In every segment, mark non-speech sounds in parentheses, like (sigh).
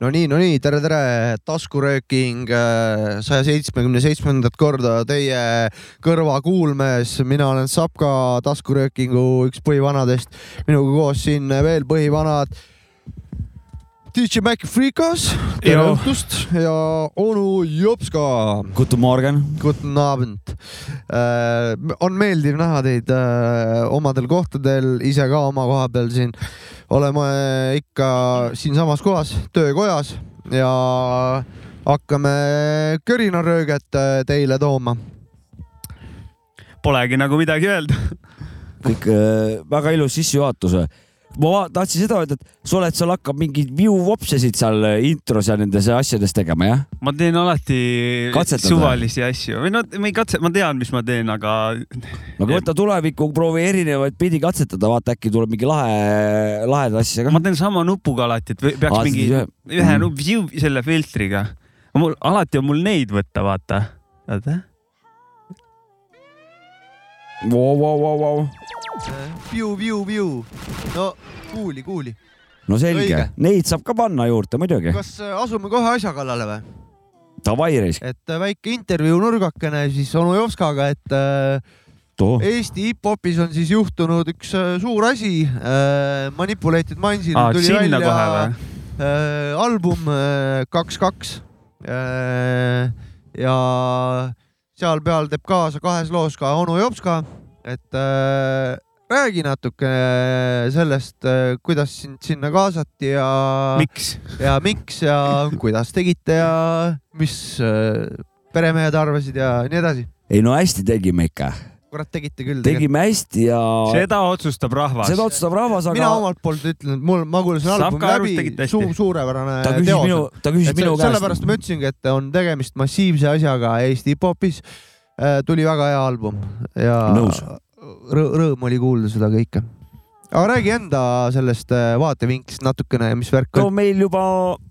no nii , no nii , tere , tere , taskurööking saja seitsmekümne seitsmendat korda teie kõrvakuulmes , mina olen Sapka , taskuröökingu üks põhivanadest , minuga koos siin veel põhivanad . DJ Mac Freekas , tere Joo. õhtust ja onu Jopska . Guten Morgen . Guten Abend . Äh, on meeldiv näha teid äh, omadel kohtadel , ise ka oma koha peal siin . oleme ikka siinsamas kohas , töökojas ja hakkame körinarööget äh, teile tooma . Polegi nagu midagi öelda . kõik äh, väga ilus sissejuhatus . ma va- tahtsin seda öelda , et sa oled , seal hakkab mingeid viuvopsesid seal äh, intros ja nendes asjades tegema , jah ? ma teen alati Katsetad või? suvalisi asju või no ma ei katse , ma tean , mis ma teen , aga aga võta tulevikku , proovi erinevaid pidi katsetada , vaata äkki tuleb mingi lahe , laheda asja ka . ma teen sama nupuga alati , et või- peaks Aa, Aa, mingi siis ühe, ühe- ühe mm. view selle filtriga . mul alati on mul neid võtta , vaata . oota , Vau , vau , vau , vau . View , view , view . no kuuli , kuuli . no selge Õige. , neid saab ka panna juurde muidugi . kas äh, asume kohe asja kallale või ? Davai , Reis . et äh, väike intervjuu nurgakene siis onu Jopskaga , et äh, Eesti hip-hopis on siis juhtunud üks äh, suur asi . Manipulated Mindsil Aa, tuli sinna välja kohe või? äh, album äh, kaks , kaks . ja seal peal teeb kaasa kahes loos ka onu Jopska , et äh, räägi natuke äh, sellest , kuidas sind sinna kaasati ja , miks ? ja miks ja kuidas tegite ja mis äh, peremehed arvasid ja nii edasi . ei no hästi tegime ikka , kurat , tegite küll . tegime hästi ja seda otsustab rahvas . seda otsustab rahvas , mina aga omalt poolt ütlen , et mul , ma kuulasin Saab albumi ka arust tegite läbi , hästi. suur , suurepärane ta küsis teos minu on. , ta küsis äh, et minu se- sellepärast ma käest . ütlesingi , et on tegemist massiivse asjaga Eesti hip-hopis . tuli väga hea album ja Nõus. rõ- rõõm oli kuulda seda kõike . aga räägi enda sellest äh, vaatevinklist natukene , mis värk no on . meil juba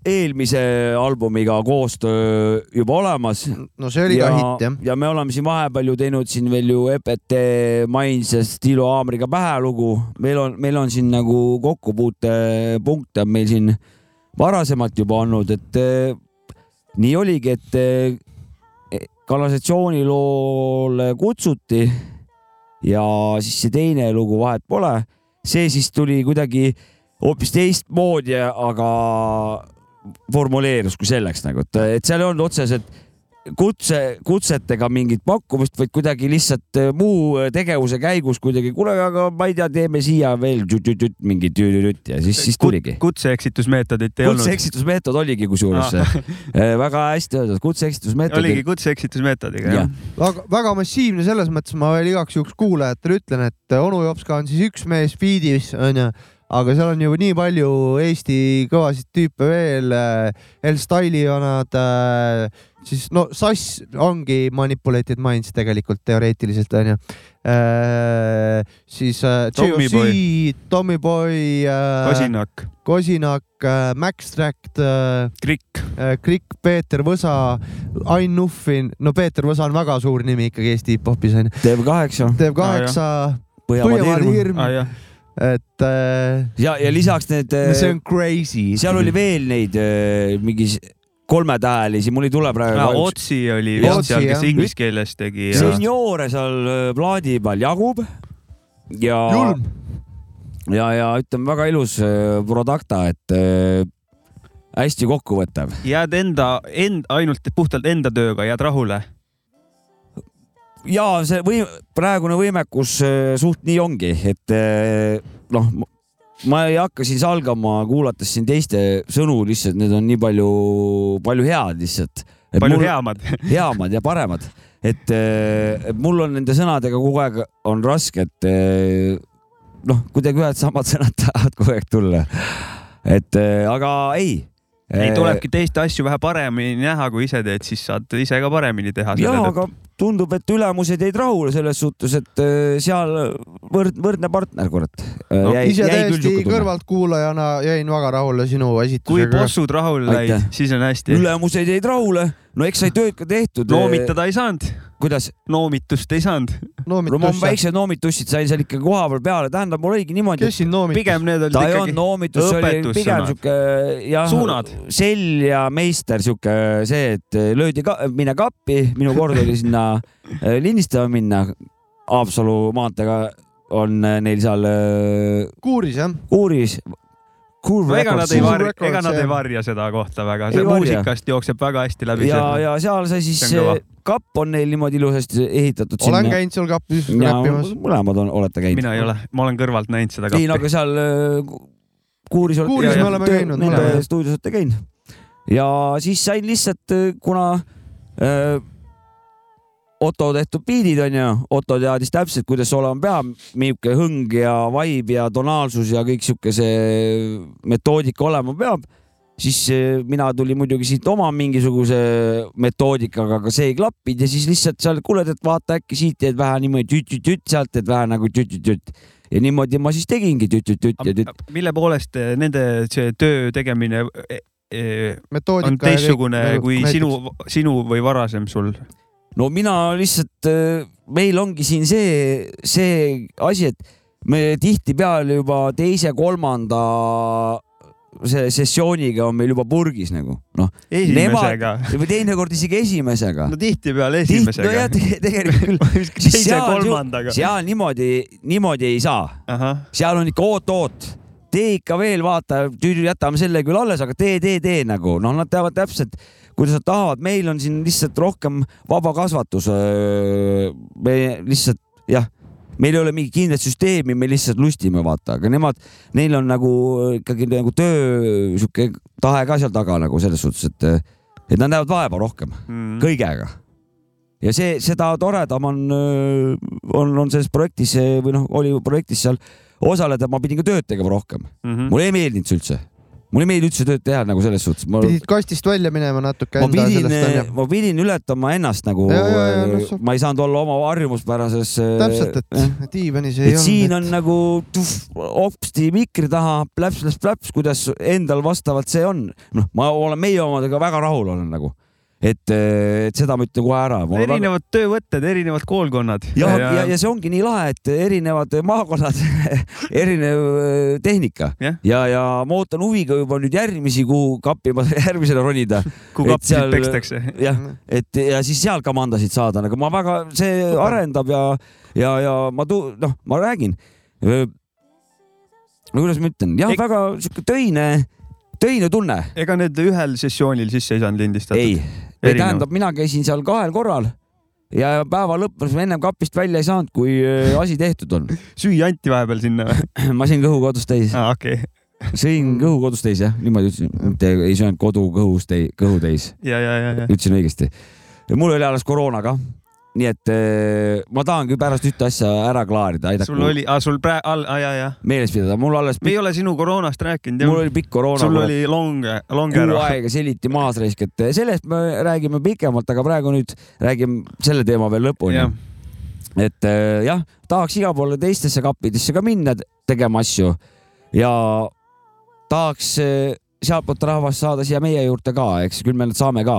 eelmise albumiga koostöö juba olemas no see oli ja ka hitt jah . ja me oleme siin vahepeal ju teinud siin veel ju EPT Mainse Stilo Haamriga pähelugu , meil on , meil on siin nagu kokkupuutepunkte on meil siin varasemalt juba olnud , et eh, nii oligi , et eh, kanalisatsiooniloole kutsuti ja siis see teine lugu vahet pole , see siis tuli kuidagi hoopis teistmoodi , aga formuleerus kui selleks nagu , et , et seal ei olnud otseselt kutse , kutsetega mingit pakkumist , vaid kuidagi lihtsalt äh, muu tegevuse käigus kuidagi , kuule , aga ma ei tea , teeme siia veel tüt-tüt-tüt mingi tüt-tüt ja siis , siis tuligi . kutseeksitusmeetodit ei olnud . kutseeksitusmeetod oligi kusjuures Ah. (laughs) eh, väga hästi öeldud , kutseeksitusmeetod . oligi kutseeksitusmeetodiga , Jah. jah . aga väga massiivne selles mõttes , ma veel igaks juhuks kuulajatele ütlen , et äh, onu Jopska on siis üks mees beat'is onju , aga seal on ju nii palju Eesti kõvasid tüüpe veel , El Style'i vanad , siis no Sass ongi manipulated minds tegelikult teoreetiliselt onju . siis äh, Tommy JOC , Tommyboy , Äh, kasinak , äh, Kosinak , Max Tract äh, krikk . Krikk , Peeter Võsa , Ain Nuffin , no Peeter Võsa on väga suur nimi ikkagi Eesti hip-hopis onju , teeb kaheksa , Ah, teeb kaheksa Põhjamaade Põhjamaade hirm hirm , aa Ah, jah , et äh, ja , ja lisaks need , eh, no see on crazy . Äh, seal oli veel neid eh, mingi s- kolmetähelisi , mul ei tule praegu . Ah, Otsi oli Jah. vist seal , kes Otsi, jah. inglise keeles tegi ja seniore seal eh, plaadi peal jagub ja , julm , ja , ja ütleme väga ilus eh, Producta , et eh, hästi kokkuvõttev . jääd enda , end , ainult puhtalt enda tööga jääd rahule . ja see või praegune võimekus äh, suht nii ongi , et äh, noh , ma ei hakka siin salgama , kuulates siin teiste sõnu lihtsalt , need on nii palju , palju head lihtsalt . palju mul... . heamad . Äh. heamad ja paremad , et äh, et mul on nende sõnadega kogu aeg on raske , et äh, noh , kuidagi ühed samad sõnad tahavad kogu aeg tulla . et äh, aga ei . eh, ei , tulebki teiste asju vähe paremini näha , kui ise teed , siis saad ise ka paremini teha . ja , aga tundub , et ülemused jäid rahule selles suhtes , et äh, seal võrd- , võrdne partner , kurat eh, No, no, . ise täiesti . kõrvaltkuulajana jäin väga rahule sinu kui esitusega . bossud rahul Aitäh. läid , siis on hästi . ülemused jäid rahule , no eks sai tööd ka tehtud . noomitada ei saanud , kuidas ? noomitust ei saanud , no ma noomitus . väiksed noomitussid sain seal ikka kohapeal peale , tähendab , mul oligi niimoodi , kes sind noomitas ? pigem need olid ta ei ikkagi olnud noomitus , see oli õpetussõnad. pigem sihuke jah , Suunad. sell ja meister , sihuke see , et löödi ka, , mine kappi , minu kord oli sinna eh, lindistama minna . Haapsalu maanteega on eh, neil seal eh, kuuris jah ? kuuris . no ega nad ei Suur varja , rekords, ega nad jah. ei varja seda kohta väga , Ei see varja. muusikast jookseb väga hästi läbi . ja , ja seal sai siis See on kõva. eh, kapp on neil niimoodi ilusasti ehitatud olen sinna . käinud seal kapis ja rappimas . mõlemad on , olete käinud ? mina ei ole , ma olen kõrvalt näinud seda ei no kappi . aga seal äh, ku- kuuris olete Kuuris me oleme käinud, nende mõlemad. stuudios olete käinud . ja siis sain lihtsalt , kuna äh, Otto tehtud biidid onju , Otto teadis täpselt , kuidas olema peab , milline hõng ja vibe ja tonaalsus ja kõik sihuke see metoodika olema peab , siis äh, mina tulin muidugi siit oma mingisuguse metoodikaga , aga see ei klappinud ja siis lihtsalt seal kuuled , et vaata äkki siit teed vähe niimoodi tüt-tüt-tüt , sealt teed vähe nagu tüt-tüt-tüt ja niimoodi ma siis tegingi tüt-tüt-tüt ja tüt . mille poolest eh, nende see töö tegemine eh, eh, on metoodika . nagu teistsugune kui sinu , sinu või varasem sul ? no mina lihtsalt , meil ongi siin see , see asi , et me tihtipeale juba teise-kolmanda see sessiooniga on meil juba purgis nagu noh , esimesega . või teinekord isegi esimesega no . tihtipeale tihti , no esimesega jah , tegelikult (laughs) küll . teise-kolmandaga . seal niimoodi , niimoodi ei saa , ahah , seal on ikka oot-oot , tee ikka veel , vaata , jätame selle küll alles , aga tee , tee , tee nagu noh , nad teavad täpselt , kuidas nad tahavad , meil on siin lihtsalt rohkem vaba kasvatus . me lihtsalt jah , meil ei ole mingit kindlat süsteemi , me lihtsalt lustime , vaata , aga nemad , neil on nagu ikkagi nagu töö sihuke tahe ka seal taga nagu selles suhtes , et , et nad näevad vaeva rohkem mm. . kõigega . ja see , seda toredam on , on , on selles projektis eh, või noh , oli ju projektis seal osaleda , ma pidin ka tööd tegema rohkem . Mm -hmm. mulle ei meeldinud see üldse . mulle ei meeldi üldse tööd teha nagu selles suhtes . ma pidid kastist välja minema natuke ma enda pidin sellest , äh, onju . ma pidin ületama ennast nagu Ja, ja, ja, no see- , ma ei saanud olla oma harjumuspärases . täpselt , äh, et diivanis ei et siin olnud . on nagu tuff, hopsti mikri taha pläps-pläps-pläps , kuidas endal vastavalt see on . noh , ma olen meie omadega väga rahul olen nagu , et , et seda ma ütlen kohe ära . erinevad töövõtted , erinevad koolkonnad . ja , ja , ja see ongi nii lahe , et erinevad maakonnad , (laughs) erinev äh, tehnika Jah. ja , ja ma ootan huviga juba nüüd järgmisi , kuhu kappi ma (laughs) järgmisena ronida , kui et kapsid seal- seal... pekstakse . jah , et ja siis seal kamandasid saada , nagu ma väga , see arendab ja , ja , ja ma tu- , noh , ma räägin . no kuidas ma ütlen , jah , Ek- väga sihuke töine , töine tunne ega need ühel sessioonil sisse ei saanud lindistada ? ei , ei Erinevad. tähendab , mina käisin seal kahel korral ja päeva lõpus ma ennem kapist välja ei saanud , kui äh, asi tehtud on . (clears throat) süüa anti vahepeal sinna või ? ma sõin kõhu kodus täis , aa , okei okay. . sõin Mm. kõhu kodus täis jah , niimoodi ütlesin , mitte ei söönud kodu kõhus täis , kõhu täis , ja , ja , ja , ja . ütlesin õigesti . mul oli alles koroona ka , nii et eh, ma tahangi pärast ühte asja ära klaarida , sul aidake oli , aa , sul praegu , all , aa , ja , ja . meeles pidada , mul alles , me ei ole sinu koroonast rääkinud , mul jah ? oli pikk koroona . sul oli long , long kuu ära . aega seliti maas raisk , et sellest me räägime pikemalt , aga praegu nüüd räägime selle teema veel lõpuni jah ., et äh, jah , tahaks iga poole teistesse kappidesse ka minna t- tegema asju ja tahaks äh, sealtpoolt rahvast saada siia meie juurde ka , eks küll me nad saame ka .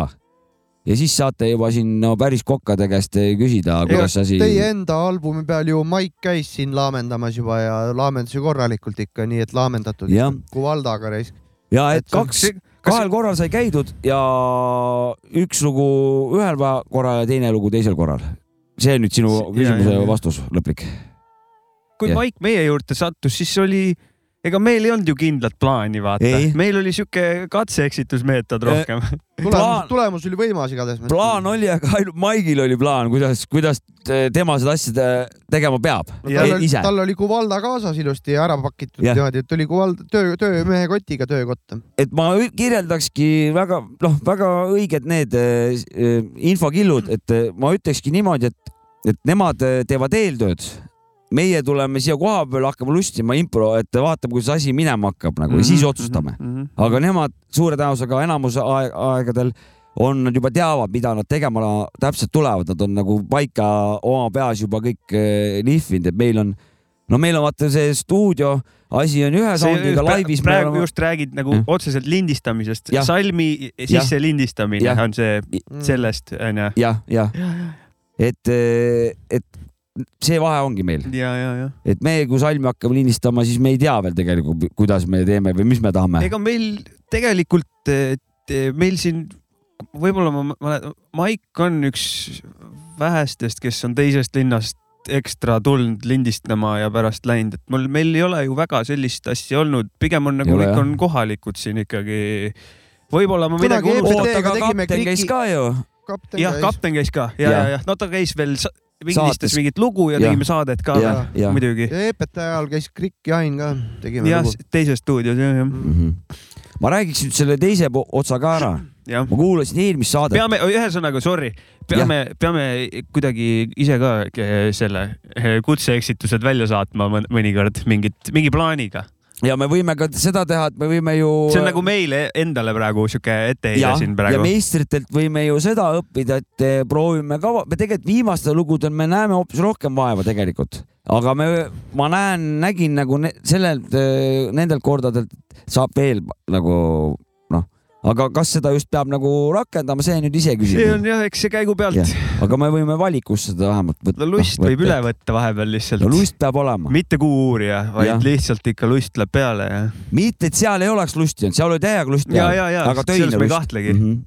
ja siis saate juba siin no päris kokkade käest äh, küsida , kuidas asi . Teie enda albumi peal ju Maik käis siin laamendamas juba ja laamendas ju korralikult ikka , nii et laamendatud Jah. . kui Valdaga reis . ja et et see- kaks , kahel korral sai käidud ja üks lugu ühel päeva- korral ja teine lugu teisel korral . see on nüüd sinu See- jaa, küsimuse jaa, jaa. vastus lõplik . kui Jah. Maik meie juurde sattus , siis oli , ega meil ei olnud ju kindlat plaani , vaata Ei. . meil oli sihuke katse-eksitusmeetod Eh, rohkem . tulemus Plaan- , tulemus oli võimas igatahes . plaan oli , aga ainult Maigil oli plaan , kuidas , kuidas t- tema seda asja te- tegema peab . no, . Ja tal oli , ise. tal oli Kuvalda kaasas ilusti ära pakitud Jah. niimoodi , et tuli Kuvalda töö , töömehe kotiga töökotta . et ma ü- kirjeldakski väga , noh , väga õiged need eh, s- eh, infokillud , et eh, ma ütlekski niimoodi , et , et nemad eh, teevad eeltööd . meie tuleme siia koha peale , hakkame lustima impro , et vaatame , kuidas asi minema hakkab nagu ja Mhm. siis otsustame . Mhm. aga nemad suure tõenäosusega enamus aeg aegadel on , nad juba teavad , mida nad tegema täpselt tulevad , nad on nagu paika oma peas juba kõik eh, lihvinud , et meil on no meil on vaata see stuudio asi on ühe soundiga laivis . praegu just räägid nagu Mm. otseselt lindistamisest Jah. , salmi sisse lindistamine Jah. on see Mm, sellest onju . jah , jah , et , et see vahe ongi meil , ja , ja , ja . et me , kui salmi hakkame lindistama , siis me ei tea veel tegelikult , kuidas me teeme või mis me tahame . ega meil tegelikult , meil siin võib-olla ma mäletan , Maik on üks vähestest , kes on teisest linnast ekstra tulnud lindistama ja pärast läinud , et mul , meil ei ole ju väga sellist asja olnud , pigem on Ei nagu ole, kõik jah. on kohalikud siin ikkagi . võib-olla ma Kunagi midagi EPT-ga unustan . oota , aga tegime kapten käis kliki- ka ju . kapten jah , käis . kapten käis ka ja , Jah. ja , ja no ta käis veel , lindistas Saates. mingit lugu ja, Jah. ja tegime saadet ka jah , jah . muidugi . ja EPT ajal käis Krikk Jain ka , tegime jah lugu ., Mm. teises stuudios jah , jah , Mhm. ma räägiks nüüd selle teise po- otsa ka ära . jah . ma kuulasin eelmist saadet . peame , ühesõnaga sorry , peame , peame kuidagi ise ka eh, selle eh, kutseeksitused välja saatma mõn- mõnikord mingit , mingi plaaniga . ja me võime ka seda teha , et me võime ju . see on nagu meile endale praegu sihuke etteheide ja, siin ja praegu . meistritelt võime ju seda õppida , et eh, proovime ka , me tegelikult viimastel lugudel me näeme hoopis rohkem vaeva tegelikult , aga me , ma näen , nägin nagu ne, sellelt , nendelt kordadelt saab veel nagu noh , aga kas seda just peab nagu rakendama , see nüüd ise see on küsimus . jah , eks see käigu pealt Jah, . aga me võime valikusse seda vähemalt noh, võtta . lust võib üle . võtta vahepeal lihtsalt no . lust peab olema , mitte kuu-uurija , vaid Jah. ja. lihtsalt ikka lust läheb peale ja , mitte et seal ei oleks lusti olnud , seal oli täiega lust ja , ja , ja aga töine selles ma ei lust. kahtlegi . mm . -hmm.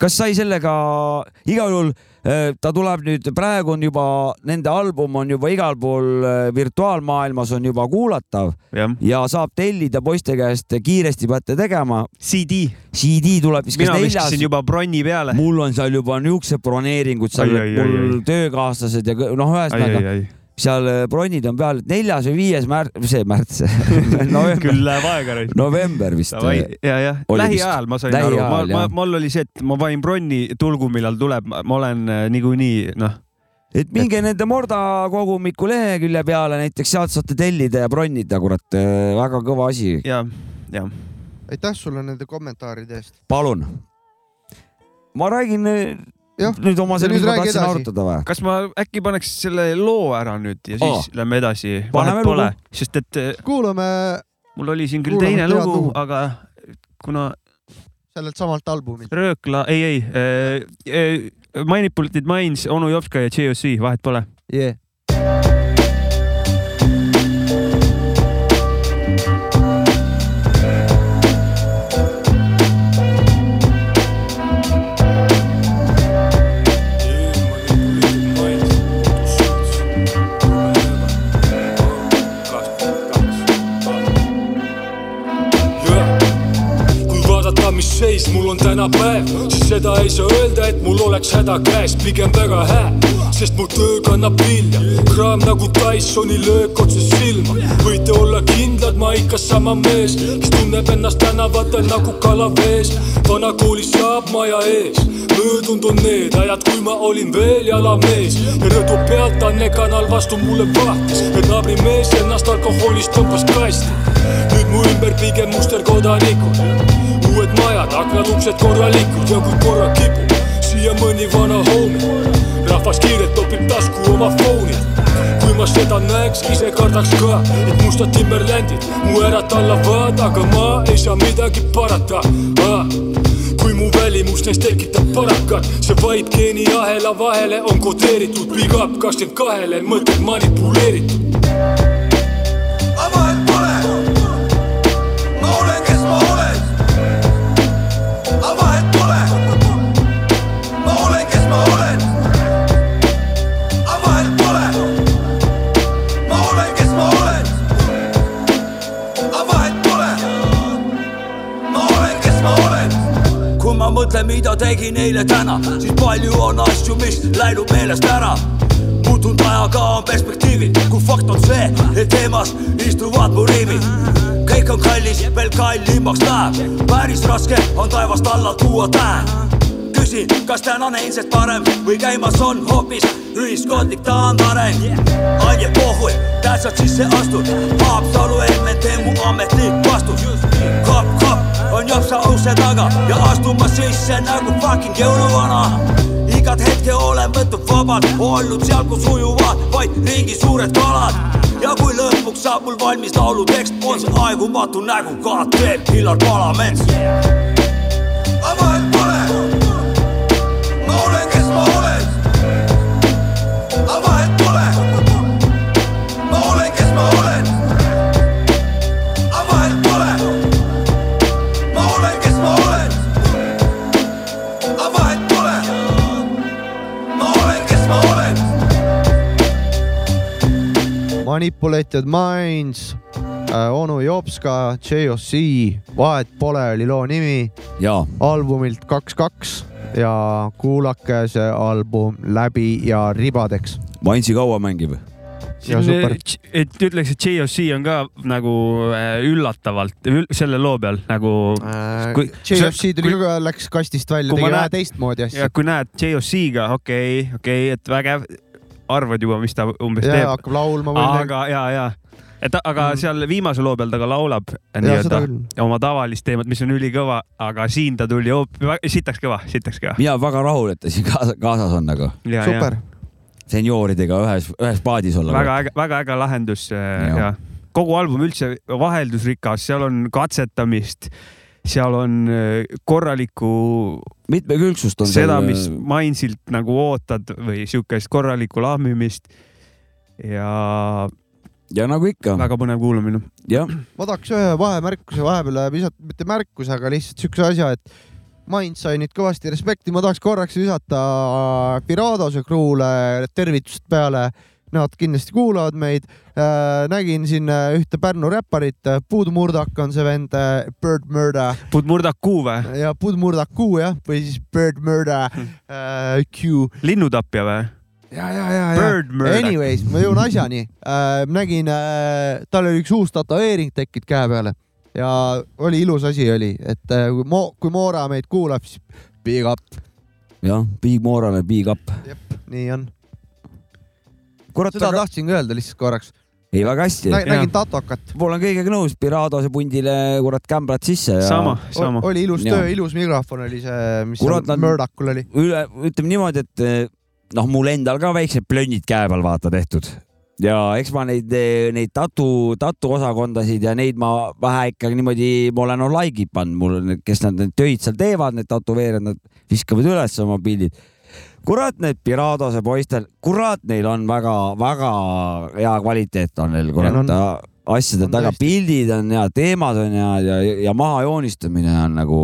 kas sai sellega , igal juhul eh, ta tuleb nüüd , praegu on juba nende album on juba igal pool eh, virtuaalmaailmas on juba kuulatav jah , ja saab tellida poiste käest , kiiresti peate tegema . CD , CD tuleb vist kas mina neljas viskasin , juba bronni peale . mul on seal juba niisugused broneeringud seal , Ai, ai, ai, mul töökaaslased ja kõ- noh , ühesõnaga seal eh, bronnid on peal , et neljas või viies märts , see (laughs) märts , (laughs) november , küll läheb aega nüüd . november vist . äh, Davai , ja , jah , Oli lähiajal ma sain aru , ma Lähiajal, , ma jah. , mul oli see , et ma panin bronni tulgu , millal tuleb , ma olen äh, niikuinii noh , et minge nende Morda kogumiku lehekülje peale näiteks , sealt saate tellida ja bronnida , kurat , väga kõva asi , ja , ja aitäh sulle nende kommentaaride eest . palun . ma räägin eh, Jah, nüüd oma selle , nüüd mis ma räägi tahtsin edasi. arutada või ? kas ma äkki paneks selle loo ära nüüd ja siis Aa. lähme edasi , Paneme vahet pole , sest et äh, kuulame mul oli siin küll Kuulame teine head lugu lugu. , aga kuna sellelt samalt albumilt . Röökla , ei , ei äh, , äh, Manipulated Minds , onu Jopska ja JOC , vahet pole . yeah. . kui vaadata , mis seis mul on täna päev , siis seda ei saa öelda , et mul oleks häda käes , pigem väga hää , sest mu töö kannab vilja . kraam nagu Tysoni löök otse silma , võite olla kindlad , ma ikka sama mees , kes tunneb ennast tänavatel nagu kala vees . vanakoolis saab maja ees , möödunud on need ajad , kui ma olin veel jalamees ja rõdu pealt Anne kanal vastu mulle vahtis , et naabrimees ennast alkoholist tõmbas kasti . nüüd mu ümber pigem musterkodanikud , uued majad , aknad , uksed korralikud ja kui korra kipub siia mõni vana homi , rahvas kiirelt topib tasku oma fooni . kui ma seda näeks , ise kardaks ka , et mustad timmerlandid mu ärad alla vaad , aga ma ei saa midagi parata Ah. kui mu välimus neist tekitab parakat , see vaid geeniahela vahele on kodeeritud , big up kakskümmend kahele , mõtted manipuleeritud . Aga vahet pole. ma olen , kes ma olen . Aga vahet pole. ma olen , kes ma olen . Aga vahet pole. ma olen , kes ma olen . Aga vahet pole. ma olen , kes ma olen . kui ma mõtlen , mida tegin eile täna , siis palju on asju , mis läinud meelest ära . muutunud ajaga on perspektiivid , kui fakt on see , et teemas istuvad mu riimid . kõik on kallis , veel kallimaks läheb , päris raske on taevast alla tuua tähe küsin , kas tänane eilsest parem või käimas on hoopis ühiskondlik taandareng yeah. . Aie Pohhui , tähtsalt sisse astud , Haapsalu emme tee mu ametlik vastus . kopp , kopp on jopsa ukse taga ja astumas sisse nagu fucking jõuluvana . igat hetke olen võtnud vabalt , olnud seal , kus ujuvad vaid riigi suured kalad . ja ja kui lõpuks saab mul valmis laulu tekst , on see aegumatu nägu KTM , Hillar Palamets . aga vahet pole , ma olen , kes ma olen . aga vahet pole , ma olen , kes ma olen . aga vahet pole , ma olen , kes ma olen . aga vahet pole , ma olen , kes ma olen Manipulated Minds , onu Jopska , JOC , Vahet pole oli loo nimi , ja albumilt kaks , kaks ja kuulake see album läbi ja ribadeks . Mainsi kaua mängib . ja super , äh, et ütleks , et JOC on ka nagu äh, üllatavalt ül, selle loo peal nagu Äh, kui- JFC tuli kui- ka , läks kastist välja , kui tegi ma vähe näen- teistmoodi asja ja . kui näed JOC-ga , okei okay, , okei okay, , et vägev , arvad juba , mis ta umbes ja teeb , hakkab laulma või midagi . aga ja , ja et ta- aga mm. seal viimase loo peal ta ka laulab jaa , seda nii-öelda küll . oma tavalist teemat , mis on ülikõva , aga siin ta tuli hoop- , sitaks kõva , sitaks kõva . mina olen väga rahul , et ta siin kaasa- kaasas on nagu super , seniooridega ühes , ühes paadis olla . väga äge , väga äge lahendus ja, Jah. ja. kogu album üldse vaheldusrikas , seal on katsetamist , seal on äh, korralikku mitmekülgsust on äh, seda , mis Mainsilt nagu ootad või siukest korralikku lahmimist . ja ja nagu ikka , väga põnev kuulamine . jah , ma tahaks ühe vahemärkuse vahepeale visata , mitte märkuse , aga lihtsalt siukse asja , et Mainz sai nüüd kõvasti respekti , ma tahaks korraks visata Piradose kruule tervitust peale . Nad kindlasti kuulavad meid . nägin siin äh, ühte Pärnu räpparit , Puudmurdak on see vend , Bird Murder Budmurdakuu või ? ja Puudmurdak Q jah , või siis Bird Murder äh, Q . linnutapja või ? ja , ja , ja , ja . Bird murder . Anyways , ma jõuan asjani äh, . nägin äh, , tal oli üks uus tätoveering tekkinud käe peale ja oli ilus asi oli , et äh, kui Mo- , kui Moora meid kuulab , siis big up , jah , big morale , big up . nii on . kurat , seda aga tahtsingi öelda lihtsalt korraks . ei väga hästi . nägin tatokat , ma olen kõigega nõus , Piradose pundile kurat kämbrad sisse ja sama , sama . oli ilus Jaa. töö , ilus mikrofon oli see , mis Kurat, seal nad- Murdakul oli . üle , ütleme niimoodi , et eh, noh , mul endal ka väiksed plönnid käe peal vaata tehtud ja eks ma neid , neid tatu , tatuosakondasid ja neid ma vähe ikka niimoodi , ma olen like'i pannud , mul on , kes nad need töid seal teevad , need tätoveerijad , nad viskavad üles oma pildid . kurat , need Piradose poistel , kurat , neil on väga-väga hea kvaliteet on neil , Ja kurat on- no, , asjade on taga , tõesti. pildid on ja teemad on ja , ja , ja maha joonistamine on nagu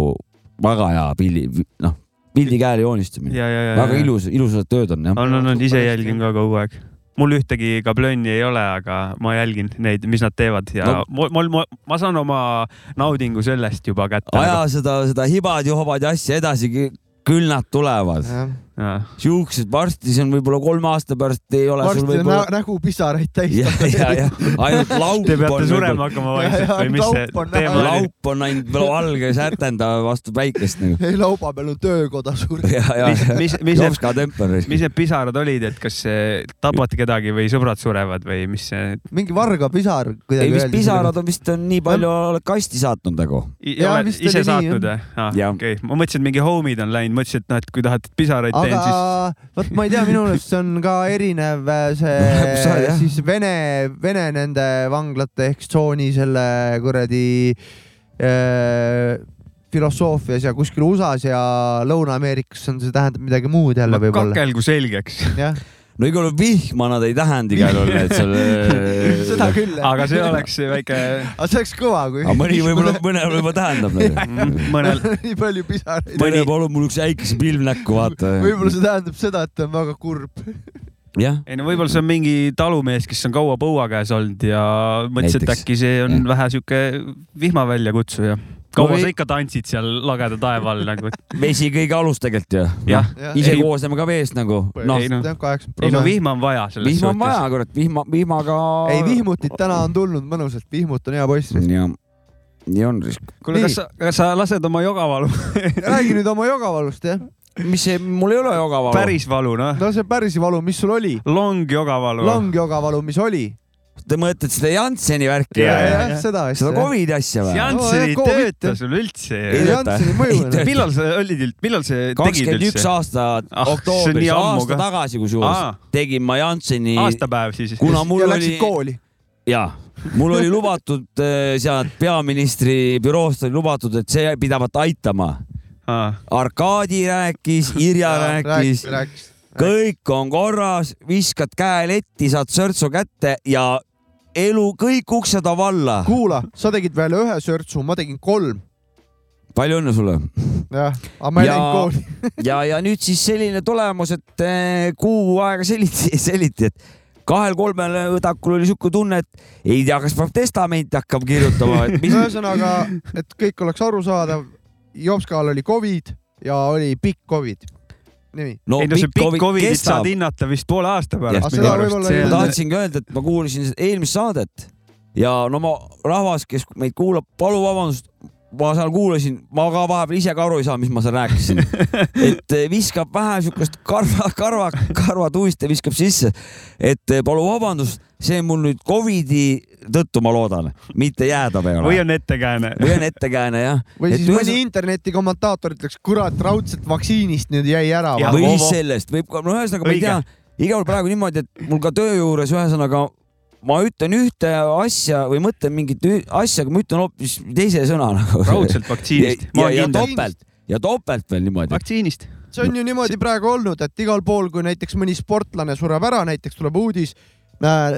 väga hea pildi , noh , pildi käele joonistamine . ja , ja , ja . väga . ilus , ilusad tööd on jah . on , on , on , ise Super jälgin ka kogu aeg . mul ühtegi kablönni ei ole , aga ma jälgin neid , mis nad teevad ja No. no. mul , mul , ma, ma saan oma naudingu sellest juba kätte . aja seda , seda hibad , johvad ja asja edasi , küll nad tulevad . siuksed varsti , see on võib-olla kolme aasta pärast ei ole sul varsti on nä võib-olla . nägupisaraid (laughs) täis . ja , ja , ja ainult laup Te peate on nagu- surema . hakkama vaikselt Ja, ja, või mis see laup on näha. teema oli ? laup on ainult valge särtendav vastu päikest nagu . (laughs) ei lauba peal on töökoda suur . ja , ja , mis , mis , mis need , jopska temper . (laughs) mis need pisarad olid , et kas eh, tapate kedagi või sõbrad surevad või mis see ? mingi vargapisar ei , kuidagi mis pisarad on vist on nii palju oled kasti saatnud nagu . ei Jaa, ole vist oli ise nii, saatnud või ? Jah. okei , ma mõtlesin , et mingi homid on läinud , mõtlesin , et noh , et kui tahad et pisaraid teen , siis aga vot ma ei tea , minu meelest see on ka erinev äh, Sa- see jah. siis Vene , Vene nende vanglate ehk tsooni selle kuradi eh, filosoofias ja kuskil USA-s ja Lõuna-Ameerikas on , see tähendab midagi muud jälle ma võib-olla . kakelgu selgeks . jah , no igal juhul vihma nad ei tähenda igal juhul , et (laughs) äh, seda seal . küll . aga see . oleks väike aga see oleks kõva , kui aga (laughs) mõni võib-olla , mõnel võib-olla tähendab neid . mõnel , nii palju pisaraid . mõni palub mul üks äikese pilv näkku , vaata . võib-olla see tähendab seda , et ta on väga kurb . jah , ei no võib-olla see on mingi talumees , kes on kaua põua käes olnud ja mõtles , et Näiteks. äkki see on Jah. vähe sihuke vihmaväljakutsuja . kaua või- sa ikka tantsid seal lageda taeva all nagu , et vesi kõige alus tegelikult ju . jah . ise Ei- koosneme ka veest nagu . noh Ei, , no. ei kaheksakümmend no protsenti . vihma on vaja selles vihma on suhtes . vaja , kurat , vihma , vihmaga . ei , vihmutit täna on tulnud mõnusalt , vihmut on hea (laughs) poiss . jah , nii on risk . kuule , kas sa , kas sa lased oma jogavalu , räägi nüüd oma jogavalust , jah . mis see , mul ei ole jogavalu . päris valu noh , no see päris valu , mis sul oli ? long jogavalu . lang jogavalu , mis oli ? Te mõtlete seda Jansseni värki Jaa, või ? jaa. seda asja . seda Covidi asja või ? Janssen ei No, Covid- tööta sul üldse Ei ei . tööta. Jansseni mõju Ei tööta. . millal sa olid , millal sa tegid kakskümmend üks üldse ? aastat Ah, see on oktoobris , nii ammu aasta ka. tagasi kusjuures Aa. tegin ma Jansseni , aastapäev siis . kuna mul ja läksid oli , kooli . jaa , mul oli lubatud äh, sealt peaministri büroost oli lubatud , et see pidavat aitama . Ah. Arkadi rääkis , Irja rääkis , rääkis . kõik on korras , viskad käe letti , saad sörtsu kätte ja elu , kõik uksed on valla . kuula , sa tegid veel ühe sörtsu , ma tegin kolm . palju õnne sulle . jah , aga ma ei Ja- läinud kooli . ja , ja nüüd siis selline tulemus , et eh, kuu aega (laughs) seliti , seliti , et kahel-kolmel õdakul oli sihuke tunne , et ei tea , kas peab testamenti hakkama kirjutama , et (laughs) mis . ühesõnaga , et kõik oleks arusaadav , Jopskal oli Covid ja oli pikk Covid . nimi . no ei no see pikk Covidit saad kestab . hinnata vist poole aasta Jah. pärast . Aga seda võib-olla ei- ma tahtsingi öelda , et ma kuulasin seda eelmist saadet ja no ma , rahvas , kes meid kuulab , palun vabandust , ma seal kuulasin , ma ka vahepeal ise ka aru ei saa , mis ma seal (laughs) rääkisin . et eh, viskab vähe siukest karva , karva , karvatuiste viskab sisse . et eh, palun vabandust , see on mul nüüd Covidi tõttu , ma loodan , mitte jäädav ei või ole . on ettekääne ? (laughs) või on ettekääne jah . või Et siis ühes- mõni internetikommentaator ütleks , kurat , raudselt vaktsiinist nüüd jäi ära . Ja või Vovo. sellest võib ka , no ühesõnaga ma ei Õige. tea , igal juhul praegu niimoodi , et mul ka töö juures ühesõnaga ma ütlen ühte asja või mõtlen mingit ü- asja , aga ma ütlen hoopis teise sõna nagu . raudselt vaktsiinist ja , ma , ja, olen ja kindel . topelt ja topelt veel niimoodi . vaktsiinist . see on ju niimoodi praegu olnud , et igal pool , kui näiteks mõni sportlane sureb ära , näiteks tuleb uudis ,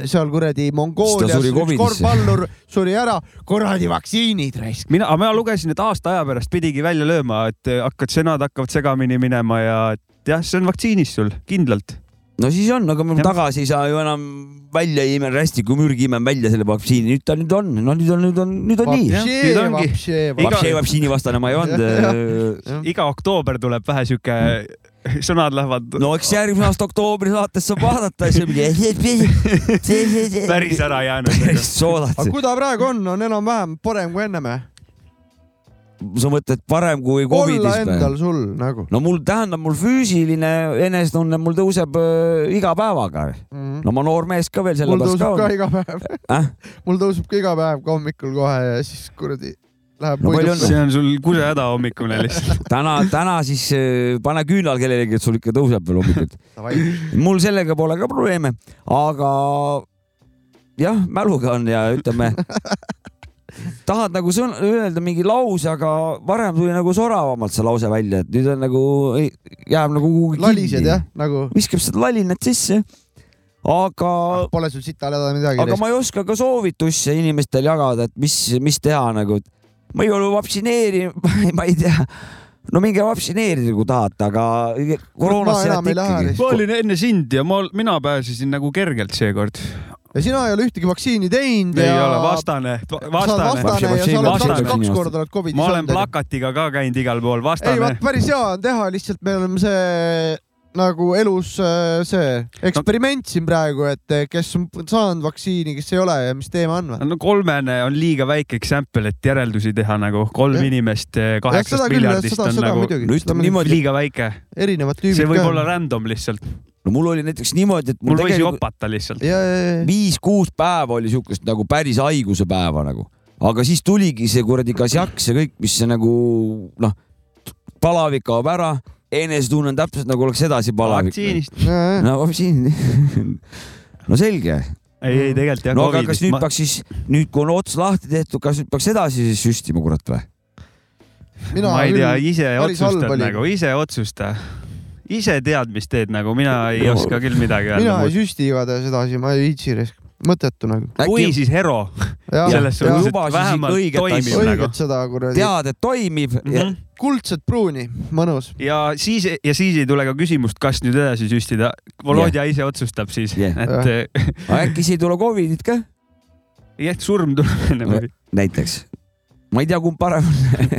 seal kuradi Mongoolias suri üks Covidisse. korvpallur suri ära , kuradi vaktsiinid raisk . mina , mina lugesin , et aasta aja pärast pidigi välja lööma , et eh, hakkad , sõnad hakkavad segamini minema ja et jah , see on vaktsiinis sul kindlalt . no siis on , aga me Jah. tagasi ei saa ju enam välja ei ime rästiku mürgi imeme välja selle vaktsiini , nüüd ta nüüd on , no nüüd on , nüüd on , nüüd on Vapsi- nii . nüüd ongi. vapsi- Vapsi vaktsiini vastane ma ei olnud . jah. iga oktoober tuleb vähe sihuke , (laughs) sõnad lähevad no. Mm. no eks järgmise aasta oktoobri saates saab vaadata , siis on (laughs) (laughs) mingi . päris ära jäänud . päris soodad aga . kui ta praegu on , on enam-vähem parem kui ennem . sa mõtled parem kui olla Covidis või ? endal sul nagu no mul tähendab , mul füüsiline enesetunne , mul tõuseb öö, iga päevaga . mm. . no ma noor mees ka veel mul sellepärast tõuseb Mhm. ka ka . iga päev , Äh? mul tõuseb ka iga päev ka hommikul kohe ja siis kuradi läheb No palju võiduks see on sul kusehäda hommikune (laughs) lihtsalt . täna , täna siis öö, pane küünal kellelegi , et sul ikka tõuseb veel hommikuti . mul sellega pole ka probleeme , aga jah , mäluga on ja ütleme , tahad nagu sõna , öelda mingi lause , aga varem tuli nagu soravamalt see lause välja , et nüüd on nagu , jääb nagu kuhugi lalised jah , nagu viskab sealt lalinad sisse . aga , pole sul sita häda midagi aga . ma ei oska ka soovitusse inimestele jagada , et mis , mis teha nagu , et ma ei ole vaktsineerinud , (laughs) ma ei tea . no minge vaktsineerida , kui tahate , aga koroonast Ma enam jääte ei lähe ikkagi lihtsalt. ma . olin enne sind ja ma , mina pääsesin nagu kergelt seekord . ja sina ei ole ühtegi vaktsiini teinud ei ja . ole , vastane , sa oled vastane . vastane ja sa oled Vastane. kaks , kaks korda oled Covidis ma olen olnud . plakatiga ka käinud igal pool , ei , vastane vaat . päris hea on teha , lihtsalt me oleme see nagu elus äh, see eksperiment siin praegu , et eh, kes on saanud vaktsiini , kes ei ole ja mis teema on või ? no kolmene on liiga väike sample , et järeldusi teha nagu kolm Jah. inimest eh, kaheksast miljardist seda , on seda nagu muidugi no . ütleme niimoodi , liiga väike , erinevad tüübid . see võib olla . random lihtsalt , no mul oli näiteks niimoodi , et mul, mul võis tegelikult jopata lihtsalt . ja , ja , ja , viis-kuus päeva oli siukest nagu päris haiguse päeva nagu , aga siis tuligi see kuradi kasjaks ja kõik , mis see nagu noh , palavik kaob ära , enesetunne on täpselt nagu oleks edasi palavik . vaktsiinist , ja , no siin , (laughs) no selge . ei , ei tegelikult jah . no aga kas nüüd ma... peaks siis , nüüd kui on ots lahti tehtud , kas nüüd peaks edasi siis süstima , kurat või ? ja . mina ma ei tea , küll , ise päris halb otsustad oli. nagu , ise otsusta . ise tead , mis teed nagu , mina ei No. oska küll midagi mina ei öelda . süsti igatahes edasi , ma ei viitsi risk , mõttetu nagu . kui siis Hero , selles jah, suhtes , lubasid et vähemalt õiget asja. toimib nagu õiget . seda kuradi , tead , et toimib mm , Mhm. -hmm. kuldset pruuni , mõnus . ja siis , ja siis ei tule ka küsimust , kas nüüd edasi süstida . Volodja ise otsustab siis , Jah. et eh, aga äkki siis ei tule Covidit ka jah , surm tuleb (laughs) nagu. enne või näiteks ? ma ei tea , kumb parem on ,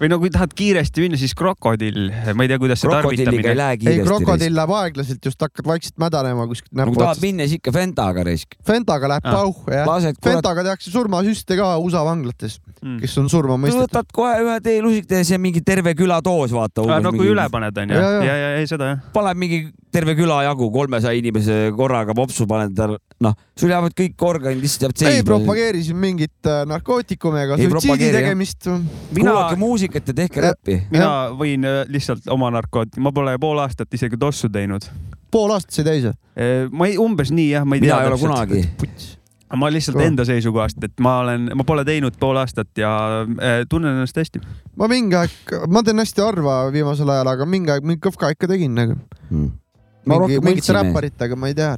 või no kui tahad kiiresti minna , siis krokodill , ma ei tea , kuidas see krokodilliga ei tarvitamine . lähe ei , kiiresti . krokodill läheb aeglaselt , just hakkad vaikselt mädanema kuskilt no kui näpu tahad otsast . minna , siis ikka Fentaga risk . Fentaga läheb Ah. pauh , jah . lased kurat , Fentaga tehakse surmasüste ka USA vanglates , Mm. kes on surma mõistetud . võtad kohe ühe teelusikatäis ja mingi terve küla doos , vaata . Ah, no kui üle paned , onju . Ja, ja ja. , ja, ja , ei seda jah . paneb mingi terve küla jagu , kolmesaja inimese korraga popsu paned tal , noh , sul jäävad kõik organid lihtsalt jääb ei seisma . propageeri siin mingit äh, narkootikumi ega Ei suitsiidi propageeri, jah. tegemist . mina kuulake , muusikat ja tehke Ja- räppi . mina võin öö, lihtsalt oma narkoot- , ma pole pool aastat isegi tossu teinud . pool aastat sai täis või ? ma ei , Äh, umbes nii jah , ma ei tea . mina ei ole kunagi . puts . ma lihtsalt Kõva. enda seisukohast , et ma olen , ma pole teinud pool aastat ja äh, tunnen ennast hästi . ma mingi aeg , ma teen hästi harva viimasel ajal , aga mingi aeg mingi kõhka ikka tegin nagu . mm. . ma mingi , rohkem mingite õltsi me , räpparitega , ma ei tea .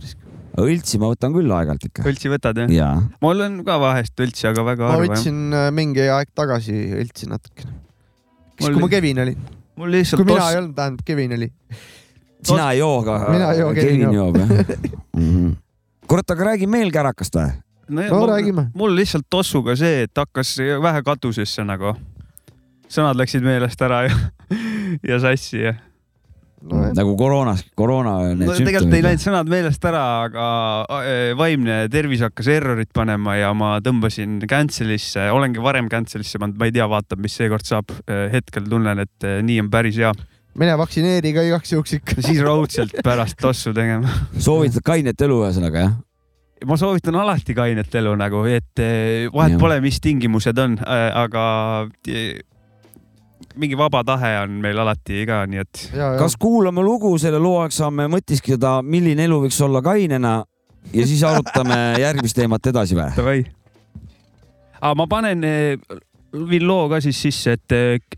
õltsi ma võtan küll aeg-ajalt ikka . õltsi võtad jah ? jaa , ma olen ka vahest õltsi , aga väga ma harva jah . võtsin äh, mingi aeg tagasi , õltsin natukene . siis , Mul kui ma oli- Kevin olin , mul lihtsalt kui mina tos- ei olnud , tähendab Kevin oli . sina ei joo , aga Mina ei joo, Kevin joob jah Mhm. kurat , aga räägi meil kärakast või ? ja no mul- räägime. mul lihtsalt tossuga see , et hakkas vähe katusesse nagu . sõnad läksid meelest ära ja , (laughs) ja sassi ja . nojah , nagu koroonas , koroona . no tegelikult ei läinud . sõnad meelest ära , aga äh, vaimne tervis hakkas errorit panema ja ma tõmbasin cancel'isse , olengi varem cancel'isse pannud , ma ei tea , vaatab , mis seekord saab . hetkel tunnen , et äh, nii on päris hea . mine vaktsineeri ka igaks juhuks ikka . siis raudselt pärast tossu tegema . (laughs) soovitad kainet elu ühesõnaga jah ? ma soovitan alati kainet elu nagu , et äh, vahet Jah. ja. pole , mis tingimused on , aga äh, mingi vaba tahe on meil alati ka , nii et kas kas kuulame lugu selle loo ajaks , saame mõtiskleda , milline elu võiks olla kainena ja siis arutame järgmist teemat edasi või ? davai . aga ma panen , viin loo ka siis sisse , et eh, k-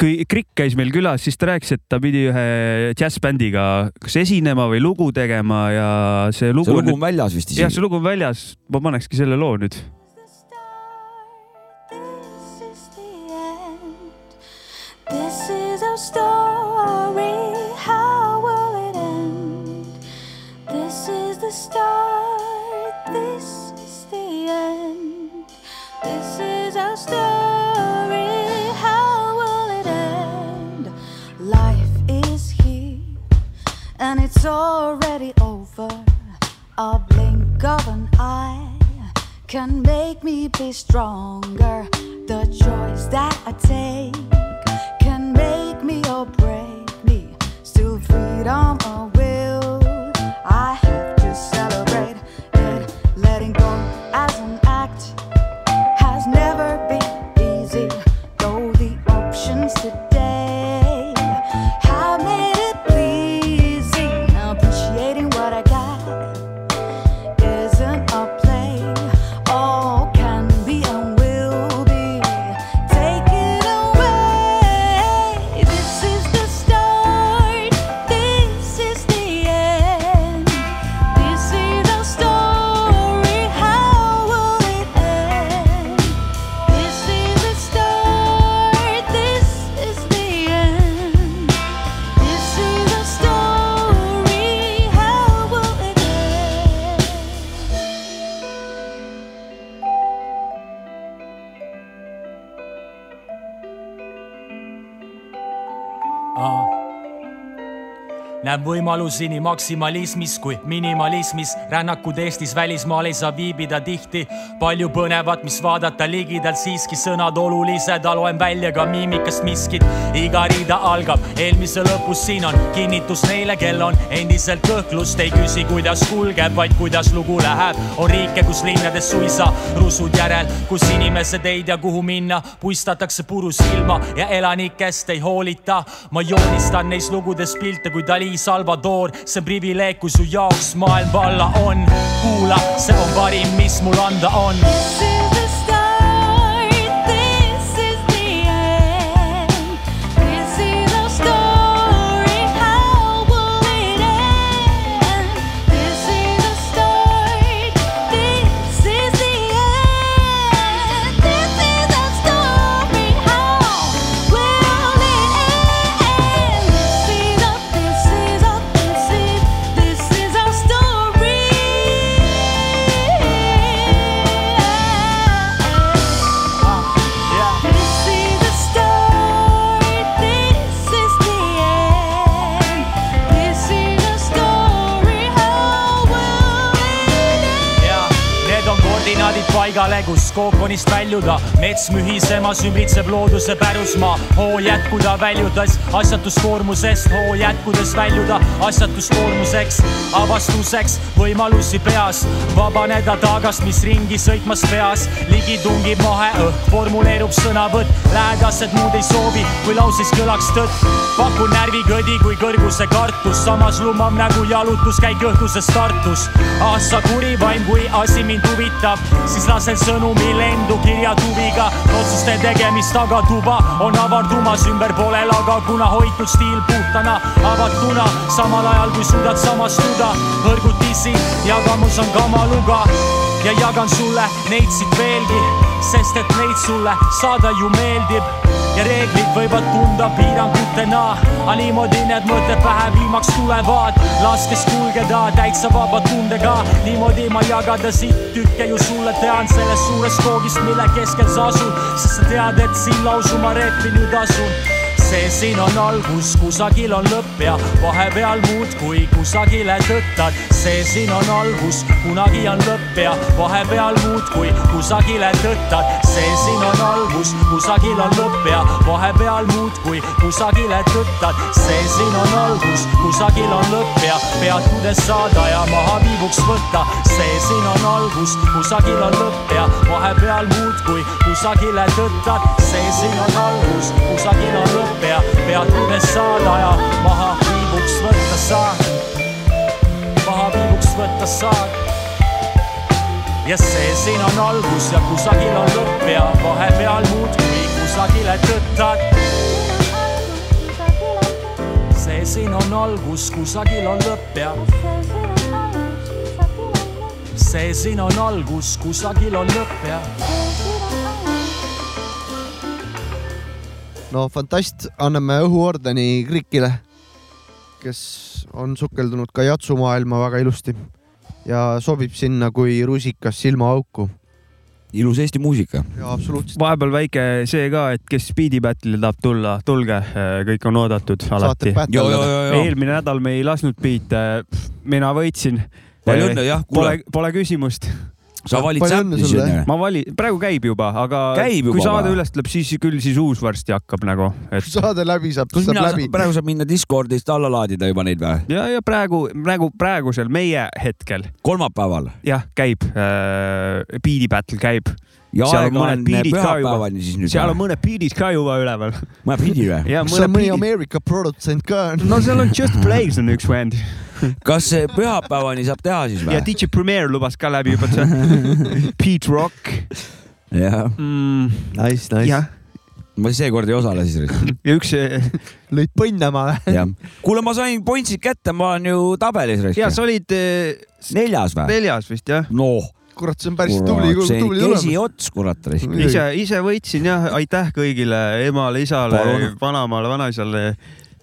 kui Krikk käis meil külas , siis ta rääkis , et ta pidi ühe džässbändiga kas esinema või lugu tegema ja see see lugu, lugu on , on väljas vist jah , see isegi . lugu on väljas , ma panekski selle loo nüüd . This is the end. This is our story. How will it end? This is the start. This is the end. This is our story. How will it end? Life is here and it's already over. A blink of an eye can make me be stronger. The choice that I take can make me or break me. Still, freedom or will, I have to celebrate it. Letting go as an act has never been easy, though the options today have made it pleasing. Appreciating what I got isn't a play, all can be and will be taken away. This is the start, this is the end. This is our story, how will it end? This is the start, this is the end. This is a story. How will it end? Aa. näeb võimalusi nii maksimalismis kui minimalismis . rännakud Eestis , välismaal ei saa viibida tihti . palju põnevat , mis vaadata ligidalt , siiski sõnad olulised , loen välja ka miimikast miskit . iga rida algab eelmise lõpus , siin on kinnitus neile , kel on endiselt kõhklust , ei küsi , kuidas kulgeb , vaid kuidas lugu läheb . on riike , kus linnades suisa rusud järel , kus inimesed ei tea , kuhu minna , puistatakse puru silma ja elanikest ei hoolita . ma joonistan neis lugudes pilte kui Dali Salvador , see on privileeg , kui su jaoks maailm valla on . kuula , see on parim , mis mul anda on . This is the start. This is the end. This is our story. How will it end? This is the start. This is the end. This is our story. How will it end? This is our. This is our. This is. This is our story. This is the start. This is the end. This is a story. How will it end? ja need on koordinaadid paigale , kus kookonist väljuda . mets mühisemas ümbritseb looduse pärusmaa . hoo jätkuda väljudes asjatuskoormusest , hoo jätkudes väljuda asjatuskoormuseks , avastuseks , võimalusi peas . vabaneda taagast , mis ringi sõitmas peas , ligi tungib maheõhk , formuleerub sõnavõtt , lähedased muud ei soovi , kui lauses kõlaks tõtt . pakun närvikõdi kui kõrguse kartus , samas lumav nägu jalutuskäik nagu õhtuses Tartus . ah sa kuri vaim , kui asi mind huvitab , siis lasen sõnumi lendu kirjatuviga . otsuste tegemist tagatuba on avardumas , ümber pole laga , kuna hoitud stiil puhtana , avatuna , samal ajal kui suudad samastuda hõrgutisi , jagamus on kamaluga ja jagan sulle neid siit veelgi , sest et neid sulle saada ju meeldib ja reeglid võivad tunda piirangutena , aga niimoodi need mõtted pähe viimaks tulevad , laskes kulgeda täitsa vaba tundega , niimoodi ma jagada siit tükke ju sulle tean sellest suurest koogist , mille keskel sa asud , sest sa tead , et siin lausuma reepi nüüd asun see siin on algus , kusagil on lõpp ja vahepeal muudkui kusagile tõttad . see siin on algus , kunagi on lõpp ja vahepeal muudkui kusagile tõttad . see siin on algus , kusagil on lõpp ja vahepeal muudkui kusagile tõttad . see siin on algus , kusagil on lõpp ja pead kuidas saada ja maha viibuks võtta . see siin on algus , kusagil on lõpp ja vahepeal muudkui kusagile tõttad . see siin on algus , kusagil on lõpp ja pead üles saada ja maha viibuks võtta saad . maha viibuks võtta saad . ja see siin on algus ja kusagil on lõpp ja vahepeal muudkui kusagile tõttad . see siin on algus , kusagil on lõpp ja see siin on algus , kusagil on lõpp ja no fantast , anname õhuordeni Krikile , kes on sukeldunud ka jatsumaailma väga ilusti ja sobib sinna kui rusikas silmaauku . ilus Eesti muusika . jaa , absoluutselt . vahepeal väike see ka , et kes Speedy Battle'ile tahab tulla , tulge , kõik on oodatud alati saate . pätendada . eelmine nädal me ei lasknud biite , mina võitsin . palju õnne , jah , kuule Pole ,, pole küsimust . sa valid palju õnne säppi sulle. sinna . ma vali- , praegu käib juba , aga Käib juba kui saade või? üles tuleb , siis küll siis uus varsti hakkab nagu , et (laughs) saade läbi saab , kas saab mina läbi . praegu saab minna Discordist alla laadida juba neid või ? ja , ja praegu , praegu , praegusel meie hetkel kolmapäeval jah , käib äh, , Beat'i battle käib . ja Seal on aega mõned on piirid ka pühapäevani siis nüüd . seal on mõned beat'id ka juba üleval . ma pidi või ? ja kas seal mõned mõni beat'id , Ameerika produtsent ka on ? no seal on Just Blaze on üks vend kas see pühapäevani saab teha siis või ? ja DJ Premier lubas ka läbi juba , et (laughs) see Pete Rock jah , mm, . Nice , nice jah ,. ma seekord ei osale siis . (laughs) ja üks , äh, ja lõid põnnama või ? jah . kuule , ma sain pointsid kätte , ma olen ju tabelis raisk . sa olid eh, neljas või ? neljas vist jah ? noh , kurat , see on päris tubli , kurat , see tubli oli tulemus . kesiots , kurat raisk . Muidugi. ise , ise võitsin jah , aitäh kõigile emale , isale Palun. , vanaemale , vanaisale ,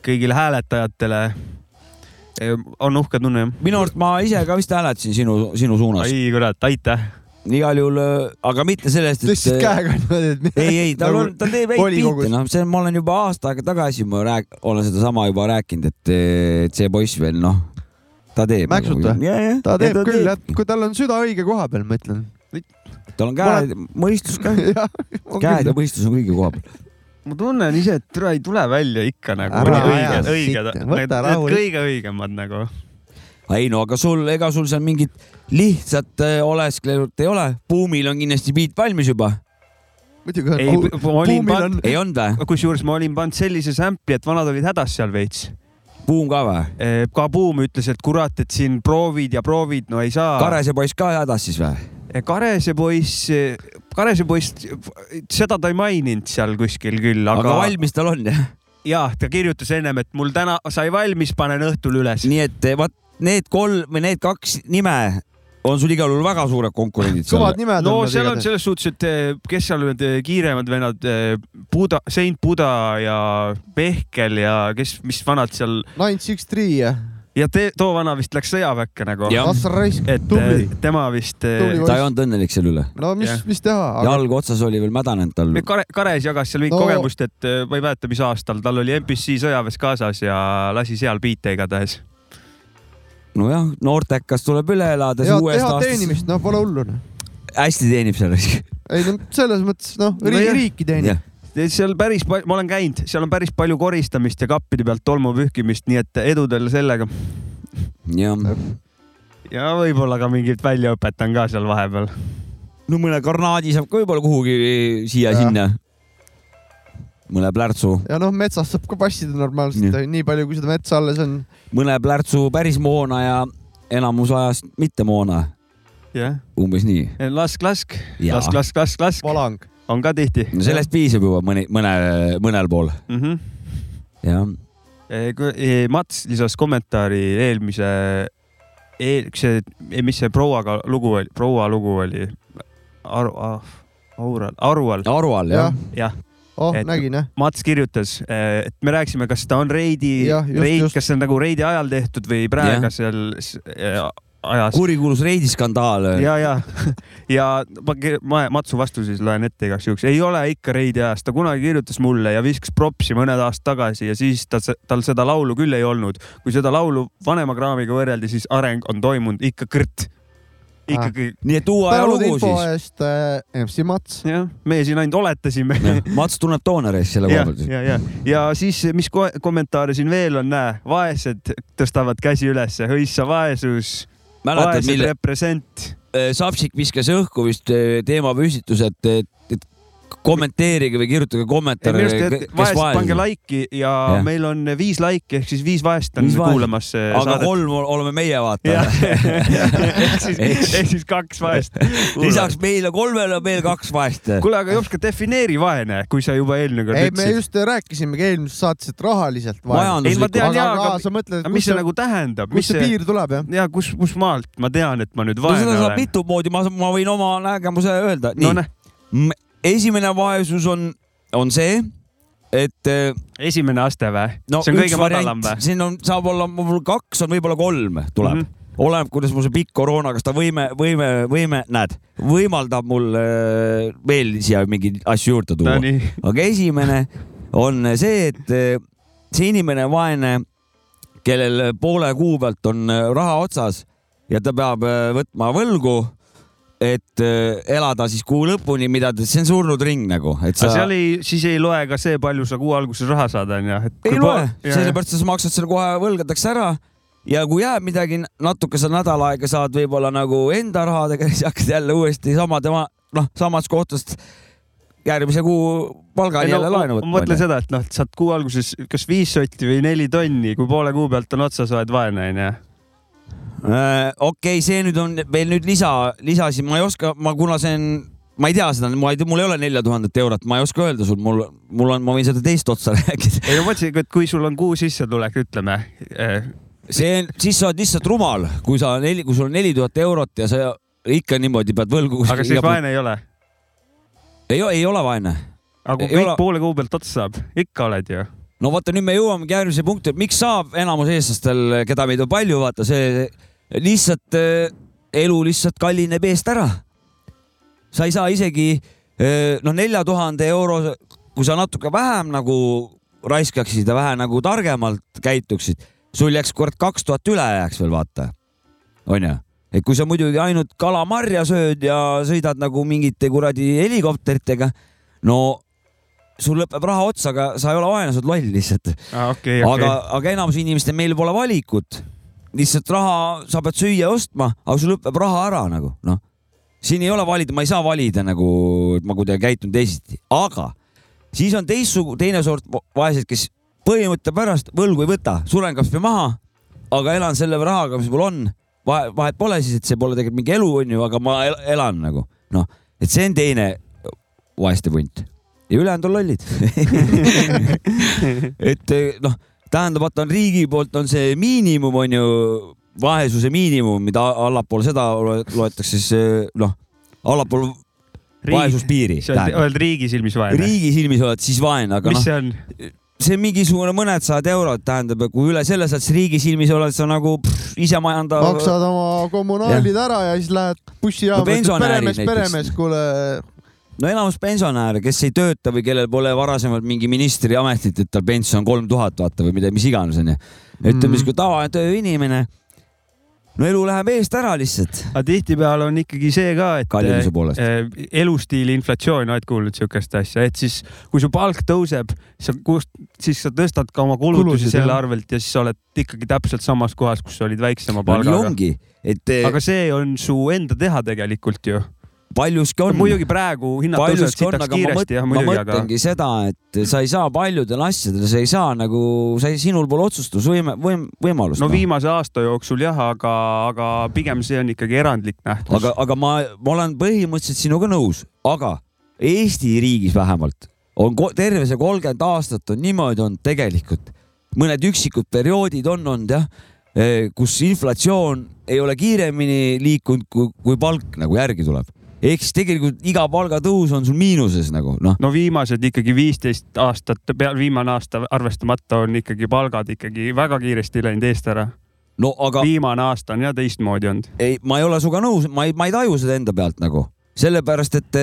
kõigile hääletajatele . on uhke tunne jah ? minu arust ma ise ka vist hääletasin sinu , sinu suunas . ai kurat , aitäh . igal juhul , aga mitte sellest , et . äh, tõstsid käega niimoodi , et mida- ei , ei , tal on , ta teeb häid nagu volikogus. biite , noh , see on , ma olen juba aasta aega tagasi , ma rääk- , olen sedasama juba rääkinud , et , et see poiss veel noh , ta teeb . nagu Mäksut või? ta teeb küll jah , kui tal on süda õige koha peal , ma ütlen . (laughs) tal on käed , mõistus ka , käed ja mõistus on kõige koha peal . ma tunnen ise , et tule ei tule välja ikka nagu Ära need aja õiged , õiged , sitte, võta need, need rahulikult. kõige õigemad nagu . ei no aga sul , ega sul seal mingit lihtsat äh, oleskleerut ei ole , buumil on kindlasti biit valmis juba , muidugi ei , ma on . olin buumil on pannud , ei olnud või ? kusjuures ma olin pannud sellise sample'i , et vanad olid hädas seal veits . buum ka või ? ka Buum ütles , et kurat , et siin proovid ja proovid , no ei saa . Karese poiss ka hädas siis või ? Karese poiss , Karese poiss , seda ta ei maininud seal kuskil küll , aga aga, aga valmis tal on jah ? jah , ta kirjutas ennem , et mul täna sai valmis , panen õhtul üles . nii et eh, vot need kolm või need kaks nime on sul igal juhul väga suured konkurendid seal . kõvad nimed no nad seal on igatahes. selles suhtes , et eh, kes seal need eh, kiiremad vennad , Buda , Saint Buda ja Pehkel ja kes , mis vanad seal Nine Six Three jah ? ja te, too vana vist läks sõjaväkke nagu . Jah. Assar Raisk , et eh, tubli , tema vist eh, Tubli ta ei olnud õnnelik selle üle . no mis jah. , mis teha , aga jalg otsas oli veel mädanenud tal . Kare , Kares jagas seal mingit No- no. kogemust , et eh, ma ei mäleta , mis aastal tal oli MPC sõjaväes kaasas ja lasi seal biite igatahes . nojah , noortekas tuleb üle elada , siis head , uuest head aastast teenimist , noh , pole hullu . hästi teenib seal . ei no selles mõttes , noh , riik , jah. riiki teenib . seal päris , ma olen käinud , seal on päris palju koristamist ja kappide pealt tolmu pühkimist , nii et edu teile sellega . jah , ja võib-olla ka mingit väljaõpet on ka seal vahepeal . no mõne garnaadi saab ka võib-olla kuhugi Jah. siia-sinna . mõne plärtsu , ja noh , metsas saab ka passida normaalselt , nii palju , kui seda metsa alles on . mõne plärtsu päris moona ja enamus ajast mitte moona , jah , umbes nii . lask , lask , Jaa. lask , lask , lask , lask valang . on ka tihti . no sellest piisab juba mõni , mõne , mõnel pool , mm . -hmm. jah . E, Mats lisas kommentaari eelmise eel, , see , mis see prouaga lugu oli , proua lugu oli ? Aru , Aural , Arual , aru all , jah Jah. jah . oh Et- et... , nägin jah . Mats kirjutas , et me rääkisime , kas ta on reidi Jah, , just, reid , just. kas see on nagu reidi ajal tehtud või praegu Jah. seal s- eh, ajas . kurikuulus reidiskandaal . ja , ja , (laughs) ja ma, kir- ma Matsu vastuses loen ette igaks juhuks , ei ole ikka Reidi ajast , ta kunagi kirjutas mulle ja viskas propsi mõned aastad tagasi ja siis ta , tal seda laulu küll ei olnud . kui seda laulu vanema kraamiga võrreldi , siis areng on toimunud ikka kõrt . Ah. ikkagi nii et uue aja tänud lugu info siis . eest äh, , MC Mats . jah , meie siin ainult oletasime . Mats tunneb doonoreid selle ja koha , pealt . ja , ja , ja siis , mis ko- kommentaare siin veel on , näe , vaesed tõstavad käsi ülesse , hõissa vaesus , mäletad , vaesed mille represent . eh, Sapsik viskas õhku vist eh, teemapüstituse , et, et , et kommenteerige või kirjutage kommentaare , kes vaesed , pange vaesem . laiki ja, ja Jah. meil on viis laiki ehk siis viis vaest on Viis vaest. kuulamas eh, aga (laughs) saadet . kolm ol- oleme meie , vaata . ehk siis , Eks. ehk siis kaks vaest . (laughs) lisaks meile kolmele on veel kaks vaest . kuule , aga Jopska , defineeri vaene , kui sa juba eelmine kord ei , me ütlesid . just eh, rääkisimegi eelmises saates , et rahaliselt ei , vaja . ma majanduslik , tean aga , jaa , aga aga sa mõtled , aga et mis kus see see , nagu tähendab , kus mis see see piir tuleb jah ? ja kus , kus maalt ma tean , et ma nüüd no vaene seda saab olen ? mitu moodi , ma , ma võin oma nägemuse öelda . no nii , näe , esimene vaesus on , on see , et eh, esimene aste või ? no see on üks kõige madalam variant , või ? Mhm. siin on , saab olla , mul kaks on , võib-olla kolm tuleb mm . -hmm oleneb , kuidas mul see pikk koroona , kas ta võime , võime , võime , näed , võimaldab mul eh, veel siia mingeid asju juurde tuua . Nonii , aga esimene on see , et eh, see inimene vaene , kellel poole kuu pealt on eh, raha otsas ja ta peab eh, võtma võlgu , et eh, elada siis kuu lõpuni , mida ta , see on surnud ring nagu , et aga sa seal ei , siis ei loe ka see , palju sa kuu alguses raha saad , onju . ei loe , sellepärast sa maksad selle kohe , võlgatakse ära ja kui jääb midagi , natuke sa nädal aega saad võib-olla nagu enda rahadega , (laughs) siis hakkad jälle uuesti sama tema , noh , samast kohtast järgmise kuu palgani jälle laenu ma mõtlen võtma . seda , et noh , et saad kuu alguses kas viis sotti või neli tonni , kui poole kuu pealt on otsas , oled vaene onju . Äh, okei okay, , see nüüd on veel nüüd lisa , lisasi , ma ei oska , ma kuna see on , ma ei tea seda , ma ei , mul ei ole nelja tuhandet eurot , ma ei oska öelda sul , mul , mul on , ma võin seda teist otsa (laughs) rääkida . ei ma mõtlesin , et kui sul on kuu sissetulek , ütleme eh, see on , siis sa oled lihtsalt rumal , kui sa neli , kui sul on neli tuhat eurot ja sa ikka niimoodi pead võlgu . aga siis vaene ei ole . ei , ei ole vaene . aga kui Ei kõik ole. poole kuu pealt otsa saab , ikka oled ju . no vaata , nüüd me jõuamegi järgmise punkti , et miks saab enamus eestlastel , keda meid on palju , vaata see lihtsalt äh, elu lihtsalt kallineb eest ära . sa ei saa isegi äh, noh , nelja tuhande euro , kui sa natuke vähem nagu raiskaksid ja vähe nagu targemalt käituksid , sul jääks kord kaks tuhat üle jääks veel vaata , onju et kui sa muidugi ainult kalamarja sööd ja sõidad nagu mingite kuradi helikopteritega , no sul lõpeb raha otsa , aga sa ei ole vaene , sa oled loll lihtsalt . Ah, okei , aga okei ., aga enamus inimestel meil pole valikut . lihtsalt raha , sa pead süüa ostma , aga sul lõpeb raha ära nagu noh . siin ei ole valida , ma ei saa valida nagu , et ma kuidagi käitun teisiti , aga siis on teistsugune , teine sort va- vaesed , kes põhimõtte pärast võlgu ei võta , suren kasvõi maha , aga elan selle rahaga , mis mul on . vahe , vahet pole siis , et see pole tegelikult mingi elu , onju , aga ma el- elan nagu noh , et see on teine vaeste punt ja ülejäänud on lollid . et eh, noh , tähendab , vaata on riigi poolt on see miinimum on ju , vaesuse miinimum , mida allapool seda loe- loetakse siis eh, noh , allapool vaesuspiiri . sa oled- oled riigi silmis vaene . riigi silmis oled siis vaene , aga mis noh , see on ? see on mingisugune mõned sajad eurod , tähendab , kui üle selle saad , siis riigi silmis oled sa nagu pff, ise majandav . maksad oma kommunaalid ära ja siis lähed No bussijaama , ütled pensionärid peremees , näiteks. peremees , kuule , no enamus pensionäre , kes ei tööta või kellel pole varasemalt mingi ministriametit , et tal pension kolm tuhat vaata või mida , mis iganes onju . ütleme siis , kui Mhm. tavaline tööinimene , no elu läheb eest ära lihtsalt . aga tihtipeale on ikkagi see ka , et Kallimuse poolest. eh, elustiili inflatsioon , oled kuulnud siukest asja , et siis kui su palk tõuseb , sa kust , siis sa tõstad ka oma kulutusi Kulusid, Kulusid, selle jah. arvelt ja siis sa oled ikkagi täpselt samas kohas , kus sa olid no väiksema nii palgaga . ongi , et eh, aga see on su enda teha tegelikult ju . paljuski on . muidugi praegu hinnad tõusevad paljuski on , sitaks aga ma, mõt, kiiresti jah , ma muidugi , aga mõtlengi seda , et sa ei saa paljudel asjadel , sa ei saa nagu , sa ei , sinul pole otsustusvõime , võim- , võimalust . noh. no viimase aasta jooksul jah , aga , aga pigem see on ikkagi erandlik nähtus . aga , aga ma , ma olen põhimõtteliselt sinuga nõus , aga Eesti riigis vähemalt on ko- terve see kolmkümmend aastat on niimoodi olnud tegelikult , mõned üksikud perioodid on olnud jah , kus inflatsioon ei ole kiiremini liikunud , kui , kui palk nagu järgi tuleb . ehk siis tegelikult iga palgatõus on sul miinuses nagu noh , no viimased ikkagi viisteist aastat , peal viimane aasta arvestamata on ikkagi palgad ikkagi väga kiiresti läinud eest ära . no aga viimane aasta on jah teistmoodi olnud . ei , ma ei ole sinuga nõus , ma ei , ma ei taju seda enda pealt nagu , sellepärast et ,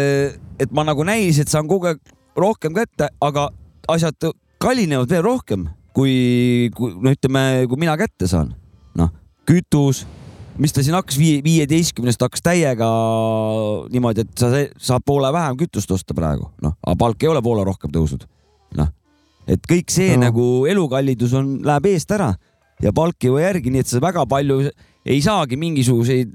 et ma nagu näis , et saan kogu aeg rohkem kätte , aga asjad kallinevad veel rohkem , kui , kui no ütleme , kui mina kätte saan . noh , kütus , mis ta siin hakkas , viie , viieteistkümnest hakkas täiega niimoodi , et sa sa- saad poole vähem kütust osta praegu , noh , aga palk ei ole poole rohkem tõusnud , noh . et kõik see no. No. nagu elukallidus on , läheb eest ära ja palk ei jõua järgi , nii et sa väga palju ei saagi mingisuguseid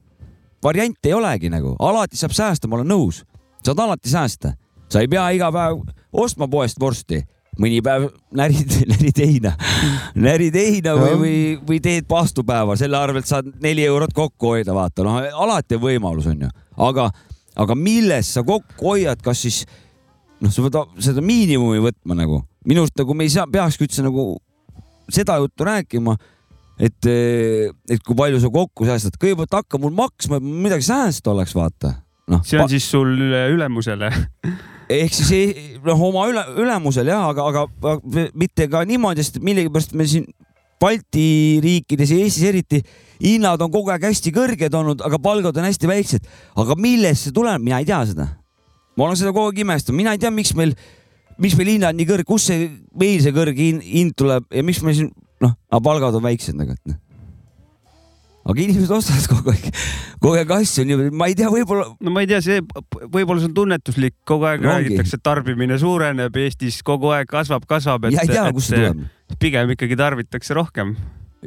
variante ei olegi nagu , alati saab säästa , ma olen nõus , saad alati säästa , sa ei pea iga päev ostma poest vorsti , mõni päev närid , (laughs) närid heina , närid heina või , või , või teed paastupäeva , selle arvelt saad neli eurot kokku hoida , vaata , noh , alati on võimalus , onju , aga , aga milles sa kokku hoiad , kas siis noh , sa pead seda miinimumi võtma nagu , minu arust nagu me ei saa , peakski üldse nagu seda juttu rääkima , et , et kui palju sa kokku säästad , kõigepealt hakka mul maksma , et mul midagi säästa oleks , vaata . noh , see on siis sul äh, ülemusele . ehk siis ei- noh , oma üle , ülemusel jah , aga , aga aga mitte ka niimoodi , sest millegipärast me siin Balti riikides ja Eestis eriti hinnad on kogu aeg hästi kõrged olnud , aga palgad on hästi väiksed . aga millest see tuleb , mina ei tea seda . ma olen seda kogu aeg imestanud , mina ei tea , miks meil , miks meil hinnad nii kõrg , kust see meil see kõrge hin- hind tuleb ja miks meil siin noh , aga palgad on väiksed nagu , et noh . aga inimesed ostavad kogu aeg , kogu aeg asju niimoodi , ma ei tea , võib-olla (laughs) no ma ei tea , see võib-olla see on tunnetuslik , kogu aeg No no, ongi. räägitakse , et tarbimine suureneb Eestis kogu aeg kasvab , kasvab , et . ja ei tea , kust see tuleb . pigem ikkagi tarbitakse rohkem ,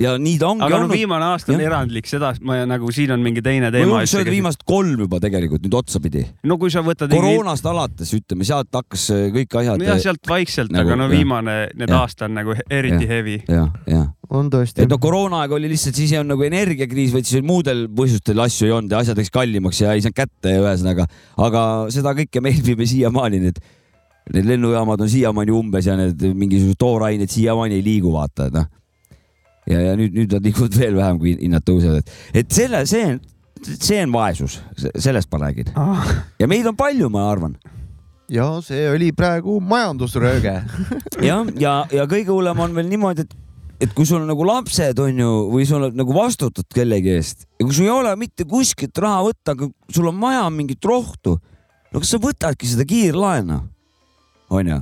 ja nii ta ongi aga no olnud . viimane aasta on jah. erandlik , seda ma ja nagu siin on mingi teine ma teema . julgeks öelda viimased kolm juba tegelikult nüüd otsapidi . no kui sa võtad . koroonast alates ütleme , sealt hakkas äh, kõik asjad . jah , sealt vaikselt Nagu, nagu, , aga no jah. viimane , need Jah. aasta on nagu he- eriti Jah. heavy . jah , jah . on tõesti et . no koroonaaeg oli lihtsalt , siis ei olnud nagu energiakriis , vaid siis oli muudel põhjustel asju ei olnud ja asjad läks kallimaks ja ei saanud kätte ja ühesõnaga , aga seda kõike me elvime siiamaani , need , need lennujaamad on siiamaani umbes ja need mingisugused toorained siiamaani ei liigu , vaata , et noh . ja , ja nüüd , nüüd nad liiguvad (laughs) veel vähem , kui hinnad tõusevad , et , et selle , see , see on vaesus , sellest ma räägin . ja meid on palju , ma arvan . ja see oli praegu majandusrööge . jah , ja , ja kõige hullem on veel niimoodi , et , et kui sul on nagu lapsed on ju , või sul on nagu vastutad kellegi eest ja kui sul ei ole mitte kuskilt raha võtta , aga sul on vaja mingit rohtu , no kas sa võtadki seda kiirlaenu , onju ,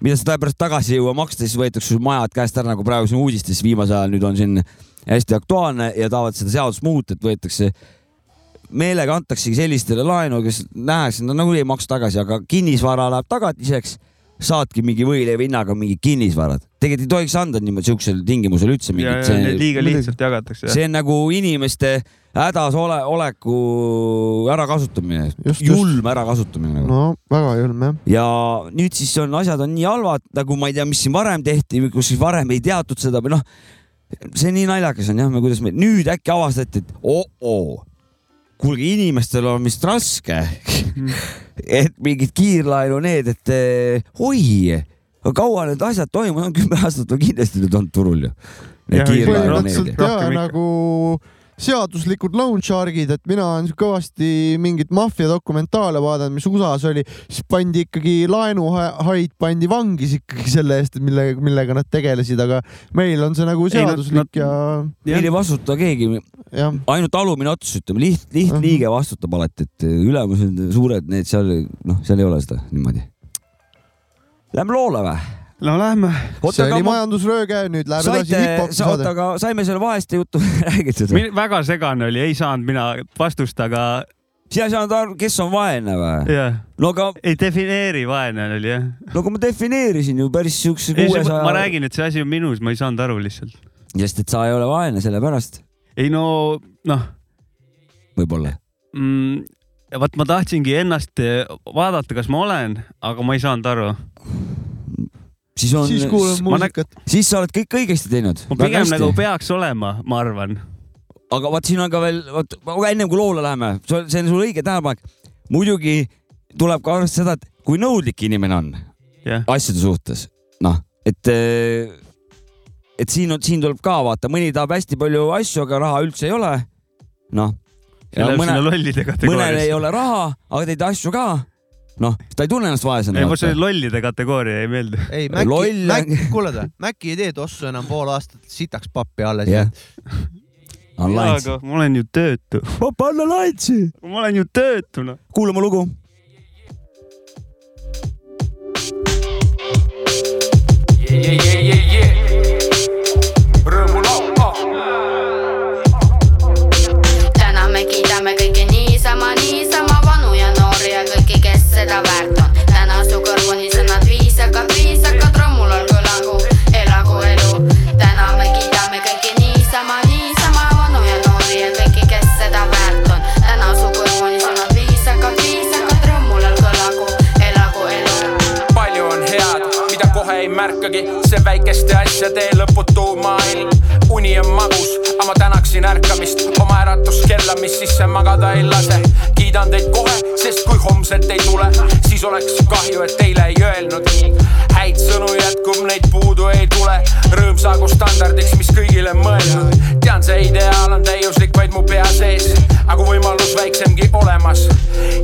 mida sa pärast tagasi ei jõua maksta , siis võetakse sul majad käest ära , nagu praegu siin uudistes viimasel ajal nüüd on siin hästi aktuaalne ja tahavad seda seadust muuta , et võetakse meelega antaksegi sellistele laenu , kes nähakse , no nagunii ei maksa tagasi , aga kinnisvara läheb tagatiseks saadki mingi võileiva hinnaga mingid kinnisvarad , tegelikult ei tohiks anda niimoodi siuksel tingimusel üldse ja , mingit . ja need liiga muidugi. lihtsalt jagatakse . see on nagu inimeste hädas ole , oleku ärakasutamine Just, , just. julm ärakasutamine nagu. . no väga julm jah . ja nüüd siis on , asjad on nii halvad , nagu ma ei tea , mis siin varem tehti , kus siis varem ei teatud seda või noh , see nii naljakas on jah , kuidas me nüüd äkki avastati , et oo-oo , kuulge , inimestel on vist raske . (laughs) et mingid kiirlaenu need , et eh, oi , kaua need asjad toimunud on , kümme aastat on kindlasti nüüd olnud turul ju . Ja, Rohkem põhimõtteliselt jaa ikka. , nagu seaduslikud loan shark'id , et mina olen kõvasti mingit maffia dokumentaale vaadanud , mis USA-s oli , siis pandi ikkagi laenuhaid pandi vangis ikkagi selle eest , millega , millega nad tegelesid , aga meil on see nagu Ei, nad- nad- seaduslik meil ei vastuta keegi , ja jah , ainult alumine ots , ütleme liht , Mhm. lihtliige vastutab alati , et ülemused suured , need seal noh , seal ei ole seda niimoodi . Lähme loole või ? no lähme . see oli majandusrööge , nüüd läheb edasi saite , hip-hopi oota , saade . aga saime selle vaheste juttu (laughs) räägitud või ? väga segane oli , ei saanud mina vastust , aga sina ei saanud aru , kes on vaene või ? jah , no aga , ei defineeri , vaene oli jah . no aga ma defineerisin ju päris siukse ma kuuesaja , räägin , et see asi on minus , ma ei saanud aru lihtsalt . sest et sa ei ole vaene sellepärast , ei no noh võib-olla . mm, , vaat ma tahtsingi ennast eh, vaadata , kas ma olen , aga ma ei saanud aru . siis on , siis kuulame ma nä- muusikat . siis sa oled kõik õigesti teinud . ma pigem nagu peaks olema , ma arvan . aga vaat siin on ka veel , vot aga ennem kui loole läheme , see on sul õige tähelepanek . muidugi tuleb ka arvestada seda , et kui nõudlik inimene on jah , asjade suhtes , noh , et , et siin on , siin tuleb ka vaata , mõni tahab hästi palju asju , aga raha üldse ei ole . noh , see läheb sinna mõnel lollide mõnel ei kategooriasse . ole raha , aga teid asju ka . noh , ta ei tunne ennast vaesena . ei , mul see lollide kategooria ei meeldi . ei , Maci Loll , on- Mac , kuule ta , Maci ei tee tossu enam pool aastat , sitaks pappi alles jah yeah. .. online . aga ma olen ju töötu . panna laitsi . ma olen ju töötu , noh . kuulame lugu . täna me kiidame kõiki niisama , niisama vanu ja noori ja kõiki , kes seda väärt on . täna su kõrvuni sõnad viisakad , viisakad , rõõmul olgu lagu , elagu elu . täna me kiidame kõiki niisama , niisama vanu ja noori ja kõiki , kes seda väärt on . täna su kõrvuni sõnad viisakad , viisakad , rõõmul olgu lagu , elagu elu palju on head , mida kohe ei märkagi , see väikeste asjade lõputu maailm . uni on magus , aga ma tänaksin ärkamist , oma äratuskella , mis sisse magada ei lase . kiidan teid kohe , sest kui homset ei tule , siis oleks kahju , et teile ei öelnud . häid sõnu jätkub , neid puudu ei tule , rõõmsaagu standardiks , mis kõigile mõeldud . tean , see ideaal on täiuslik vaid mu pea sees , aga kui võimalus väiksemgi olemas ,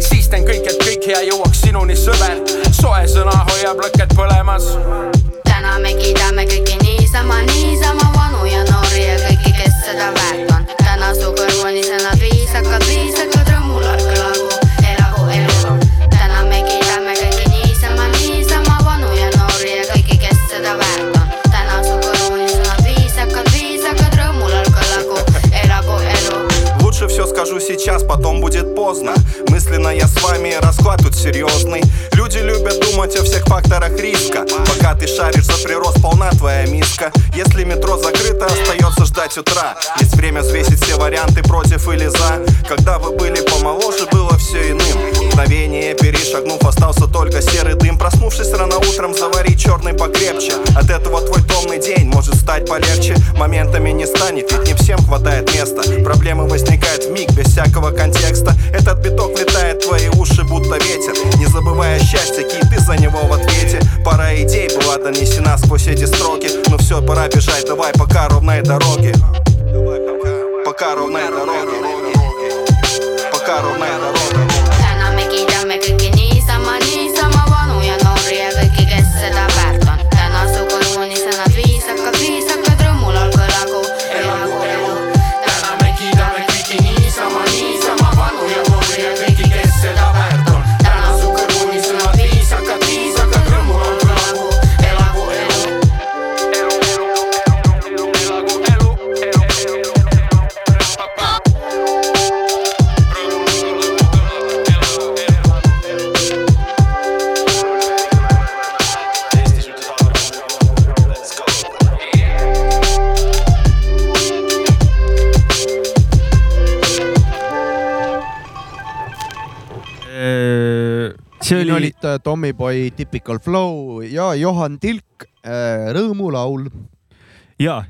siis teen kõik , et kõik hea jõuaks sinuni , sõber . soe sõna hoiab lõket põlemas täna me kiidame kõiki niisama , niisama vanu ja noori ja kõiki , kes seda väärt on . täna su kõrvuni sõnad viisakad , viisakad , rõõmul olgu lagu , elagu elu . täna me kiidame kõiki niisama , niisama vanu ja noori ja kõiki , kes seda väärt on . täna su kõrvuni sõnad viisakad , viisakad , rõõmul olgu lagu , elagu elu Лучше все скажу сейчас, потом будет поздно Мысленно я с вами, расклад тут серьезный Люди любят думать о всех факторах риска Пока ты шаришь за прирост, полна твоя миска Если метро закрыто, остается ждать утра Есть время взвесить все варианты против или за Когда вы были помоложе, было все иным Мгновение перешагнув, остался только серый дым Проснувшись рано утром, завари черный покрепче От этого твой томный день может стать полегче Моментами не станет, ведь не всем хватает места Проблемы возникают в миг без всякого контекста Этот биток летает в твои уши, будто ветер Не забывая счастья, кий ты за него в ответе Пара идей была донесена сквозь эти строки Но все, пора бежать, давай пока ровной дороги Пока ровной дороги Пока ровной дороги täna me kiidame kõiki niisama , niisama vanu ja noori ja kõiki , kes seda väärt on . täna su kõrvuni sõnad viisakad , viisakad , rõõmul olgu lagu , elagu elu . täna me kiidame kõiki niisama , niisama vanu ja noori ja kõiki , kes seda väärt on . täna su kõrvuni sõnad viisakad , viisakad , rõõmul olgu lagu , elagu elu . see siin oli , olid äh, Tommyboy , Typical Flow ja Johan Tilk , Rõõmulaul . jaa ,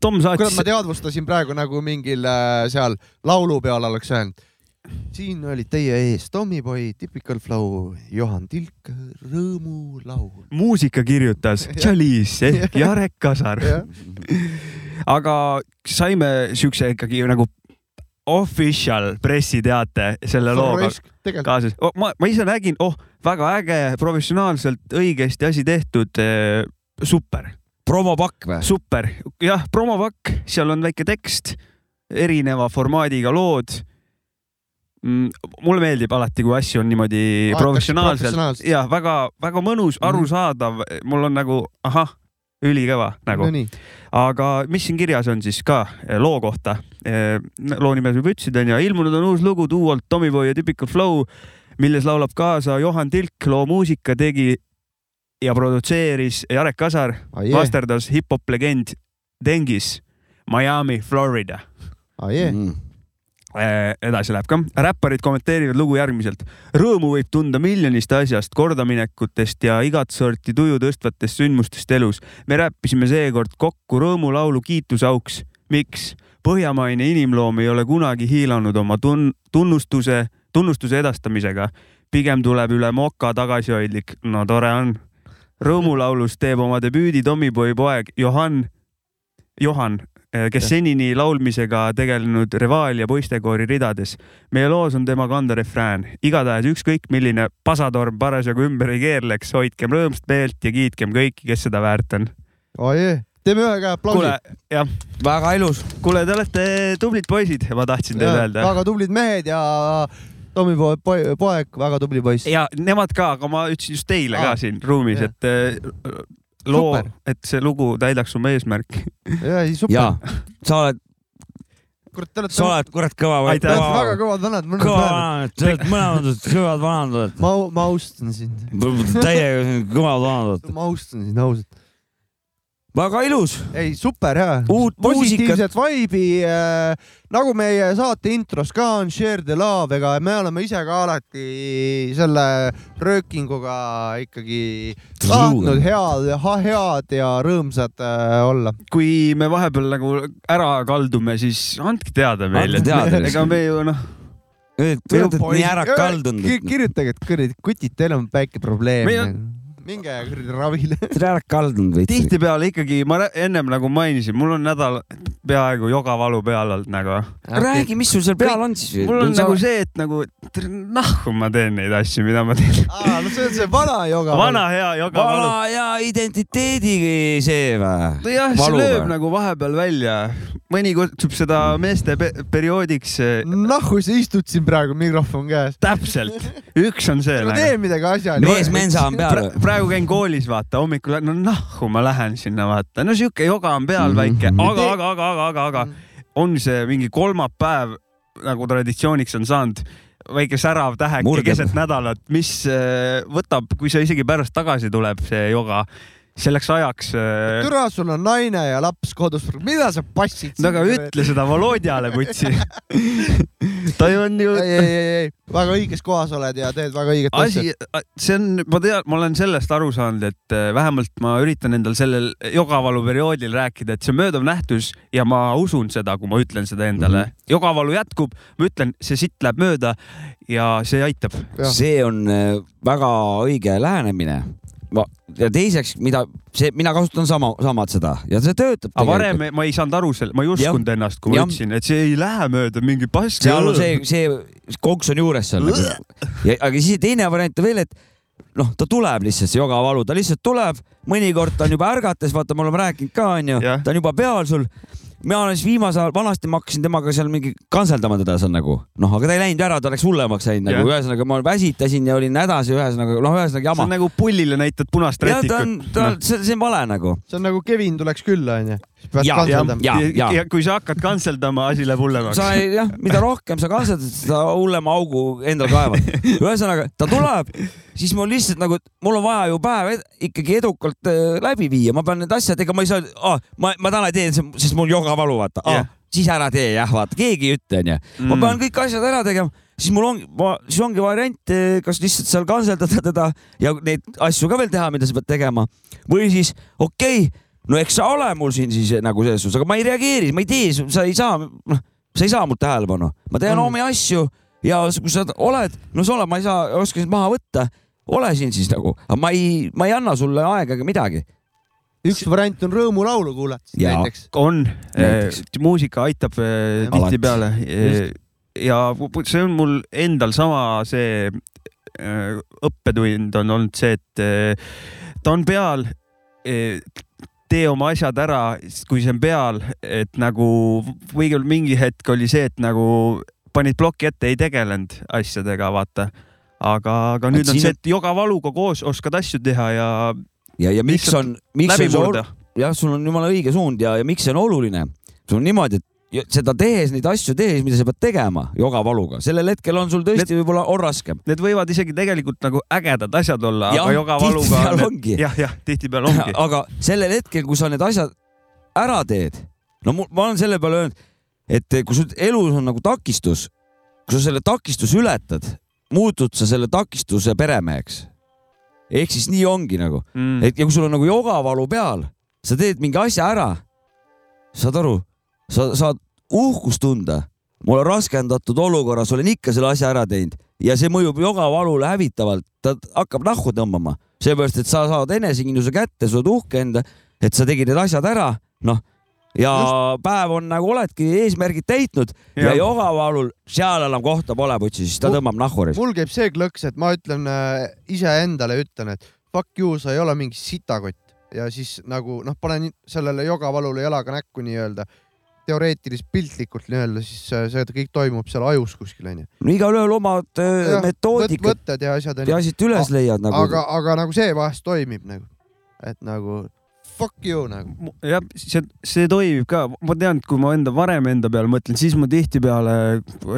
Tom kurat , saatis ma , teadvustasin praegu nagu mingil äh, seal laulu peal oleks öelnud . siin olid teie ees Tommyboy , Typical Flow , Johan Tilk , Rõõmulaul . muusika kirjutas Chalice ehk Jarek Kasar . aga saime siukse ikkagi nagu official pressiteate selle looga tegelikult kaasas oh, . ma , ma ise nägin , oh , väga äge , professionaalselt , õigesti asi tehtud eh, super , promopakk või ? super , jah , promopakk , seal on väike tekst , erineva formaadiga lood . mulle meeldib alati , kui asju on niimoodi Vaadatakse professionaalselt professionaalselt. ja väga-väga mõnus , arusaadav , mul on nagu ahah , ülikõva nagu no . nii , aga mis siin kirjas on siis ka eh, loo kohta ? loo nime sa juba ütlesid , onju . ilmunud on uus lugu duolt Tommyboy ja Typical Flow , milles laulab kaasa Johan Tilk . loo muusika tegi ja produtseeris Jarek Kasar , ajee , masterdas Mm. hip-hop legend Dengis , Miami , Florida . ajee . Äh, edasi läheb ka , räpparid kommenteerivad lugu järgmiselt . rõõmu võib tunda miljonist asjast , kordaminekutest ja igat sorti tuju tõstvatest sündmustest elus . me räppisime seekord kokku rõõmulaulu kiitusauks . miks ? põhjamaine inimloom ei ole kunagi hiilanud oma tun- , tunnustuse , tunnustuse edastamisega . pigem tuleb üle moka tagasihoidlik , no tore on . rõõmulaulus teeb oma debüüdi Tommyboy poeg Johan , Johan , Äh, kes senini laulmisega tegelenud Revaalia poistekoori ridades . meie loos on tema kanda refrään , igatahes ükskõik milline pasatorm parasjagu ümber ei keerleks , hoidkem rõõmsat meelt ja kiitkem kõiki , kes seda väärt on . oje , teeme ühe käe aplausi kuule ., jah , väga ilus . kuule , te olete tublid poisid , ma tahtsin teile öelda . väga tublid mehed ja Tommy po- po- poeg , väga tubli poiss . ja nemad ka , aga ma ütlesin just teile Aa, ka siin ruumis , jah. et eh, loo Super. , et see lugu täidaks oma eesmärki . ja ei, super . ja sa oled , kurat , te olete nagu- sa oled kurat kõva . Aitäh. te olete väga kõvad vanad , mul on kõva praegu . vanad , sa oled mõlemad kõvad vanad oled . ma , ma austan sind , täiega kõvad vanad oled . ma austan sind ausalt . väga ilus , ei , super hea . uut muusikat . positiivset vaibi äh, , nagu meie saate intros ka on Share the love , ega me oleme ise ka alati selle röökinguga ikkagi tahtnud head , head ja rõõmsad äh, olla . kui me vahepeal nagu ära kaldume , siis andke teada meile Andke . teada. ega me ju noh , Te olete nii ära kaldunud . noh. kirjutage , et kuradi kutid , teil on väike probleem Meil . minge kuradi ravile . Te olete ära kaldunud veits . tihtipeale ikkagi ma rää- ennem nagu mainisin , mul on nädal peaaegu jogavalu peal olnud nagu . räägi , mis sul seal peal on siis . mul on nagu see , et nagu tr- nahku ma teen neid asju , mida ma teen . (laughs) aa , no see on see vana joga . vana hea jogavalu . vana ja identiteedi see või ? nojah , see valu lööb või? nagu vahepeal välja . mõni kutsub seda meeste pe perioodiks . nahku sa istud siin praegu , mikrofon käes . täpselt , üks on see no nagu . tee midagi asjalikku . mees mensa on peal Pra- . praegu käin koolis , vaata hommikul , no nahku ma lähen sinna , vaata , no sihuke joga on peal Mhm. väike , aga , aga , aga , aga , aga , aga on see mingi kolmapäev nagu traditsiooniks on saanud , väike särav täheke Murdeb. keset nädalat , mis äh, võtab , kui see isegi pärast tagasi tuleb , see joga , selleks ajaks . äh, no türa , sul on naine ja laps kodus , mida sa passid ? aga . ütle seda Volodjale , putsi . ta ju on ju ei , ei , ei , ei , väga õiges kohas oled ja teed väga õiget asja . asi , see on , ma tean , ma olen sellest aru saanud , et eh, vähemalt ma üritan endal sellel jogavalu perioodil rääkida , et see on möödav nähtus ja ma usun seda , kui ma ütlen seda Mhm. endale mm . -hmm. jogavalu jätkub , ma ütlen , see sitt läheb mööda ja see aitab . Jah. see on äh, väga õige lähenemine . ma ja teiseks , mida see , mina kasutan sama , samad seda ja see töötab . aga varem ma ei saanud aru selle , ma ei uskunud ennast , kui ma Jah. ütlesin , et see ei lähe mööda mingi pask . seal on see , see konks on juures seal . aga siis teine variant on veel , et noh , ta tuleb lihtsalt , see jogavalu , ta lihtsalt tuleb , mõnikord ta on juba ärgates , vaata , me oleme rääkinud ka , onju , Jah. ta on juba peal sul . mina olen siis viimasel ajal , vanasti ma hakkasin temaga seal mingi kantseldama teda seal nagu , noh , aga ta ei läinud ära , ta läks hullemaks läinud nagu , Jah. ühesõnaga ma väsitasin ja olin hädas ja ühesõnaga , noh , ühesõnaga see jama on . nagu pullile näitad punast ja ta on , rätikut . ta on , see , see on vale nagu . see on nagu Kevin tuleks külla , onju . siis pead Ja, kantseldama . ja, ja. ja kui sa hakkad kantseldama , asi läheb hullemaks sa . ei , jah , mida rohkem sa kasvatad , seda hullema augu endal (laughs) kaevad . ühesõnaga , ta tuleb , siis mul lihtsalt nagu , mul on vaja ju päev ed- ikkagi edukalt äh, läbi viia , ma pean need asjad , ega ma ei saa ah, , ma , ma täna teen , sest mul jogavalu , vaata ah, Jah. yeah. siis ära tee jah , vaata , keegi ei ütle , onju . ma pean kõik asjad ära tegema , siis mul ongi , siis ongi variant , kas lihtsalt seal kantseldada teda ja neid asju ka veel teha , mida sa pead tegema või siis okei okay, , no eks sa ole mul siin siis nagu selles suhtes , aga ma ei reageeri , ma ei tee , sa ei saa , noh , sa ei saa mult tähelepanu , ma teen Mm. omi asju ja s- kui sa oled , no sa oled , ma ei saa , ei oska sind maha võtta , ole siin siis nagu , aga ma ei , ma ei anna sulle aega ega midagi . üks variant on rõõmulaulu kuulata siis Jaa. näiteks . on , Näiteks. muusika aitab eh, Alati. tihtipeale eh, ja pu- pu- see on mul endal sama see eh, õppetund on olnud see , et eh, ta on peal , tee oma asjad ära , kui see on peal , et nagu õigel mingi hetk oli see , et nagu panid ploki ette , ei tegelenud asjadega , vaata aga , aga nüüd on siin see , et jogavaluga koos oskad asju teha ja ja , ja miks Lihtsalt on , miks läbi on see murda . jah , sul on jumala õige suund ja , ja miks see on oluline ? sul on niimoodi , et ja- seda tehes , neid asju tehes , mida sa pead tegema jogavaluga , sellel hetkel on sul tõesti võib-olla on raskem . need võivad isegi tegelikult nagu ägedad asjad olla , Jah, aga jogavaluga tihtipeal on ongi. need , jah , jah , tihtipeale ongi . aga sellel hetkel , kui sa need asjad ära teed , no mul , ma olen selle peale öelnud , et kui sul elus on nagu takistus , kui sa selle takistuse ületad , muutud sa selle takistuse peremeheks . ehk siis nii ongi nagu mm. , et ja kui sul on nagu jogavalu peal , sa teed mingi asja ära , saad aru , sa saad uhkust tunda . ma olen raskendatud olukorras , olen ikka selle asja ära teinud ja see mõjub jogavalule hävitavalt , ta hakkab nahku tõmbama , seepärast et sa saad enesekindluse kätte , sa oled uhke enda , et sa tegid need asjad ära , noh ja Just. päev on nagu oledki eesmärgid täitnud ja, ja Jah. jogavalul seal enam kohta pole , putsi , siis ta tõmbab nahku mul käib see klõks , et ma ütlen äh, iseendale , ütlen , et fuck you , sa ei ole mingi sitakott ja siis nagu noh , panen sellele jogavalule jalaga näkku nii-öelda teoreetiliselt piltlikult nii-öelda , siis äh, see kõik toimub seal ajus kuskil onju . no igalühel omad öö, metoodikad võtted ja asjad ja siit üles leiad nagu . aga , aga nagu see vahest toimib nagu , et nagu fuck you nagu . jah , see , see toimib ka , ma tean , et kui ma enda varem enda peale mõtlen , siis ma tihtipeale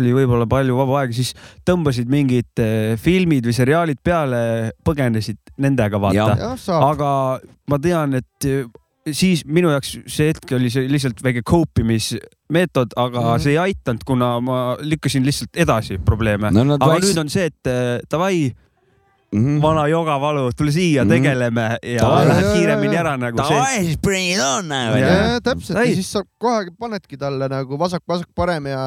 oli võib-olla palju vaba aega , siis tõmbasid mingid eh, filmid või seriaalid peale , põgenesid nendega Jah. vaata Jah, . saab. aga ma tean , et eh, siis minu jaoks see hetk oli see lihtsalt väike koopimismeetod , aga mm -hmm. see ei aidanud , kuna ma lükkasin lihtsalt edasi probleeme No no, . nad aga vaikselt- nüüd on see , et eh, davai mm , -hmm. vana jogavalu , tule siia mm , Mhm. -hmm. tegeleme ja Davai. läheb Jaa, kiiremini jaa, ära nagu Davai, siis bring it on nagu . jajah , täpselt ja Sai. siis sa kohe panedki talle nagu vasak-vasak-parem ja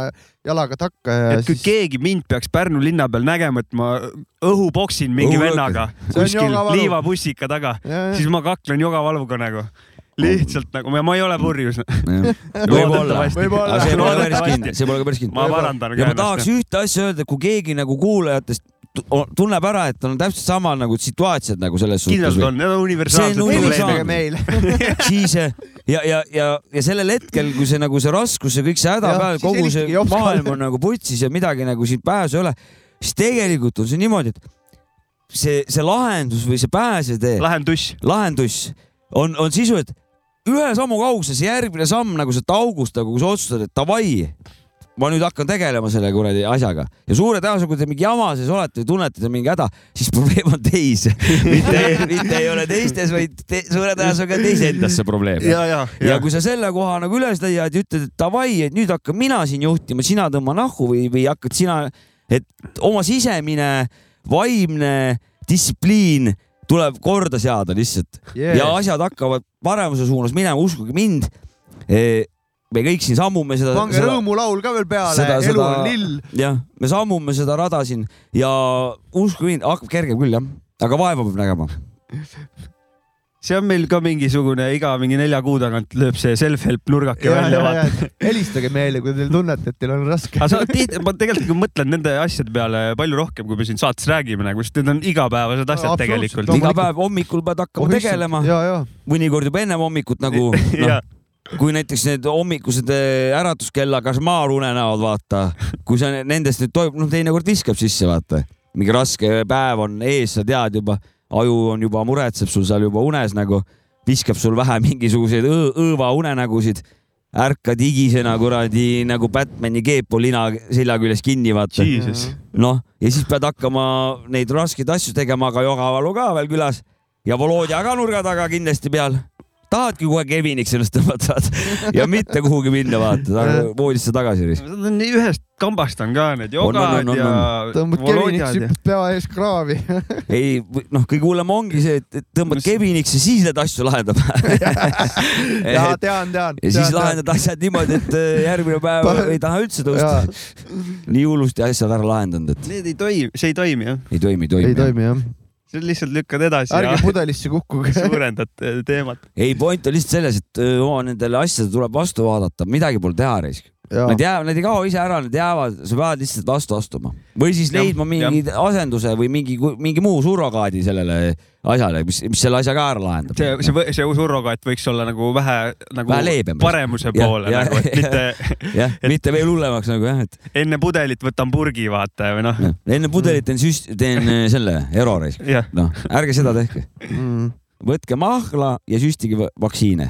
jalaga takka ja et kui siis . keegi mind peaks Pärnu linna peal nägema , et ma õhupoksin mingi Õhulõõk. vennaga See on kuskil jogavalu. liivapussika taga , Jajah. siis ma kaklen jogavaluga nagu . lihtsalt nagu , ma ei ole purjus . võib-olla , Võib-olla. aga see pole päris kindel , see pole ka päris kindel . ma parandan ja ka ma tahaks . ühte asja öelda , kui keegi nagu kuulajatest tu- o- tunneb ära , et on täpselt sama nagu situaatsiad nagu selles suhtes kindlalt . on , need on universaalsed See on helistage universaalne. probleemid . (laughs) meile . (laughs) siis eh, ja , ja , ja , ja sellel hetkel , kui see nagu see raskus ja kõik see häda Jah, peal , siis kogu see helistage Jopskale. maailm on nagu putsis ja midagi nagu siit pääsu ei ole , siis tegelikult on see niimoodi , et see , see lahendus või see pääsetee , lahendus . lahendus on , on sisu , et ühe sammu kaugusel see järgmine samm nagu sealt august nagu , kui sa otsustad , et davai , ma nüüd hakkan tegelema selle kuradi asjaga ja suure tõenäosusega , kui te mingi jama sees olete ja tunnete , et on mingi häda , siis probleem on teis . mitte , mitte ei ole teistes , vaid te, suure tõenäosusega on teis endas see probleem . ja , ja , ja ja . kui sa selle koha nagu üles leiad ja ütled , et davai , et nüüd hakkan mina siin juhtima , sina tõmba nahku või , või hakkad sina , et oma sisemine vaimne distsipliin tuleb korda seada lihtsalt Yes. ja asjad hakkavad paremuse suunas minema , uskuge mind . me kõik siin sammume seda . pange rõõmulaul ka veel peale , seda- elu seda- on lill . jah , me sammume seda rada siin ja uskuge mind , hakkab kergem küll jah , aga vaeva peab nägema . see on meil ka mingisugune iga mingi nelja kuu tagant lööb see self-help nurgake välja , vaata . helistage meile , kui te tunnete , et teil on raske . aga sa oled tihti , ma tegelikult kui mõtlen nende asjade peale palju rohkem , kui me siin saates räägime nagu , sest need on igapäevased asjad Absoluutselt. tegelikult . Loomulikult. iga päev hommikul pead hakkama tegelema , ja , ja , mõnikord juba ennem hommikut nagu noh Jaa. , kui näiteks need hommikused eh, äratuskella kašmaarunenäod , vaata , kui sa ne- nendest nüüd toimub , noh , teinekord viskab sisse , vaata . mingi raske päev on ees , sa tead juba , aju on juba , muretseb sul seal juba unes nagu , viskab sul vähe mingisuguseid õ- õõvaunenägusid , ärkad higisena kuradi nagu Batman'i keepu lina selja küljes kinni , vaata . Jesus . noh , ja siis pead hakkama neid raskeid asju tegema , aga Jogavalu ka veel külas ja Volodja ka nurga taga kindlasti peal . tahadki kohe Keviniks ennast tõmmata vaata. ja mitte kuhugi minna , vaata , voodisse tagasi risk . Nad on nii ühest kambast on ka need jogad on, on, ja tõmbad Keviniks , volodjad ja . hüppad pea ees (laughs) kraavi . ei , noh , kõige hullem ongi see , et et tõmbad Mis- Keviniks ja siis need asju (laughs) lahendab . ja ja tean , tean . siis lahendad asjad niimoodi , et eh, järgmine päev Pa- ei taha üldse tõusta . nii hullusti asjad ära lahendanud , et Need ei toimi , see ei toimi jah , ei toimi , ei ei toimi . toimi jah , sa lihtsalt lükkad edasi ärge ja (laughs) pudelisse (laughs) (laughs) kukkuge . suurendad eh, teemat . ei , point on lihtsalt selles , et öö, oma nendele asjadele tuleb vastu vaadata , midagi pole teha risk . Nad jäävad , nad ei kao ise ära , nad jäävad , sa pead lihtsalt vastu astuma või siis Jah, leidma mingi asenduse või mingi , mingi muu surrogaadi sellele asjale , mis , mis selle asja ka ära lahendab . see , see , see surrogaat võiks olla nagu vähe nagu Vähe leebem. paremuse Jah, poole jah, nagu , et mitte (laughs) jah , mitte veel hullemaks nagu jah , et enne pudelit võtan purgi vaata või noh , jah. enne pudelit teen süst- , teen öö, selle erori , jah . noh , ärge seda tehke . mm, võtke mahla ja süstige va- vaktsiine ,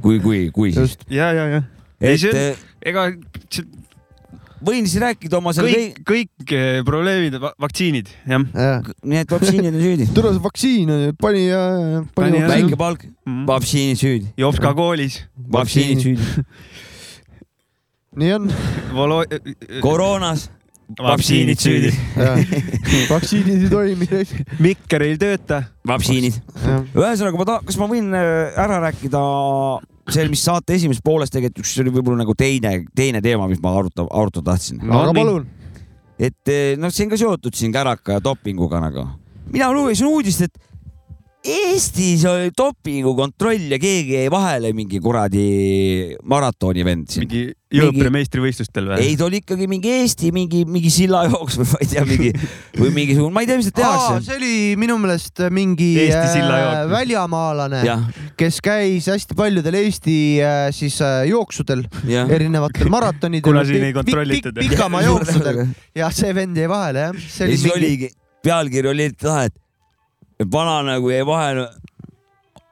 kui , kui , kui siis . just , ja , ja , ja . Ei, et see on- öö, ega see- võin siis rääkida oma selle kõik , kõik , kõik eh, probleemid , vaktsiinid , jah . Mhm. jah . nii et vaktsiinid on (laughs) süüdi . tule see vaktsiin on ju, pani ja , Pani pani ja- . väike palk , Mhm. vaktsiinid süüdi , Jopska koolis . vaktsiinid süüdi . nii on . Volo... . koroonas , vaktsiinid Vaktsiinid süüdi , (laughs) vaktsiinid ei toimi . mikker ei tööta . vaktsiinid . ühesõnaga , ma tahan , kas ma võin äh, ära rääkida see , mis saate esimeses pooles tegelikult üks see oli võib-olla nagu teine , teine teema , mis ma aruta , arutada tahtsin . No aga nii. palun , et eh, noh , see on ka seotud siin käraka ja dopinguga nagu . mina lugesin uudist , et Eestis oli dopingukontroll ja keegi jäi vahele mingi kuradi maratoni vend siin . mingi jõõpre meistrivõistlustel või ei , ta oli ikkagi mingi Eesti mingi , mingi sillajooks või ma ei tea , mingi või mingisugune , ma ei tea , mis seal Aa, tehakse . see oli minu meelest mingi Eesti äh, sillajooks. väljamaalane , jah , kes käis hästi paljudel Eesti äh, siis äh, (laughs) jooksudel , jah . erinevatel maratonidel . Kuna siin ei kontrollitud. pikamaa (laughs) jooksudel ja see vend jäi vahele jah . ja see oli siis mingi... mingi , oligi , pealkiri oli taha , et vana nagu jäi vahele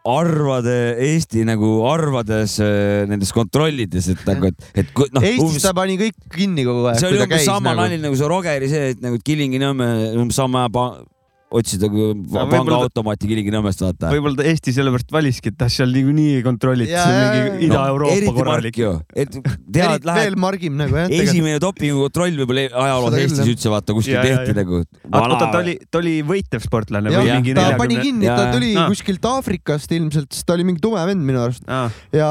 arvade , Eesti nagu arvades äh, nendes kontrollides , et nagu , et , et kui- noh . Eestis ta pani kõik kinni kogu aeg , see kui oli ta umbes käis sama nagu . nali nagu see Rogeri see , et nagu et Kilingi-Nõmme umbes sama pa- , otsida kui va- võib-olla ta- pangaautomaati Kilingi-Nõmmest vaata . võib-olla ta Eesti sellepärast valiski , et ah seal niikuinii ei kontrollita , see Jaa, on jaa, mingi jaa. Ida-Euroopa korralik mark . ju , et tead , eriti veel (laughs) lähed , margim nagu jah . esimene dopingukontroll võib-olla e- ajaloos Seda küll, Eestis jah. üldse vaata kuskil Jaa, jaa, tehti jaa. nagu . Ah, oota , ta oli , ta oli võitev sportlane või Jah, mingi ta pani neljakümne ? kinni , ta Jaa. tuli Aa. kuskilt Aafrikast ilmselt , sest ta oli mingi tume vend minu arust Ah, ja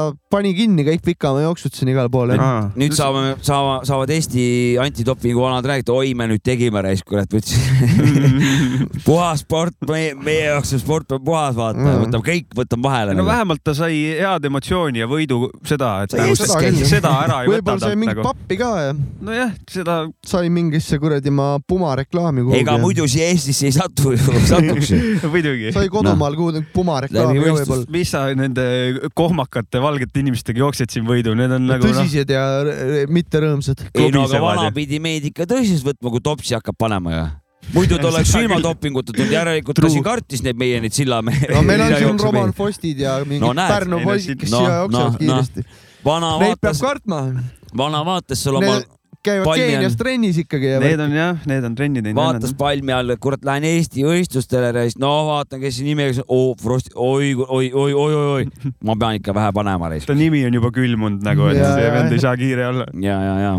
ta pani kinni kõik pikamaa-jooksud siin igal pool . ah. nüüd saame , saama , saavad Eesti antidopingu vanad rääkida , oi me nüüd tegime raisk , kurat , (laughs) võtsin puhas sport , meie , meie jaoks see sport on puhas , vaata , Mm. võtame kõik , võtame vahele . nagu. no vähemalt ta sai head emotsiooni ja võidu seda , et Sai nagu eestlast seda, käia. seda ära ei võta võib-olla sai talt mingit nagu . pappi ka ja nojah , seda sai mingisse kuradi ma Puma reklaami kuhugi . ega muidu siia Eestisse ei satu (laughs) ju , satuks ju . (laughs) muidugi . sai Noh. kodumaal kuhugi Puma Läbi reklaami ka võistlus- võib-olla . mis sa nende kohmakate valgete inimestega jooksed siin võidu , need on nagu noh , tõsised ja r- mitte rõõmsad . ei no aga Klubisevad, jah. vanapidi meid ikka tõsiselt võtma , kui topsi hakkab panema ju . muidu ta oleks Seda ilma küll. dopinguta tulnud , järelikult ta True. siin kartis neid meie neid sillamehi . no (laughs) meil on siin Roman Fostid ja mingid No no, näed, Pärnu ei no siin- poisid , noh, kes no, siia jooksevad no, kiiresti . vana Neid peab vaatas , kartma . vana vaatas seal oma Need , käivad palmi Keenias all- trennis ikkagi ja need on jah , need on trenni teinud vaatas . palmi all , kurat , lähen Eesti võistlustele , siis no vaatan , kes siin nimega , oo , Frost , oi , oi , oi , oi , oi , oi , ma pean ikka vähe panema reis . ta nimi on juba külmunud nagu , et Jaa, see jaa. vend ei saa kiire olla . ja , ja , ja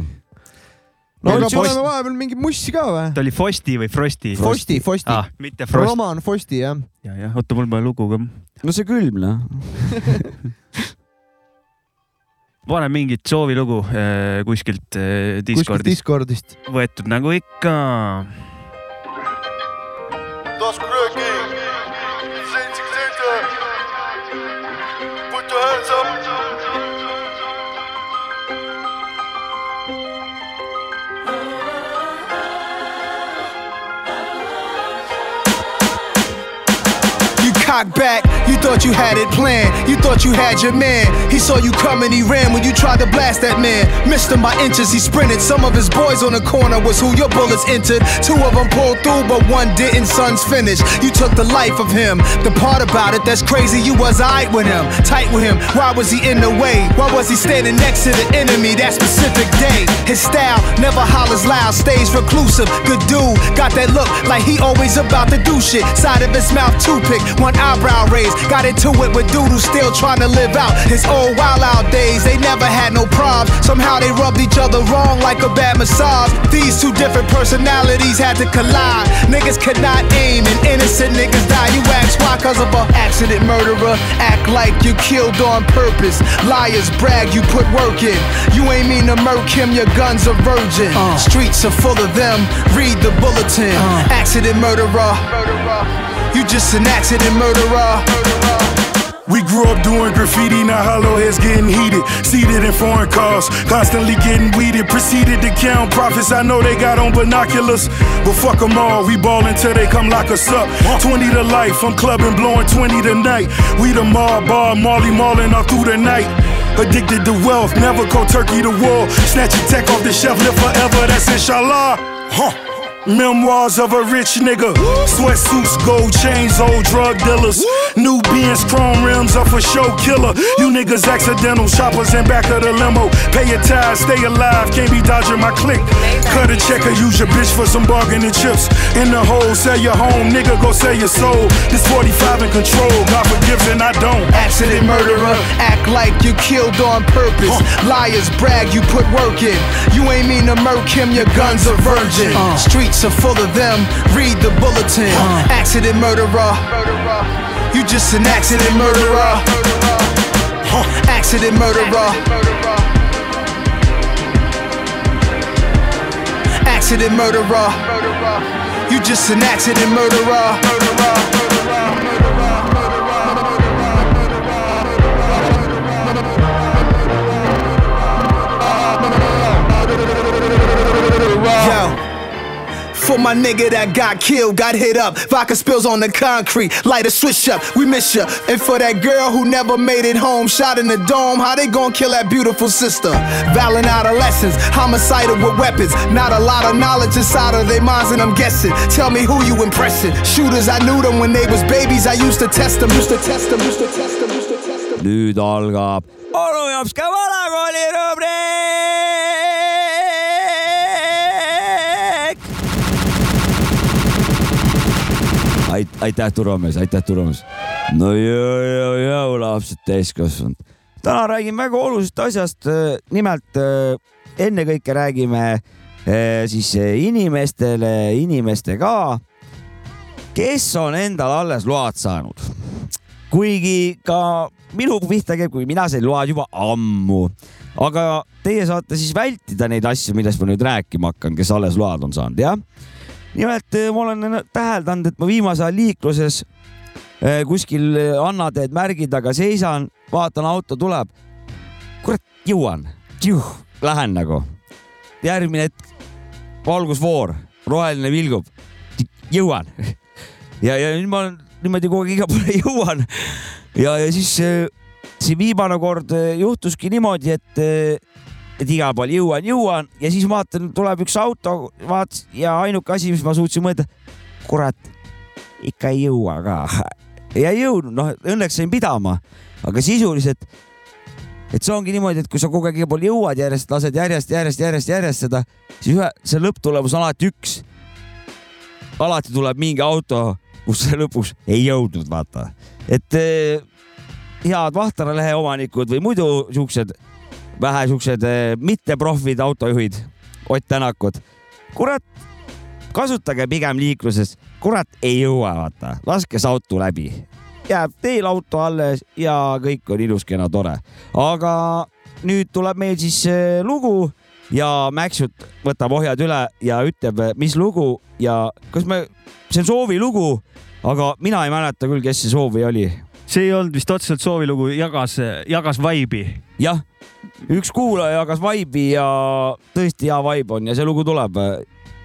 no aga Post- paneme vahepeal mingi mussi ka või ? ta oli Fosti või Frosti ? Fosti , Fosti . ah, . mitte Frost . Roman Fosti jah . ja , jah , oota , mul pole lugu ka . no see külm noh . pane mingit soovilugu eh, kuskilt eh, kuskilt Discordist Discordist . võetud nagu ikka . Dos Kröki, Zinzig Zinte. Put your hands up. You cocked back, you thought you had it planned. You thought you had your man. He saw you coming, he ran when you tried to blast that man. Missed him by inches, he sprinted. Some of his boys on the corner was who your bullets entered. Two of them pulled through, but one didn't. Son's finished. You took the life of him. The part about it that's crazy, you was alright with him, tight with him. Why was he in the way? Why was he standing next to the enemy that specific day? His style never hollers loud, stays reclusive. Good dude, got that look like he always about to do shit. Side of his mouth toothpick, one eyebrow raised. Got into it with doodle still trying to live out his old wild out days. They never had no problems. Somehow they rubbed each other wrong like a bad massage. These two different personalities had to collide. Niggas could not aim and innocent niggas die. You ask why? Cause of a accident murderer. Act like you killed on purpose. Liars brag you put work in. You ain't mean to murk him, your gun's a virgin. Streets are full of them. Read the bulletin. Accident murderer. You just an accident murderer. We grew up doing graffiti, now hollow heads getting heated. Seated in foreign cars, constantly getting weeded. Proceeded to count profits, I know they got on binoculars. But fuck 'em all, we ball until they come lock us up. 20 to life, I'm clubbing, blowing 20 tonight. We the mob bar, Marley Marlin all through the night. Addicted to wealth, never go turkey to war. Snatch your tech off the shelf, live forever, that's inshallah. Huh. Memoirs of a rich nigga. Sweatsuits, gold chains, old drug dealers. New beans, chrome rims are for show killer. You niggas accidental shoppers in back of the limo. Pay your ties, stay alive, can't be dodging my click. Cut a check or use your bitch for some bargaining chips. In the hole, sell your home, nigga, go sell your soul. This 45 in control, God forgives and I don't. Accident murderer, act like you killed on purpose. Liars brag you put work in. You ain't mean to murk him, your gun's a virgin. Streets are full of them, read the bulletin. Accident murderer, you just an accident murderer. Accident murderer. Accident murderer. You just an accident murderer. Yo. For my nigga that got killed, got hit up. Vodka spills on the concrete, light a switch up, we miss ya. And for that girl who never made it home, shot in the dome, how they gon' kill that beautiful sister? Violent adolescents, homicidal with weapons. Not a lot of knowledge inside of their minds, and I'm guessing. Tell me who you impressing. Shooters, I knew them when they was babies, I used to test them, used to test them, used to test them, used to test them. nüüd algab onu jops ka vanakooli rubriik . Ait- aitäh , turvamees , aitäh , turvamees . no jõu , jõu , jõu , lapsed täiskasvanud . täna räägime väga olulisest asjast , nimelt äh, ennekõike räägime äh, siis äh, inimestele , inimestega , kes on endale alles load saanud . kuigi ka minu pihta käib , kui mina sain load juba ammu . aga teie saate siis vältida neid asju , millest ma nüüd rääkima hakkan , kes alles load on saanud , jah nimelt eh, ma olen nä- täheldanud , et ma viimasel ajal liikluses eh, kuskil eh, annateed märgi taga seisan , vaatan , auto tuleb . kurat , jõuan , lähen nagu . järgmine hetk , valgusfoor , roheline vilgub , jõuan . (laughs) ja , ja nüüd ma olen niimoodi kogu aeg igale poole (laughs) jõuan ja , ja siis eh, see viimane kord eh, juhtuski niimoodi , et , et igal pool jõuan , jõuan ja siis vaatan , tuleb üks auto , vaat ja ainuke asi , mis ma suutsin mõelda , kurat , ikka ei jõua ka ja ei jõudnud , noh , õnneks sain pidama , aga sisuliselt , et see ongi niimoodi , et kui sa kogu aeg igal pool jõuad järjest , lased järjest , järjest , järjest , järjest seda , siis ühe , see lõpptulemus on alati üks alati tuleb mingi auto , kus sa lõpuks ei jõudnud , vaata . et eh, head vahtaralehe omanikud või muidu siuksed , vähe siuksed eh, mitteproffid autojuhid , Ott Tänakud , kurat , kasutage pigem liikluses , kurat ei jõua , vaata , laske see auto läbi , jääb teil auto alles ja kõik on ilus-kena tore , aga nüüd tuleb meil siis eh, lugu ja Mäksut võtab ohjad üle ja ütleb , mis lugu ja kas me , see on soovi lugu , aga mina ei mäleta küll , kes see soovi oli . see ei olnud vist otseselt soovilugu , jagas , jagas vaibi . jah , üks kuulaja jagas vaibi ja tõesti hea vaib on ja see lugu tuleb .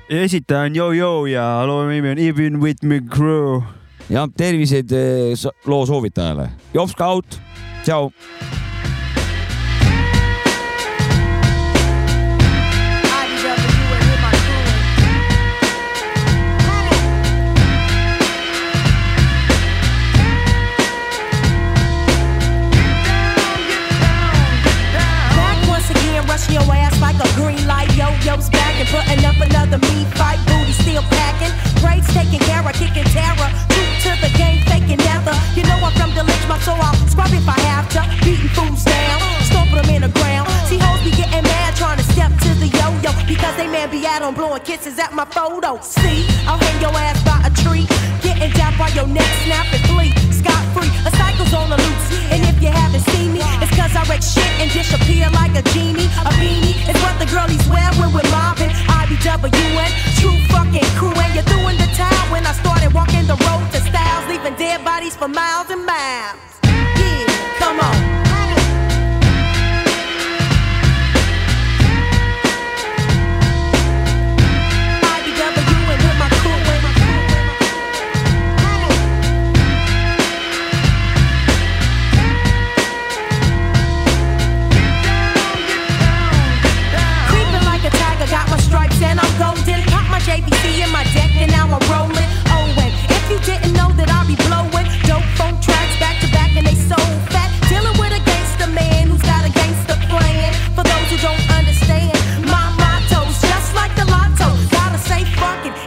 esitaja on Yo-Yo ja loo nimi on Even with me crew . jah , terviseid eh, so- loo soovitajale . Jops Kaut , tšau . Back once again, rushing your ass like a green light. Yo, yo's back and putting up another meat fight. Booty still packing, braids taking care of, kicking terror. True to the game, faking never. You know I'm from the lynch mob, so I'll scrub if I have to. Beating fools down, stomping them in the ground. See hoes be getting mad, trying to step to the yo-yo because they man be out on blowing kisses at my photo. See, I'll hang your ass by a tree, getting down by your neck, snap and flee. Scot free, a cycle's on the loose, and if you haven't seen me, it's cause I wreck shit and disappear like a genie. A beanie is what the girlies wear when we're mobbing. IBWN, true fucking crew, and you're through in the town when I started walking the road to styles, leaving dead bodies for miles and miles. Yeah, come on. IBWN with my crew and my crew. Creeping like a tiger, got my stripes and I'm Oh, golden. Pop my JVC in my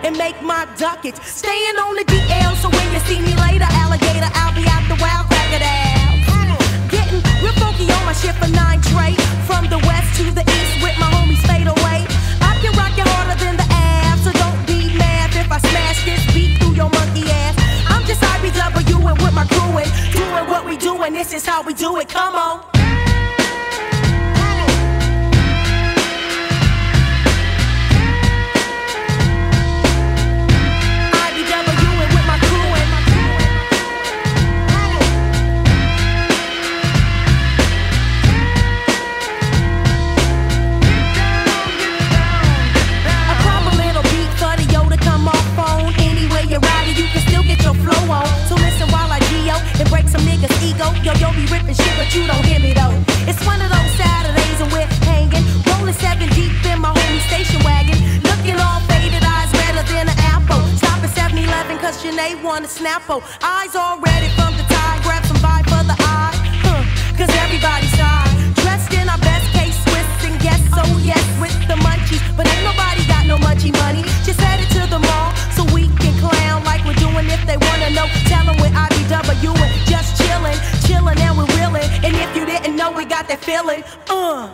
and make my ducats. Staying on the DL, so when you see me later, alligator, I'll be out the wild cracker down. Getting real funky on my ship, a nine tray. From the west to the east with my homies fade away. I can rock it harder than the ass, so don't be mad if I smash this beat through your monkey ass. I'm just IBW and with my crew and doing what we do, and this is how we do it. Come on. IBW and with my crew and I pop a little beat for the yo to come off phone. Anywhere you ride it, you can still get your flow on. So listen while I geo and break some niggas' ego. Yo, yo be ripping shit, but you don't hear me though. It's one of those Saturdays and we're hanging, rolling seven deep in my homie station wagon, looking all faded, eyes redder than an apple. Stop at 7-Eleven 'cause cause Janae want a Snapple. Eyes all ready from the tie, grab some vibe for the eye. Huh, cause everybody's high. Dressed in our best case Swiss and yes, oh yes, with the munchies. But ain't nobody got no munchie money. Just headed to the mall so we can clown like we're doing. If they wanna know, tell them we're IBW and just chillin', chillin' and we're reelin'. And if you didn't know, we got that feeling. Uh.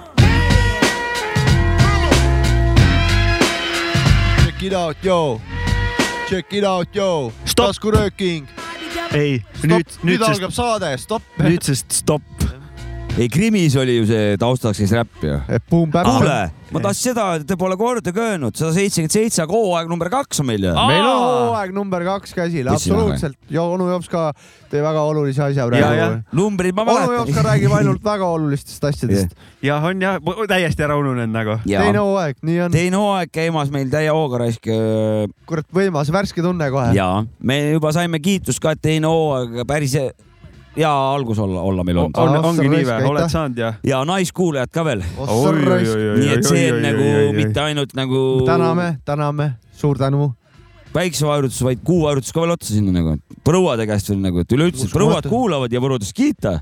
Check it out , joo . Check it out , joo . taskurööking . ei , nüüd , nüüd algab saade , stopp . nüüdsest stopp . ei , Krimis oli ju see taustaks siis räpp ju . kuule , ma tahtsin seda , te pole kordagi öelnud , sada seitsekümmend seitse , aga hooaeg number kaks on meil ju . meil on hooaeg number kaks Võtsin käsil , ära. absoluutselt . ja onu Jops ka tõi väga olulise asja praegu . numbrid ma onu Jops ka räägib (laughs) ainult väga olulistest asjadest . jah , on jah , täiesti ära ununenud nagu . teine hooaeg , nii on . teine hooaeg käimas meil täie hooga raisk . kurat , võimas , värske tunne kohe . ja me juba saime kiitust ka , et teine hooaeg päris hea algus olla , olla meil olnud . on , ongi nii või , oled saanud jah ? ja naiskuulajad ka veel . Ossa Oi, oi, raisk. oi, oi, nii et see oi, on oi, nagu oi, oi. mitte ainult nagu . täname , täname , suur tänu . päiksevaerutus , vaid kuuvaerutus ka veel otsa sinna nagu . prouade käest veel nagu , et üleüldse Uskumatu. prouad kuulavad ja võrudest kiita .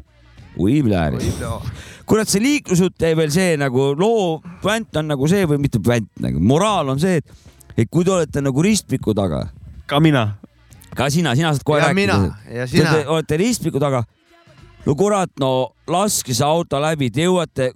Uiblääri . kurat , see liiklusjutt jäi veel see nagu loo vänt on nagu see või mitte vänt nagu , moraal on see , et , et kui te olete nagu ristmiku taga . ka mina . ka sina , sina saad kohe Ja rääkida mina, . ja sina. Te olete ristmiku taga . no kurat , no laske see auto läbi , te jõuate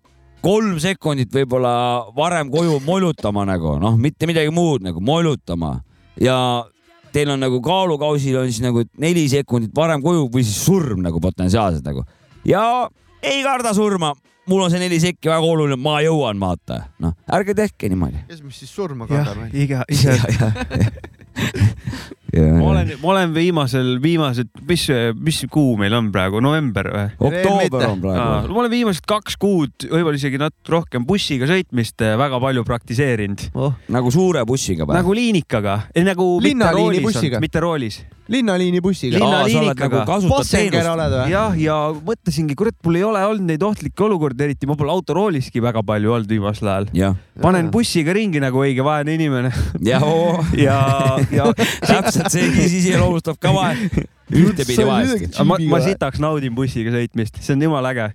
kolm sekundit võib-olla varem koju molutama nagu noh , mitte midagi muud nagu molutama ja teil on nagu kaalukausil on siis nagu neli sekundit varem koju või siis surm nagu potentsiaalselt nagu ja ei karda surma , mul on see neli sekki väga oluline , ma jõuan vaata , noh , ärge tehke niimoodi . kes meist siis surma jah kardab ,? (laughs) iga , ise . ma olen , ma olen viimasel , viimased , mis , mis kuu meil on praegu , november või ? oktoober on Aa, praegu . ma olen viimased kaks kuud , võib-olla isegi natuke rohkem bussiga sõitmist eh, väga palju praktiseerinud oh. . nagu suure bussiga või ? nagu liinikaga , nagu mitte Linnaliini roolis bussiga. , mitte roolis . linnaliini bussiga . nagu linnaliinikaga . Bossenger oled või ? jah , ja mõtlesingi , kurat , mul ei ole olnud neid ohtlikke olukordi , eriti ma pole autorooliski väga palju olnud viimasel ajal . panen bussiga ringi nagu õige vaene inimene . (laughs) ja , ja , ja täpselt see , kes iseloomustab ka vahe , ühtepidi vahest . ma , ma sitaks naudin bussiga sõitmist , see on jumala äge .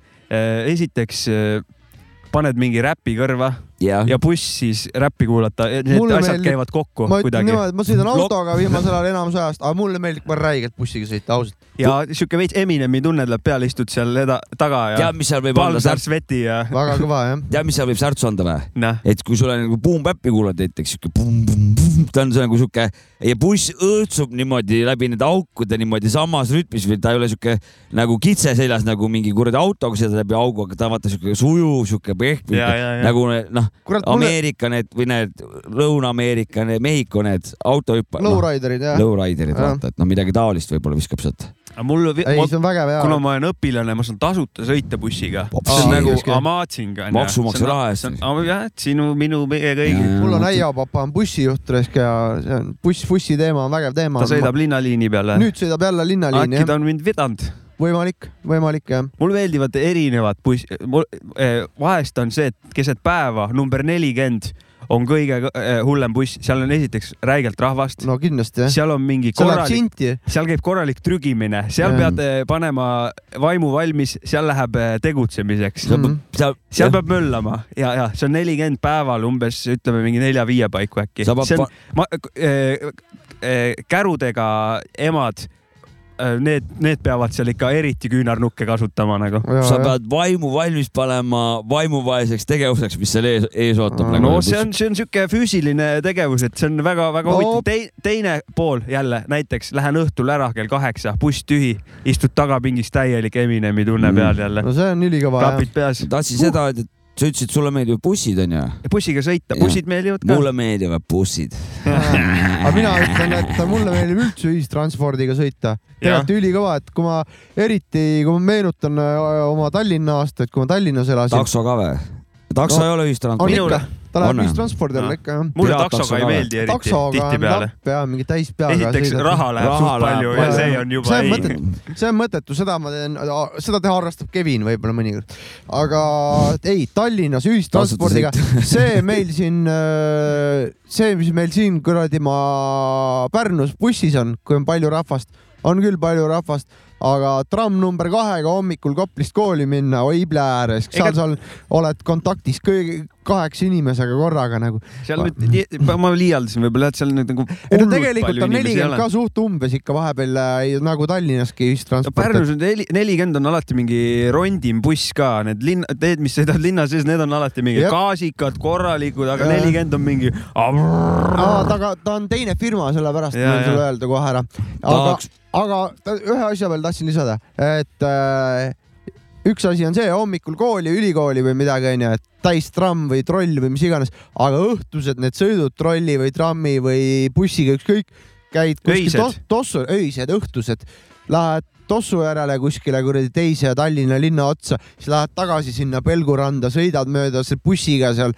esiteks eh, paned mingi räpi kõrva ja, ja buss siis räppi kuulata , need Mulle asjad meeldib- käivad kokku ma ütlen kuidagi . niimoodi , et ma sõidan autoga viimasel ajal enamus ajast , aga mulle meeldib kohe räigelt bussiga sõita , ausalt . ja siuke veits Eminemi tunne tuleb peale , istud seal eda- , taga ja . Tead, mis seal võib olla? palmsärk sveti ja . väga kõva jah . tead , mis seal võib särtsu anda või Näh. ? et kui sulle nagu Boom-Bap'i kuulad näiteks , siuke Boom-Boom-Boom , ta on see nagu siuke ja buss õõtsub niimoodi läbi nende aukude niimoodi samas rütmis või ta ei ole siuke nagu kitse seljas nagu mingi kuradi autoga sõidad läbi augu , aga ta on vaata siuke sujuv , siuke pehm Ja, ja, ja. , nagu ne- noh , Kurat, mulle- Ameerika need või need Lõuna-Ameerika , Mehhiko need noh. autohüppajad . Lowriderid, jah. Lowriderid , Jah. vaata , et noh , midagi taolist võib-olla viskab sealt . mul , ei , see on kuna väga hea . ma olen õpilane , ma saan tasuta sõita bussiga . see Vabandust. on nagu Siiski. amaatsing . Maksumaksja raha eest. jah , sinu , minu , meie kõigi . mul on äiapapa on bussijuht raisk ja see on buss , bussi teema on vägev teema . ta sõidab linnaliini peale . nüüd sõidab jälle linnaliini äkki jah ta , on mind vedanud võimalik , võimalik jah . mul meeldivad erinevad buss , mul eh, vahest on see , et keset päeva number nelikümmend on kõige äh, hullem buss , seal on esiteks räigelt rahvast . no kindlasti jah . seal on mingi Seal läheb korralik sinti. , seal käib korralik trügimine , seal Jah. pead äh, panema vaimu valmis , seal läheb äh, tegutsemiseks . Mhm. seal, jah. seal peab möllama ja , ja see on nelikümmend päeval umbes , ütleme mingi nelja-viie paiku äkki . Sa pead see on pa- , ma , kärudega emad , need , need peavad seal ikka eriti küünarnukke kasutama nagu . sa pead vaimu valmis panema vaimuvaeseks tegevuseks , mis seal ees , ees ootab . nagu Nagu no see on , see on sihuke füüsiline tegevus , et see on väga-väga No. huvitav Tei, . teine pool jälle näiteks lähen õhtul ära kell kaheksa , buss tühi , istud tagapingis täielik Eminemi tunne peal jälle . Mm. no see on ülikõva jah . klapid peas . tahtsin seda öelda , et sa ütlesid , sulle meeldivad bussid onju . bussiga sõita , bussid meeldivad ka . mulle meeldivad bussid . aga mina ütlen , et mulle meeldib üldse ühistranspordiga sõita . tegelikult ülikõva , et kui ma eriti , kui ma meenutan äh, oma Tallinna aastaid , kui ma Tallinnas elasin . takso ka või ? takso no, ei ole on ühistransport . ikka , ta läheb ühistranspordi alla ikka jah . Ah. mulle taksoga ei meeldi eriti tihtipeale . ja mingi täis peaga . Esiteks, raha läheb Raha suht läheb palju ja palju. see on juba see on ei. mõttetu , see on mõttetu , seda ma teen , seda teha harrastab Kevin võib-olla mõnikord . aga ei , Tallinnas ühistranspordiga , see meil siin , see , mis meil siin kuradi ma Pärnus bussis on , kui on palju rahvast , on küll palju rahvast , aga tramm number kahega hommikul Koplist kooli minna , oi plee ääres , seal Ega- sa oled kontaktis kõigi kaheksa inimesega korraga nagu . seal nüüd , ma liialdasin võib-olla , et seal nüüd nagu . ei no tegelikult on nelikümmend ka . suht umbes ikka vahepeal äh, nagu Tallinnaski ühistransport Pärnus on neli , nelikümmend on alati mingi rondim buss ka , need linna , need , mis sõidavad linna sees , need on alati mingi Jep. gaasikad , korralikud , aga Jaa. nelikümmend on mingi . Aa, ta , aga ta on teine firma , sellepärast Jaa, ma võin sulle jaa. öelda kohe ära . aga Tahaks- , aga ta- ühe asja veel tahtsin lisada , et äh, üks asi on see hommikul kooli , ülikooli või midagi onju , et täis tramm või troll või mis iganes , aga õhtused need sõidud trolli või trammi või bussiga , ükskõik , käid kuskil Öised. to- tossu , öised , õhtused , lähed tossu järele kuskile kuradi teise Tallinna linna otsa , siis lähed tagasi sinna Pelguranda , sõidad mööda se- bussiga seal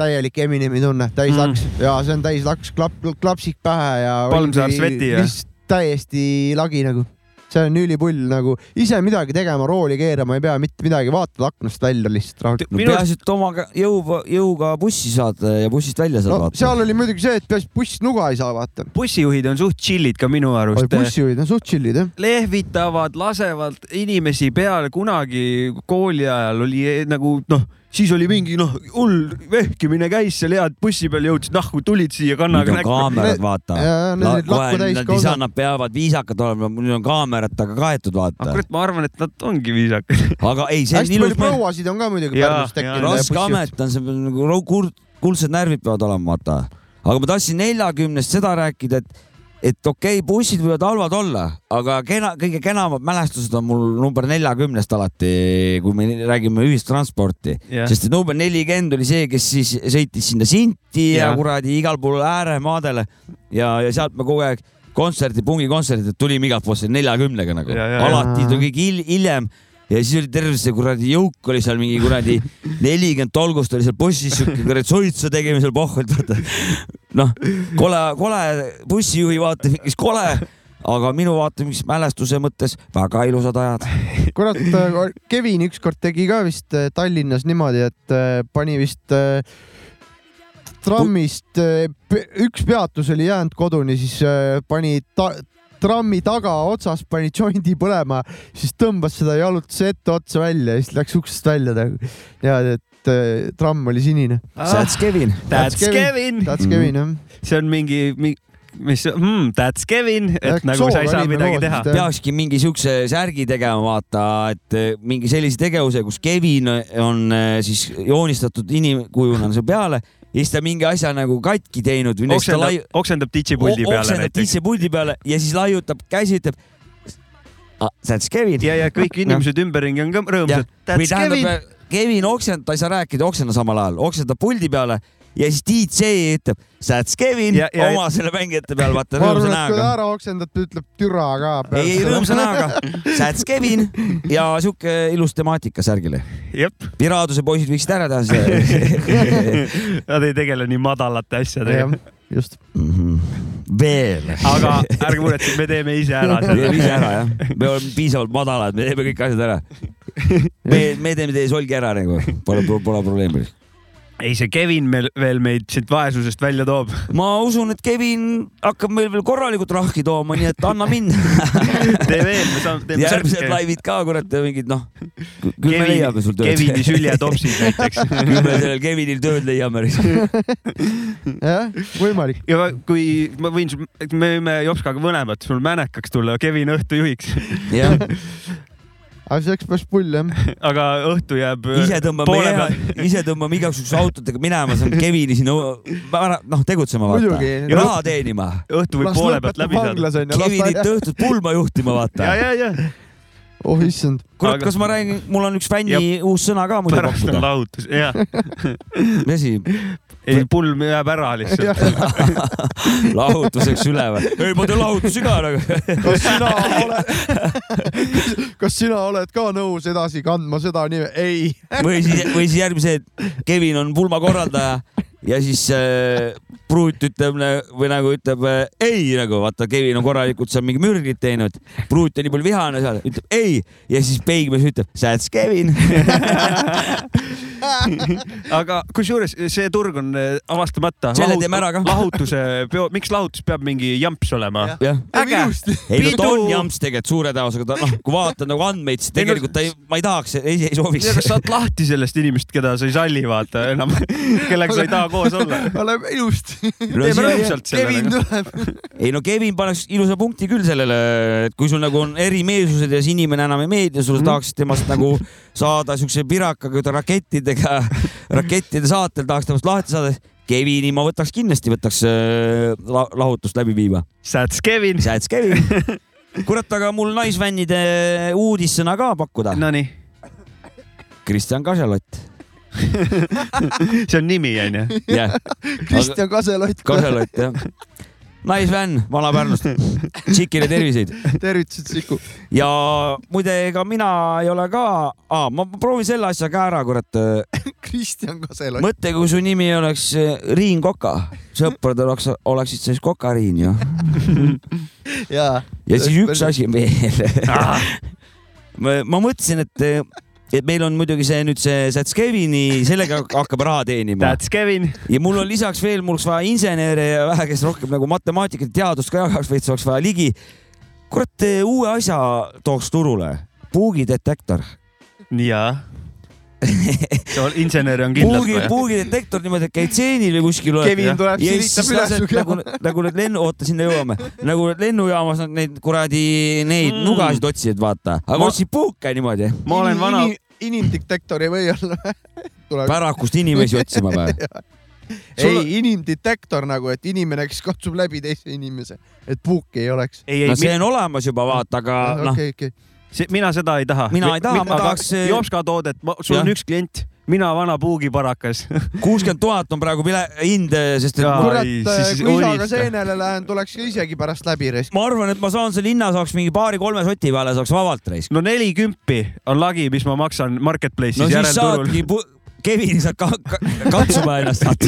täielik Eminemi tunne , täis laks mm. ja see on täis laks , klapp , klapsik pähe ja . Palmsaar sveti ja- täiesti lagi nagu , see on ülipull nagu , ise midagi tegema , rooli keerama ei pea mitte midagi , vaatad aknast välja lihtsalt rahulikult no peaasi , et oma ka- jõuga , jõuga bussi saad äh, ja bussist välja saad no vaata . seal oli muidugi see , et peaasi , et buss nuga ei saa vaata . bussijuhid on suht chill'id ka minu arust . bussijuhid on suht chill'id jah . lehvitavad , lasevad inimesi peale , kunagi kooli ajal oli eh, nagu noh , siis oli mingi noh , hull vehkimine käis seal ja bussi peal jõudsid , nahku tulid siia nüüd kannaga on . kaamerad , vaata . jaa, need olid lakku täis Ah. nad ka ise osad. annab , peavad viisakad olema , nüüd on kaameratega kaetud , vaata . Ah, kurat , ma arvan , et nad ongi viisakad . aga ei , see on hästi palju ilus mõte . prouasid on ka muidugi Jaa, Pärnus jaa. tekkinud . raske amet on , see on nagu rau- kurd , kuldsed närvid peavad olema , vaata . aga ma tahtsin neljakümnest seda rääkida , et , et okei okay, , bussid võivad halvad olla , aga kena , kõige kenamad mälestused on mul number neljakümnest alati , kui me räägime ühistransporti Jah. yeah. . sest et number nelikümmend oli see , kes siis sõitis sinna Sinti yeah. ja Jah. kuradi igal pool ääremaadele ja , ja sealt me kogu aeg kontserdi , pungikontserdid tulime igalt poolt selle neljakümnega nagu Ja, ja, ja. alati tuli kõik hil- hiljem ja siis oli terve see kuradi jõuk oli seal mingi (laughs) kuradi nelikümmend tolgust oli seal bussis siuke kuradi suitsu tegemisel pohvalt , vaata . noh , kole , kole bussijuhi vaatevinklist kole , aga minu vaatevinklist mälestuse mõttes väga ilusad ajad . kurat , Kevin ükskord tegi ka vist äh, Tallinnas niimoodi , et äh, pani vist äh, trammist , üks peatus oli jäänud koduni , siis äh, pani ta- trammi tagaotsas pani jondi põlema , siis tõmbas seda jalutuse etteotsa välja ja siis läks uksest välja nagu . ja et äh, tramm oli sinine . That's Kevin . Ah, That's Kevin . That's Kevin jah . see on mingi, mingi , mis mm, , that's Kevin , Ja, et nagu sa ei sooga saa olime midagi koos teha vist, . peakski mingi siukse särgi tegema , vaata , et eh, mingi sellise tegevuse , kus Kevin on eh, siis joonistatud inimkujuna on seal peale ja siis ta mingi asja nagu katki teinud või näiteks ta lai- oksendab , oksendab ditšipuldi peale oksendab näiteks . titsi puldi peale ja siis laiutab käsi , ütleb . That's Kevin . ja , ja kõik inimesed ümberringi on ka rõõmsad . või That's Kevin . tähendab , äh, Kevin oksendab , ta ei saa rääkida , oksendab samal ajal , oksendab puldi peale ja siis DJ ütleb That's Kevin Ja- ja- oma selle mängijate peale , vaata ma arvan , rõõmsa et kui ta näoga . ära oksendab , ta ütleb türa ka . ei , ei rõõmsa näoga . That's Kevin ja sihuke ilus temaatika särgile . (laughs) jep , piraaduse poisid võiksid ära teha seda . nad ei tegele nii madalate asjadega . just . Mhm. veel . aga ärge muretsege , me teeme ise ära selle teeme . ise ära jah , me oleme piisavalt madalad , me teeme kõik asjad ära . me , me teeme teie solgi ära nagu , pole , pole probleemi . ei , see Kevin meil veel meid siit vaesusest välja toob . ma usun , et Kevin hakkab meil veel korralikult rahki tooma , nii et anna minna . tee veel , me saame , teeme järgmised laivid ka , kurat , mingid noh , küll me Kevin- leiame sul tööd . (laughs) Kevini süljetopsid näiteks. küll me sellel Kevinil tööd (laughs) leiame . jah , võimalik . ja kui ma võin , me võime Jopskaga mõlemad sul mänekaks tulla , Kevin õhtujuhiks . jah . aga see oleks päris pull jah . aga õhtu jääb . ise tõmbame , ise tõmbame igaks juhuks autodega minema , saame Kevini sinna vara- noh , tegutsema vaata Muidugi. . raha teenima . õhtu võib Las poole pealt lõpetab läbi saada. vanglas, on ju, las Kevinit ta- õhtut pulma juhtima vaata . ja , ja , ja . oh issand . kurat , Aga- kas ma räägin , mul on üks fänni Ja- uus sõna ka muidu pärast on pakkuda . lahutus , jah . (laughs) mis asi ? ei , pulm jääb ära lihtsalt . lahutuseks üle või ? ei , ma teen lahutusi ka nagu . kas sina oled , kas sina oled ka nõus edasi kandma seda nime ? ei . või siis , või siis järgmise , et Kevin on pulmakorraldaja ja siis äh, pruut ütleb nä- või nagu ütleb äh, ei nagu vaata , Kevin on korralikult seal mingi mürgit teinud , pruut on nii palju vihane seal , ütleb ei ja siis peigmees ütleb that's Kevin . (laughs) aga kusjuures see turg on eh, avastamata . Selle teeme ära ka. lahutuse peo , miks lahutus peab mingi jamps olema ? jah , äge . ei no ta on jamps tegelikult suure tõenäosusega , ta noh , kui vaatad nagu andmeid , siis Ei no- tegelikult ta ei , ma ei tahaks , ei, ei sooviks . kas sa oled lahti sellest inimesest , keda sa ei salli vaata enam , kellega sa ei taha koos olla ? oleme ilusti . siin teeme on- rõõmsalt Kevin selle . tuleb . ei no Kevin paneks ilusa punkti küll sellele , et kui sul nagu on erimeelsused ja see inimene enam ei meeldi , sulle mm. tahaks temast nagu saada siukse pirakaga ta rakettidega , rakettide saatel tahaks temast lahti saada . Kevini ma võtaks kindlasti , võtaks äh, la lahutust läbi viima . Sats Kevin . Sats Kevin . kurat , aga mul naisfännide uudissõna ka pakkuda . Nonii , Kristjan Kaselott . see on nimi onju . jah , Kristjan Kaselott . Kaselott jah . naisfänn Vana-Pärnust . tšikile terviseid . tervitused , Siku . ja muide , ega mina ei ole ka ah, , ma ma proovin selle asja ka ära , kurat . Kristjan Kaselott . mõtle , kui su nimi oleks eh, Riin Koka , sõpradel oleks , oleksid siis Koka-Riin ju . ja . ja siis üks . asi veel . (laughs) Ah. ma ma mõtlesin , et , et meil on muidugi see nüüd see Sats Kevini , sellega hakkab raha teenima . Sats Kevin . ja mul on lisaks veel , mul oleks vaja insenere ja vähe , kes rohkem nagu matemaatikat , teadust ka jagaks , veits oleks vaja ligi . kurat , uue asja tooks turule , puugidetektor jaa . (laughs) insener on kindlalt puugi , vaja . puugidetektor niimoodi , et käid seenil või kuskil . Kevin tuleb, silitab üles su keha. nagu , nagu need lennu , oota , sinna jõuame , nagu need lennujaamas nad neid kuradi neid mm. nugasid otsisid , vaata , aga Ma- ma... otsid puuke niimoodi , ma olen vana , inimdetektor ei või olla või ? pärakust inimesi (laughs) otsima või ? ei Sul- , inimdetektor nagu , et inimene , kes katsub läbi teise inimese , et puuki ei oleks . ei , no ei , see on olemas juba , vaata , aga Ah, noh , okei , okei . see , mina seda ei taha . Mina ei taha, ma tahaks- äh, Jopska toodet , sul on Jah. üks klient , mina vana puugiparakas . kuuskümmend tuhat on praegu pile- , hind , sest et Jaa. ma, kurat , siis- siis kui isaga unista. seenele lähen , tuleks ka isegi pärast läbi raisk- . ma arvan , et ma saan selle hinna , saaks mingi paari-kolme soti peale , saaks vabalt raisk . no nelikümpi on lagi , mis ma maksan marketplace'is no siis (laughs) järelturul . saadki pu... , Kevin saab ka, ka, katsuma (laughs) ennast saata .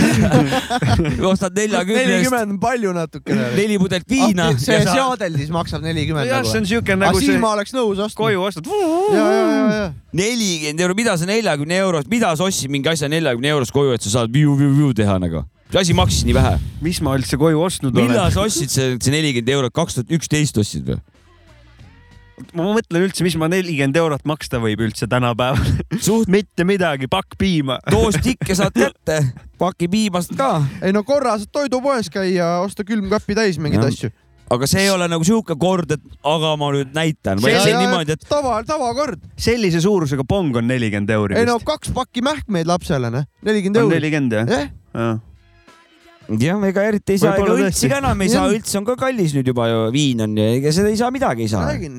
ostad neljakümnest nelikümmend on palju natukene . neli pudelit viina . Ah, see seadeldis maksab nelikümmend jah , see nagu on . siuke aga nagu siis see ma oleks nõus ostma . koju ostad . ja , ja , ja , ja . nelikümmend euro , mida sa neljakümne eurost , mida sa ostsid mingi asja neljakümne eurost koju , et sa saad viu-viu-viu teha nagu ? see asi maksis nii vähe . mis ma üldse koju ostnud millal olen ? sa ostsid see , see nelikümmend eurot , kaks tuhat üksteist ostsid või ? ma mõtlen üldse , mis ma nelikümmend eurot maksta võib üldse tänapäeval . (laughs) suht mitte midagi , pakk piima . doos tikke saad kätte , paki piimast ka , ei no korra saad toidupoes käia , osta külmkappi täis mingeid Jah. asju . aga see ei ole nagu sihuke kord , et aga ma nüüd näitan , vaid see on niimoodi , et tava , tavakord . sellise suurusega pong on nelikümmend euri ei no vist . kaks pakki mähkmeid lapsele , noh , nelikümmend on euri . nelikümmend jah ? jah , jah , ega eriti ei saa , ega Võib-olla õltsi tõesti. ka enam ei saa , Jah. õlts on ka kallis nüüd juba ju , viin on ju , ega seda ei saa midagi ei saa . räägin .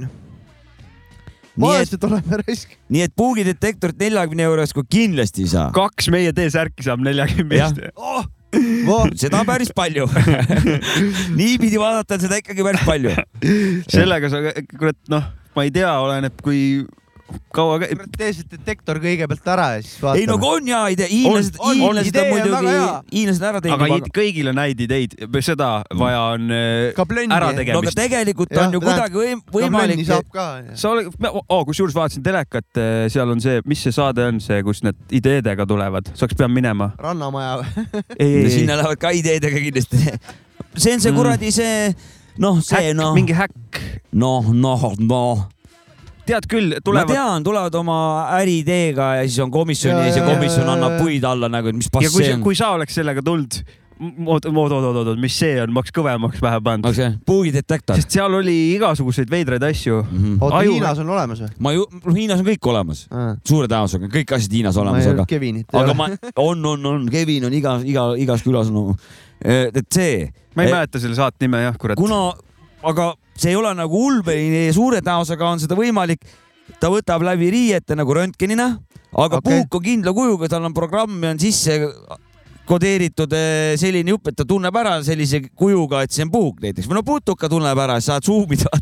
nii et , vaesed oleme raisk . nii et puugidetektorit neljakümne euro eest kohe kindlasti ei saa . kaks meie T-särki saab neljakümnest . oh , seda päris palju . (laughs) niipidi vaadata on seda ikkagi päris palju . sellega sa , kurat , noh , ma ei tea , oleneb , kui kaua käib ? teesid detektor kõigepealt ära ja siis vaatame . ei no on jaa , hiinlased , hiinlased on muidugi , hiinlased on ära teinud aga id- kõigil on häid ideid , seda vaja on Ka äh, blendi. no ära aga tegemist . tegelikult Jah, on ju tähendab, kuidagi võim- ka võimalik blendi saab ka . sa oled , oh, kusjuures vaatasin telekat , seal on see , mis see saade on see , kus need ideedega tulevad , saaks pean minema . rannamaja Ei, ei, Mm. sinna lähevad ka ideedega kindlasti . see on see kuradi see , noh , see noh . mingi häkk . noh , noh , noh . tead küll , ma tulevad- tean , tulevad oma äriideega ja siis on komisjon ja siis see Jaa, jaa, komisjon jaa, annab jaa. puid alla nagu , et mis ja pass kui see , on . kui sa oleks sellega tulnud , oot , oot , oot , oot , oot , mis see on , ma oleks kõvemaks pähe pannud okay. . puugidetektor . sest seal oli igasuguseid veidraid asju mm . oota , Hiinas on olemas või ? Mhm. ma ju , noh , Hiinas on kõik olemas Aa. suure tõenäosusega on kõik asjad Hiinas olemas , aga ei olnud Kevinit, ei aga ole. ma , on , on , on , Kevin on iga , iga , igas külas on , et see . ma ei mäleta selle saate nime jah , kurat . kuna , aga see ei ole nagu ulbeline ja suure tõenäosusega on seda võimalik , ta võtab läbi riiete nagu röntgenina , aga okay. puuk on kindla kujuga , tal on programmi on sisse kodeeritud eh, selline jupp , et ta tunneb ära sellise kujuga , et see on puuk näiteks või no putuka tunneb ära , saad suumida , (laughs)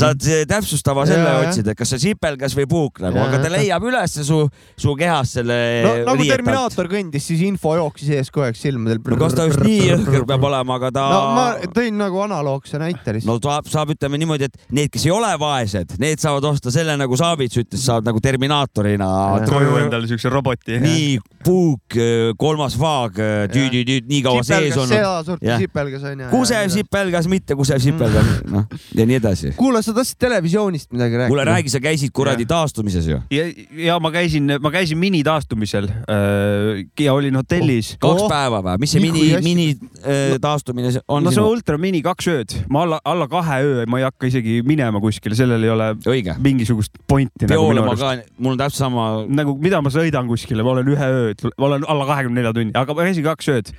saad eh, täpsustava selle Jaa, jah. otsida , et kas see on sipelgas või puuk nagu , Jaa, aga ta jah. leiab üles su , su kehas selle no nagu riiete alt. Terminaator kõndis , siis info jooksis ees kogu aeg silmadel . no kas ta just nii jõhker peab olema , aga ta no ma tõin nagu analoogse näite lihtsalt . no saab , saab ütleme niimoodi , et need , kes ei ole vaesed , need saavad osta selle nagu Saavits ütles , saavad nagu Terminaatorina . koju endale siukse roboti . nii , puuk , kolmas vaag , äh, tüüdi-tüüd , nii kaua sees sipelgas , sedasorti olnud . sipelgas onju . kusev sipelgas , mitte kusev sipelgas , noh ja nii edasi . kuule , sa tahtsid televisioonist midagi rääkida ? kuule räägi , sa käisid kuradi taastumises ju . ja , ja ma käisin , ma käisin minitaastumisel äh, ja olin hotellis . kaks päeva või , mis see mini , mini äh, taastumine see on no see sinu ? ultra mini kaks ööd , ma alla , alla kahe öö ma ei hakka isegi minema kuskile , sellel ei ole Õige. mingisugust pointi . peole ma ka , mul on täpselt sama . nagu mida ma sõidan kuskile , ma olen ühe öö , ma olen alla kahekümne nelja tunni , aga ma käisin kaks ööd .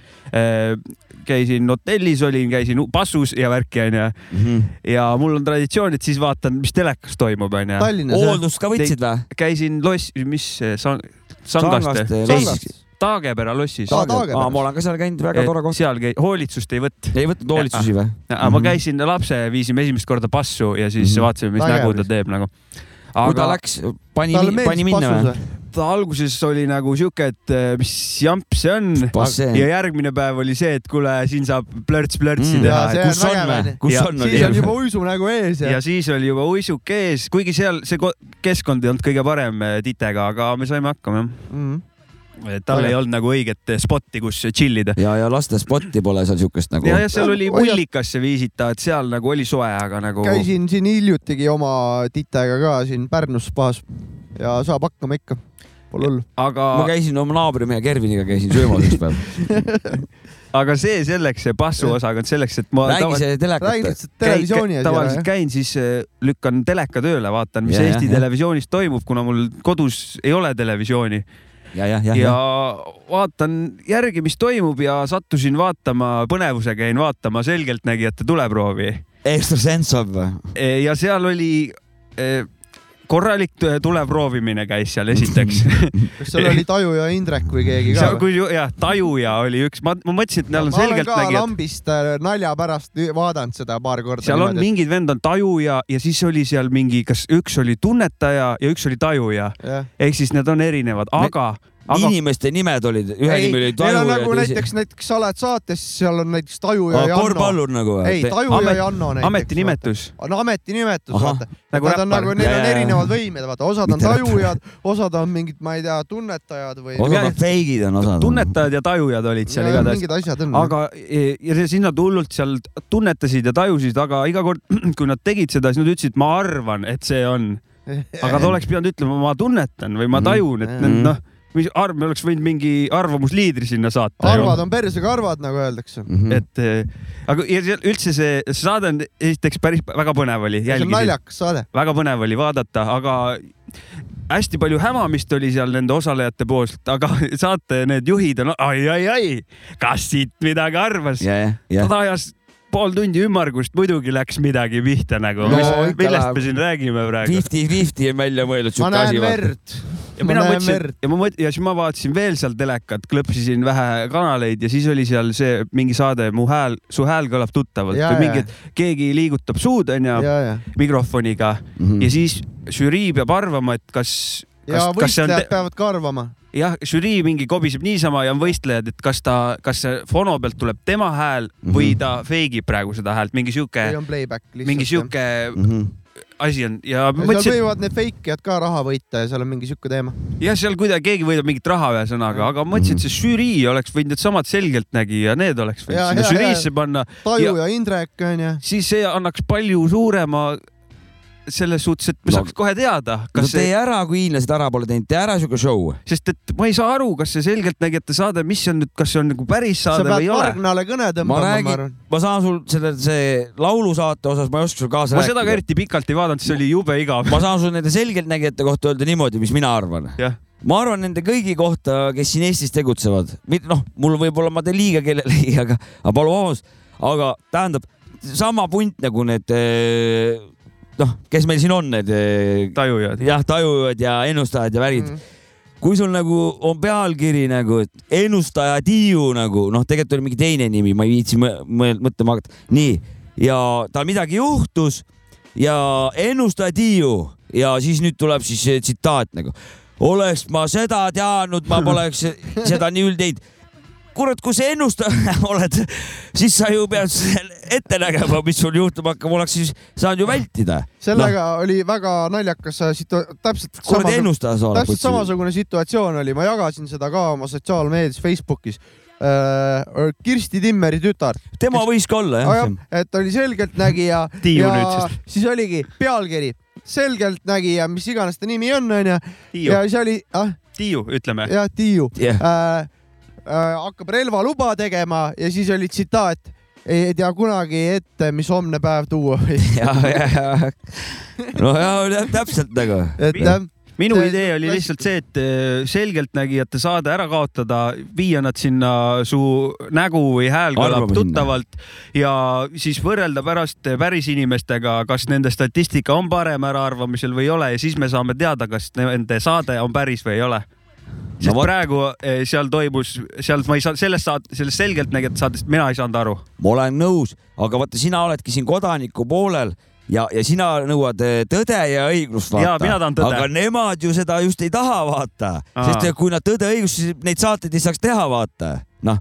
käisin hotellis olin , käisin u- passus ja värki Mhm. onju . ja mul on traditsioon , et siis vaatan , mis telekas toimub onju . Tallinnas, jah? Hooldust ka võtsid või ? käisin loss , mis see sang- , Sangaste Sangaste lossis. . Taagepera lossis . aa , ma olen ka seal käinud , väga tore koht . seal käi- , hoolitsust ei võtnud . ei võtnud hoolitsusi või ? ma käisin lapse , viisime esimest korda passu ja siis Mhm. vaatasime , mis Väga nägu ta vist. teeb nagu . Kui ta läks, pani Talle mi- meeldis pani minna passus või? või? ? ta alguses oli nagu siuke , et eh, mis jamp see on Passee. ja järgmine päev oli see , et kuule , siin saab plörts-plörtsi Mm. teha Jaa, see . on Kus on vägev, või? onju. Kus on oli? siis on juba uisu nägu ees ja ja . siis oli juba uisuk ees , kuigi seal see ko- keskkond ei olnud kõige parem eh, titega , aga me saime hakkama jah . Mm. tal ei olnud nagu õiget eh, spotti , kus chill ida . ja , ja laste spotti pole seal siukest nagu . ja , ja seal oli mullikasse viisita , et seal nagu oli soe , aga Oh. nagu . käisin siin hiljutigi oma titega ka siin Pärnus spaas ja saab hakkama ikka , pole hullu . aga . ma käisin oma naabrimehe Kerviniga käisin söömas üks päev . aga see selleks , see passuosakond selleks , et ma . Räägi see telekat. Räägi lihtsalt televisiooni ees ära, tavaliselt jah. käin , siis äh, lükkan teleka tööle , vaatan , mis Jah, ja, jah, Eesti jah. ja, televisioonis toimub , kuna mul kodus ei ole televisiooni . ja , ja , ja , ja, ja ja . vaatan järgi , mis toimub ja sattusin vaatama , põnevusega jäin vaatama Selgeltnägijate tuleproovi Ekstra Sensov või ? E, ja seal oli e, korralik tõ- tuleproovimine käis seal (laughs) esiteks kas seal oli Taju ja Indrek või keegi ka seal , või ? kui ju- jah , Tajuja oli üks , ma , ma mõtlesin , et neil on ma olen ka selgeltnägijad . lambist äh, nalja pärast ü- vaadanud seda paar korda . seal on . mingid vend on Tajuja ja siis oli seal mingi , kas üks oli tunnetaja ja üks oli Tajuja . Jah. ehk siis need on erinevad , aga , aga inimeste nimed olid , ühe ei , nimi oli neil Taju on ja nagu teise . näiteks , näiteks sa oled saates , seal on näiteks Taju ja Aa, Janno . korvpallur nagu või? ei , Te- Taju amet- ja Janno näiteks . ametinimetus. . on ametinimetus , Ahah, vaata . nagu Nagu Nad on räppar. nagu , neil Jaa, on jaa, jaa. erinevad võimed , vaata , osad on Mitte räppar. tajujad , osad on mingid , ma ei tea , tunnetajad või . osad on feigid on osad . tunnetajad ja tajujad olid seal Jaa, igatahes . mingid asjad on. aga e, ja see- siis nad hullult seal tunnetasid ja tajusid , aga iga kord , (clears throat) kui nad tegid seda , siis nad ütlesid , ma arvan , et see (laughs) on . aga ta oleks pidanud ütlema , ma tunnetan või ma Mhm. tajun , et need, noh , mis arv , me oleks võinud mingi arvamusliidri sinna saata . arvad on perse karvad , nagu öeldakse . Mm. Mhm. et eh, aga ja seal üldse see see saade on esiteks päris väga põnev oli , see on jälgisin . naljakas saade . väga põnev oli vaadata , aga hästi palju hämamist oli seal nende osalejate poolt , aga (laughs) saate need juhid on ai-ai-ai , kas siit midagi arvas ? ja , ja , ja ta . ajas pool tundi ümmargust , muidugi läks midagi pihta nagu No no, , ikka millest läheb. me siin räägime praegu . Fifty-fifty on välja mõeldud ma siuke asi näen . verd . ja mina mõtlesin , ja ma mõtlesin ja siis ma vaatasin veel seal telekat , klõpsisin vähe kanaleid ja siis oli seal see mingi saade Mu hääl , su hääl kõlab tuttavalt Jaa, või jaa. mingi , et keegi liigutab suud onju Jaa, jaa. Mhm. mikrofoniga mm -hmm. ja siis žürii peab arvama , et kas , ja kas , kas see on võistlejad peavad ka arvama . jah , žürii mingi kobiseb niisama ja on võistlejad , et kas ta , kas see fono pealt tuleb tema hääl Mhm. või ta feigib praegu seda häält , mingi sihuke Või on playback lihtsalt, mingi sihuke Mhm. asi on ja seal mõtlesin , võivad need feikijad ka raha võita ja seal on mingi sihuke teema . jah , seal kuidagi keegi võidab mingit raha , ühesõnaga , aga mõtlesin , et see žürii oleks võinud needsamad selgeltnägija , need oleks võinud Ja, sinna ja, žüriisse ja. panna . Taju ja Indrek onju . siis see annaks palju suurema selles suhtes , et me saaks kohe teada , no kas tee see , ära , kui hiinlased ära pole teinud , tee ära siuke show . sest et ma ei saa aru , kas see selgeltnägijate saade , mis see on nüüd , kas see on nagu päris sa saade pead või ei ole . Margnale kõne ma tõmbama , ma räägin Noh. arvan ., ma saan sul selle , see laulusaate osas , ma ei oska sul kaasa ma rääkida . seda ka eriti pikalt ei vaadanud , see oli jube igav . (laughs) ma saan sulle nende selgeltnägijate kohta öelda niimoodi , mis mina arvan . ma arvan nende kõigi kohta , kes siin Eestis tegutsevad , noh , mul võib-olla ma teen liiga kellelegi , (laughs) aga , aga palun vabandust , aga tähendab sama punt nagu need eh, noh , kes meil siin on , need eh, tajujad , jah , tajujad ja ennustajad ja värgid mm. kui sul nagu on pealkiri nagu et ennustaja Tiiu nagu noh , tegelikult oli mingi teine nimi , ma ei viitsi mõ- mõ- mõtlema hakata , nii ja tal midagi juhtus ja ennustaja Tiiu ja siis nüüd tuleb siis see tsitaat nagu oleks ma seda teadnud , ma poleks seda nii üld teinud kurat , kui sa ennustaja (laughs) oled , siis sa ju pead ette nägema , mis sul juhtuma hakkab , oleks siis saanud ju vältida . Noh, sellega no. oli väga naljakas äh, situ- , täpselt . Kuradi ennustaja sa oled, täpselt kutsu. samasugune situatsioon oli , ma jagasin seda ka oma sotsiaalmeedias , Facebookis . Kirsti Timmeri tütar . tema võis ka olla jah . et oli selgeltnägija Tiiu ja nüüd siis. siis oligi pealkiri , selgeltnägija , mis iganes ta nimi on , onju . Tiiu. ja siis oli , ah Tiiu , ütleme . jah , Tiiu Jah. äh, . Äh, hakkab relvaluba tegema ja siis oli tsitaat , ei tea kunagi ette , mis homne päev tuua (laughs) võib . ja , ja , ja , no ja täpselt nagu . et jah . minu idee oli lihtsalt see , et eh, selgeltnägijate saade ära kaotada , viia nad sinna , su nägu või hääl kõlab Arvame sinna. tuttavalt ja siis võrrelda pärast päris inimestega , kas nende statistika on parem äraarvamisel või ei ole ja siis me saame teada , kas nende saade on päris või ei ole . sest no, praegu eh, seal toimus , seal ma ei saa , sellest saate , sellest selgeltnägijate saatest mina ei saanud aru . ma olen nõus , aga vaata , sina oledki siin kodaniku poolel ja , ja sina nõuad eh, tõde ja õiglust Jaa, mina tahan tõde. aga nemad ju seda just ei taha vaata , sest eh, Aa. kui nad tõde ja õigust , siis neid saateid ei saaks teha , vaata , noh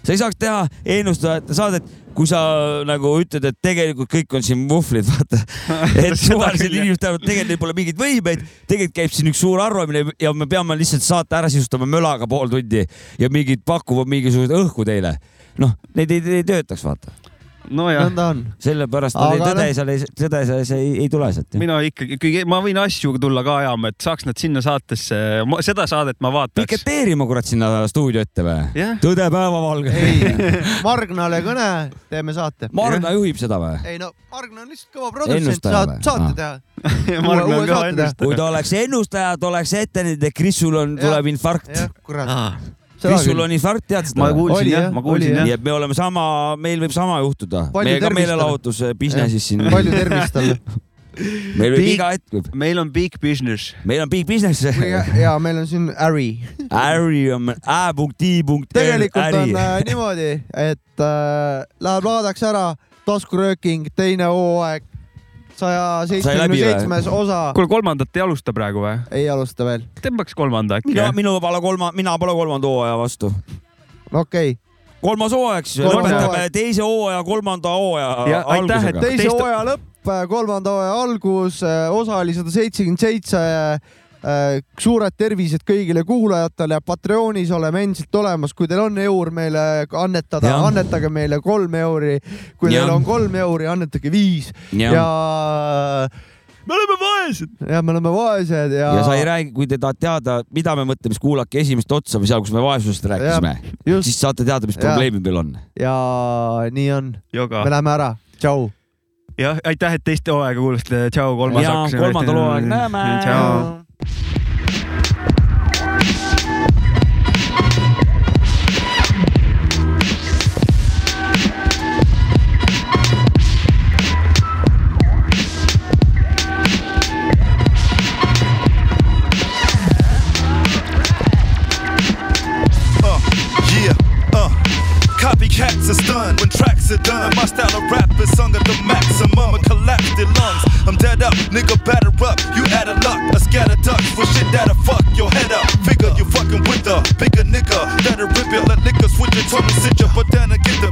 sa ei saaks teha ennustajate saadet , kui sa nagu ütled , et tegelikult kõik on siin muhvlid , (laughs) vaata . et suvalised inimesed teavad , tegelikult neil pole mingeid võimeid , tegelikult käib siin üks suur arvamine ja me peame lihtsalt saate ära sisustama mölaga pool tundi ja mingid pakuvad mingisuguseid õhku teile . noh , need ei, ei töötaks , vaata . nojah , nõnda (laughs) on . sellepärast nad ei Aga tõde noh- seal ei , tõde seal ei, ei, ei tule sealt . mina ikkagi , kuigi ma võin asju tulla ka ajama , et saaks nad sinna saatesse , seda saadet ma vaataks . piketeerima kurat sinna stuudio ette või Jah. ? tõde päevavalge . Margnale kõne , teeme saate . Marna juhib seda või ? ei no , Margna on lihtsalt kõva produtsent , Ennustaja saad või? , saate Ah. teha . Margna on Uue- uue kõva saate ennustaja. kui ta oleks ennustaja , ta oleks ette näinud , et Krisul on , Jah. tuleb infarkt . jah , kurat . Seda Krisul küll. on infarkt , tead seda ma või ? kuulsin Oli, jah , jah, ma kuulsin oli, jah nii . et me oleme sama , meil võib sama juhtuda . Palju meiega tervist meelelahutus eh, business'is siin , palju (laughs) tervist talle . meil võib Big- iga hetk võib , meil on big business . meil on big business . ja meil on siin äri äri on ä.i.l tegelikult äri on . äh, niimoodi , et äh, läheb laadaks ära taskurööking , teine hooaeg , saja läbi seitsmekümne või? seitsmes osa . kuule , kolmandat ei alusta praegu või ? ei alusta veel , tõmbaks kolmanda äkki mina , minu pole kolma , mina pole kolmanda hooaja vastu . no okei okay. . kolmas hooaeg siis , Kolmas lõpetame hooaeg. teise hooaja kolmanda hooaja Ja aitäh, et algusega . teise Teist- Teist... hooaja lõpp , kolmanda hooaja algus , osa oli sada seitsekümmend seitse . suured tervised kõigile kuulajatele , Patreonis oleme endiselt olemas , kui teil on eur meile annetada Jah. , annetage meile kolm euri . kui Jah. teil on kolm euri , annetage viis Jah. ja me oleme vaesed . ja me oleme vaesed ja, ja sa ei räägi , kui te tahate teada , mida me mõtleme , siis kuulake esimest otsa või seal , kus me vaesusest rääkisime . just. siis saate teada , mis Jah. probleemid meil on . ja nii on , joga me . läheme ära , tšau . jah , aitäh , et teist hooaega kuulasite , tšau , kolmas Jaa, hakkas . kolmandal hooaeg näeme. tšau . Uh, yeah, uh. Copycats are stunned when tracks are done. My style of rap is sung at the maximum. A collapsed in lungs. I'm dead up, nigga, batter up. You add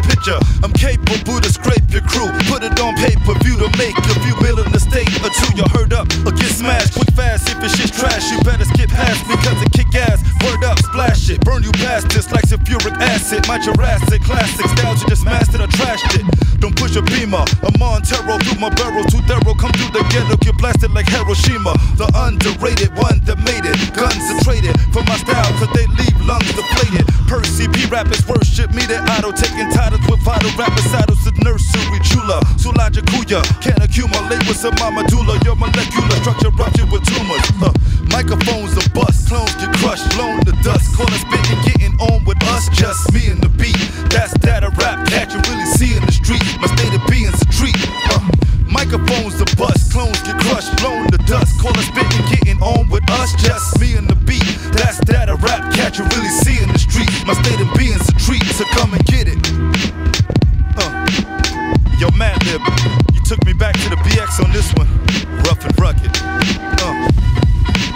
nature. I'm capable to scrape your crew. Put it on pay per view to make a few bill in the state or two. You're hurt up or get smashed quick fast. If it's shit's trash, you better skip past because it kick ass. Word up, splash it. Burn you bastards like sulfuric acid. My Jurassic classic styles, you just mastered or trashed it. Don't push a beamer. I'm on tarot through my barrel. Too thorough, come through the ghetto. Get blasted like Hiroshima. The underrated one that made it. Guns are traded for my style, cause they leave lungs deflated. Percy B rappers worship me, they idle. Taking titles with vital rapacidals to nursery chula. Sulaja Kuya, can't accumulate with some mama doula. Your molecular structure ruptured with tumors. Uh, microphones are bust, clones get crushed, blown to dust. Corner spitting, getting on with us, just me and the beat. That's that a rap that you really see in the street. My state of being's a treat. Uh, Microphones to bust, clones get crushed, blown to dust. Call us spitting, getting on with us, just me and the beat. That's that a rap catch you really see in the street. My state of being's a treat, so come and get it. Uh, yo, Mad Lib, you took me back to the BX on this one. Rough and rugged. Uh,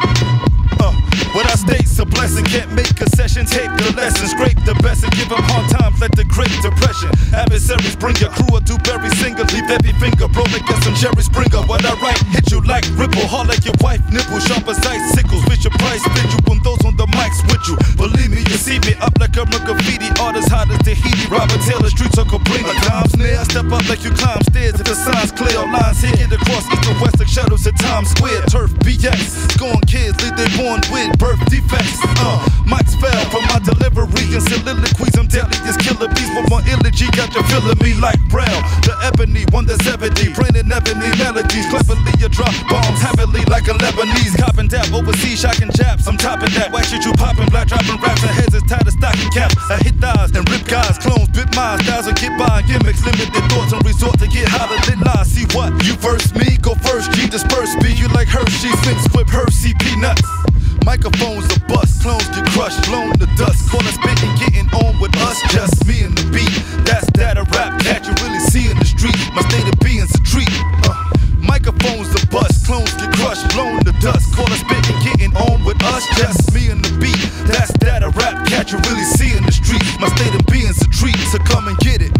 uh, what I state's a blessing, can't make a session, take the lesson, scrape the best and give them hard times like the Great Depression. Adversaries bring your crew a dewberry singer, leave every finger rolling against some Jerry Springer. What I write, hit you like ripple, hard like your wife nipple, sharp as icicles, with your price, fit you on those on the mics with you. Believe me, you see me up like a graffiti artist, hot as Tahiti, Robert Taylor, streets are complaining. A dime snare, step up like you climb stairs if the signs clear, lines hidden across east and west like shadows at Times Square. Turf BX, scorn kids, lead they born with birth defects. Uh, mics fell from my delivery and soliloquies. I'm deadly as killer bees, but my elegy got you feeling me like Braille. The ebony, one that's ebony, branding ebony melodies. Cleverly, you drop bombs heavily like a Lebanese. Copping dab overseas, shocking japs. I'm topping that. Why shit you popping black, dropping raps? Our heads is tied to stocking caps. I hit thighs and rip guys, clones, bit minds, guys will get by. Gimmicks, limited thoughts and resort to get hotter than lies. See what? You verse me, go first, G disperse me. You like Hershey, fix with Hershey peanuts. Microphones are bust, clones get crushed, blown to dust. Corner spitting, getting on with us, just me and the beat. That's that a rap that you really see in the street. My state of being's a treat. Uh, microphones are bust, clones get crushed, blown to dust. Corner spitting, getting on with us, just me and the beat. That's that a rap that you really see in the street. My state of being's a treat, so come and get it.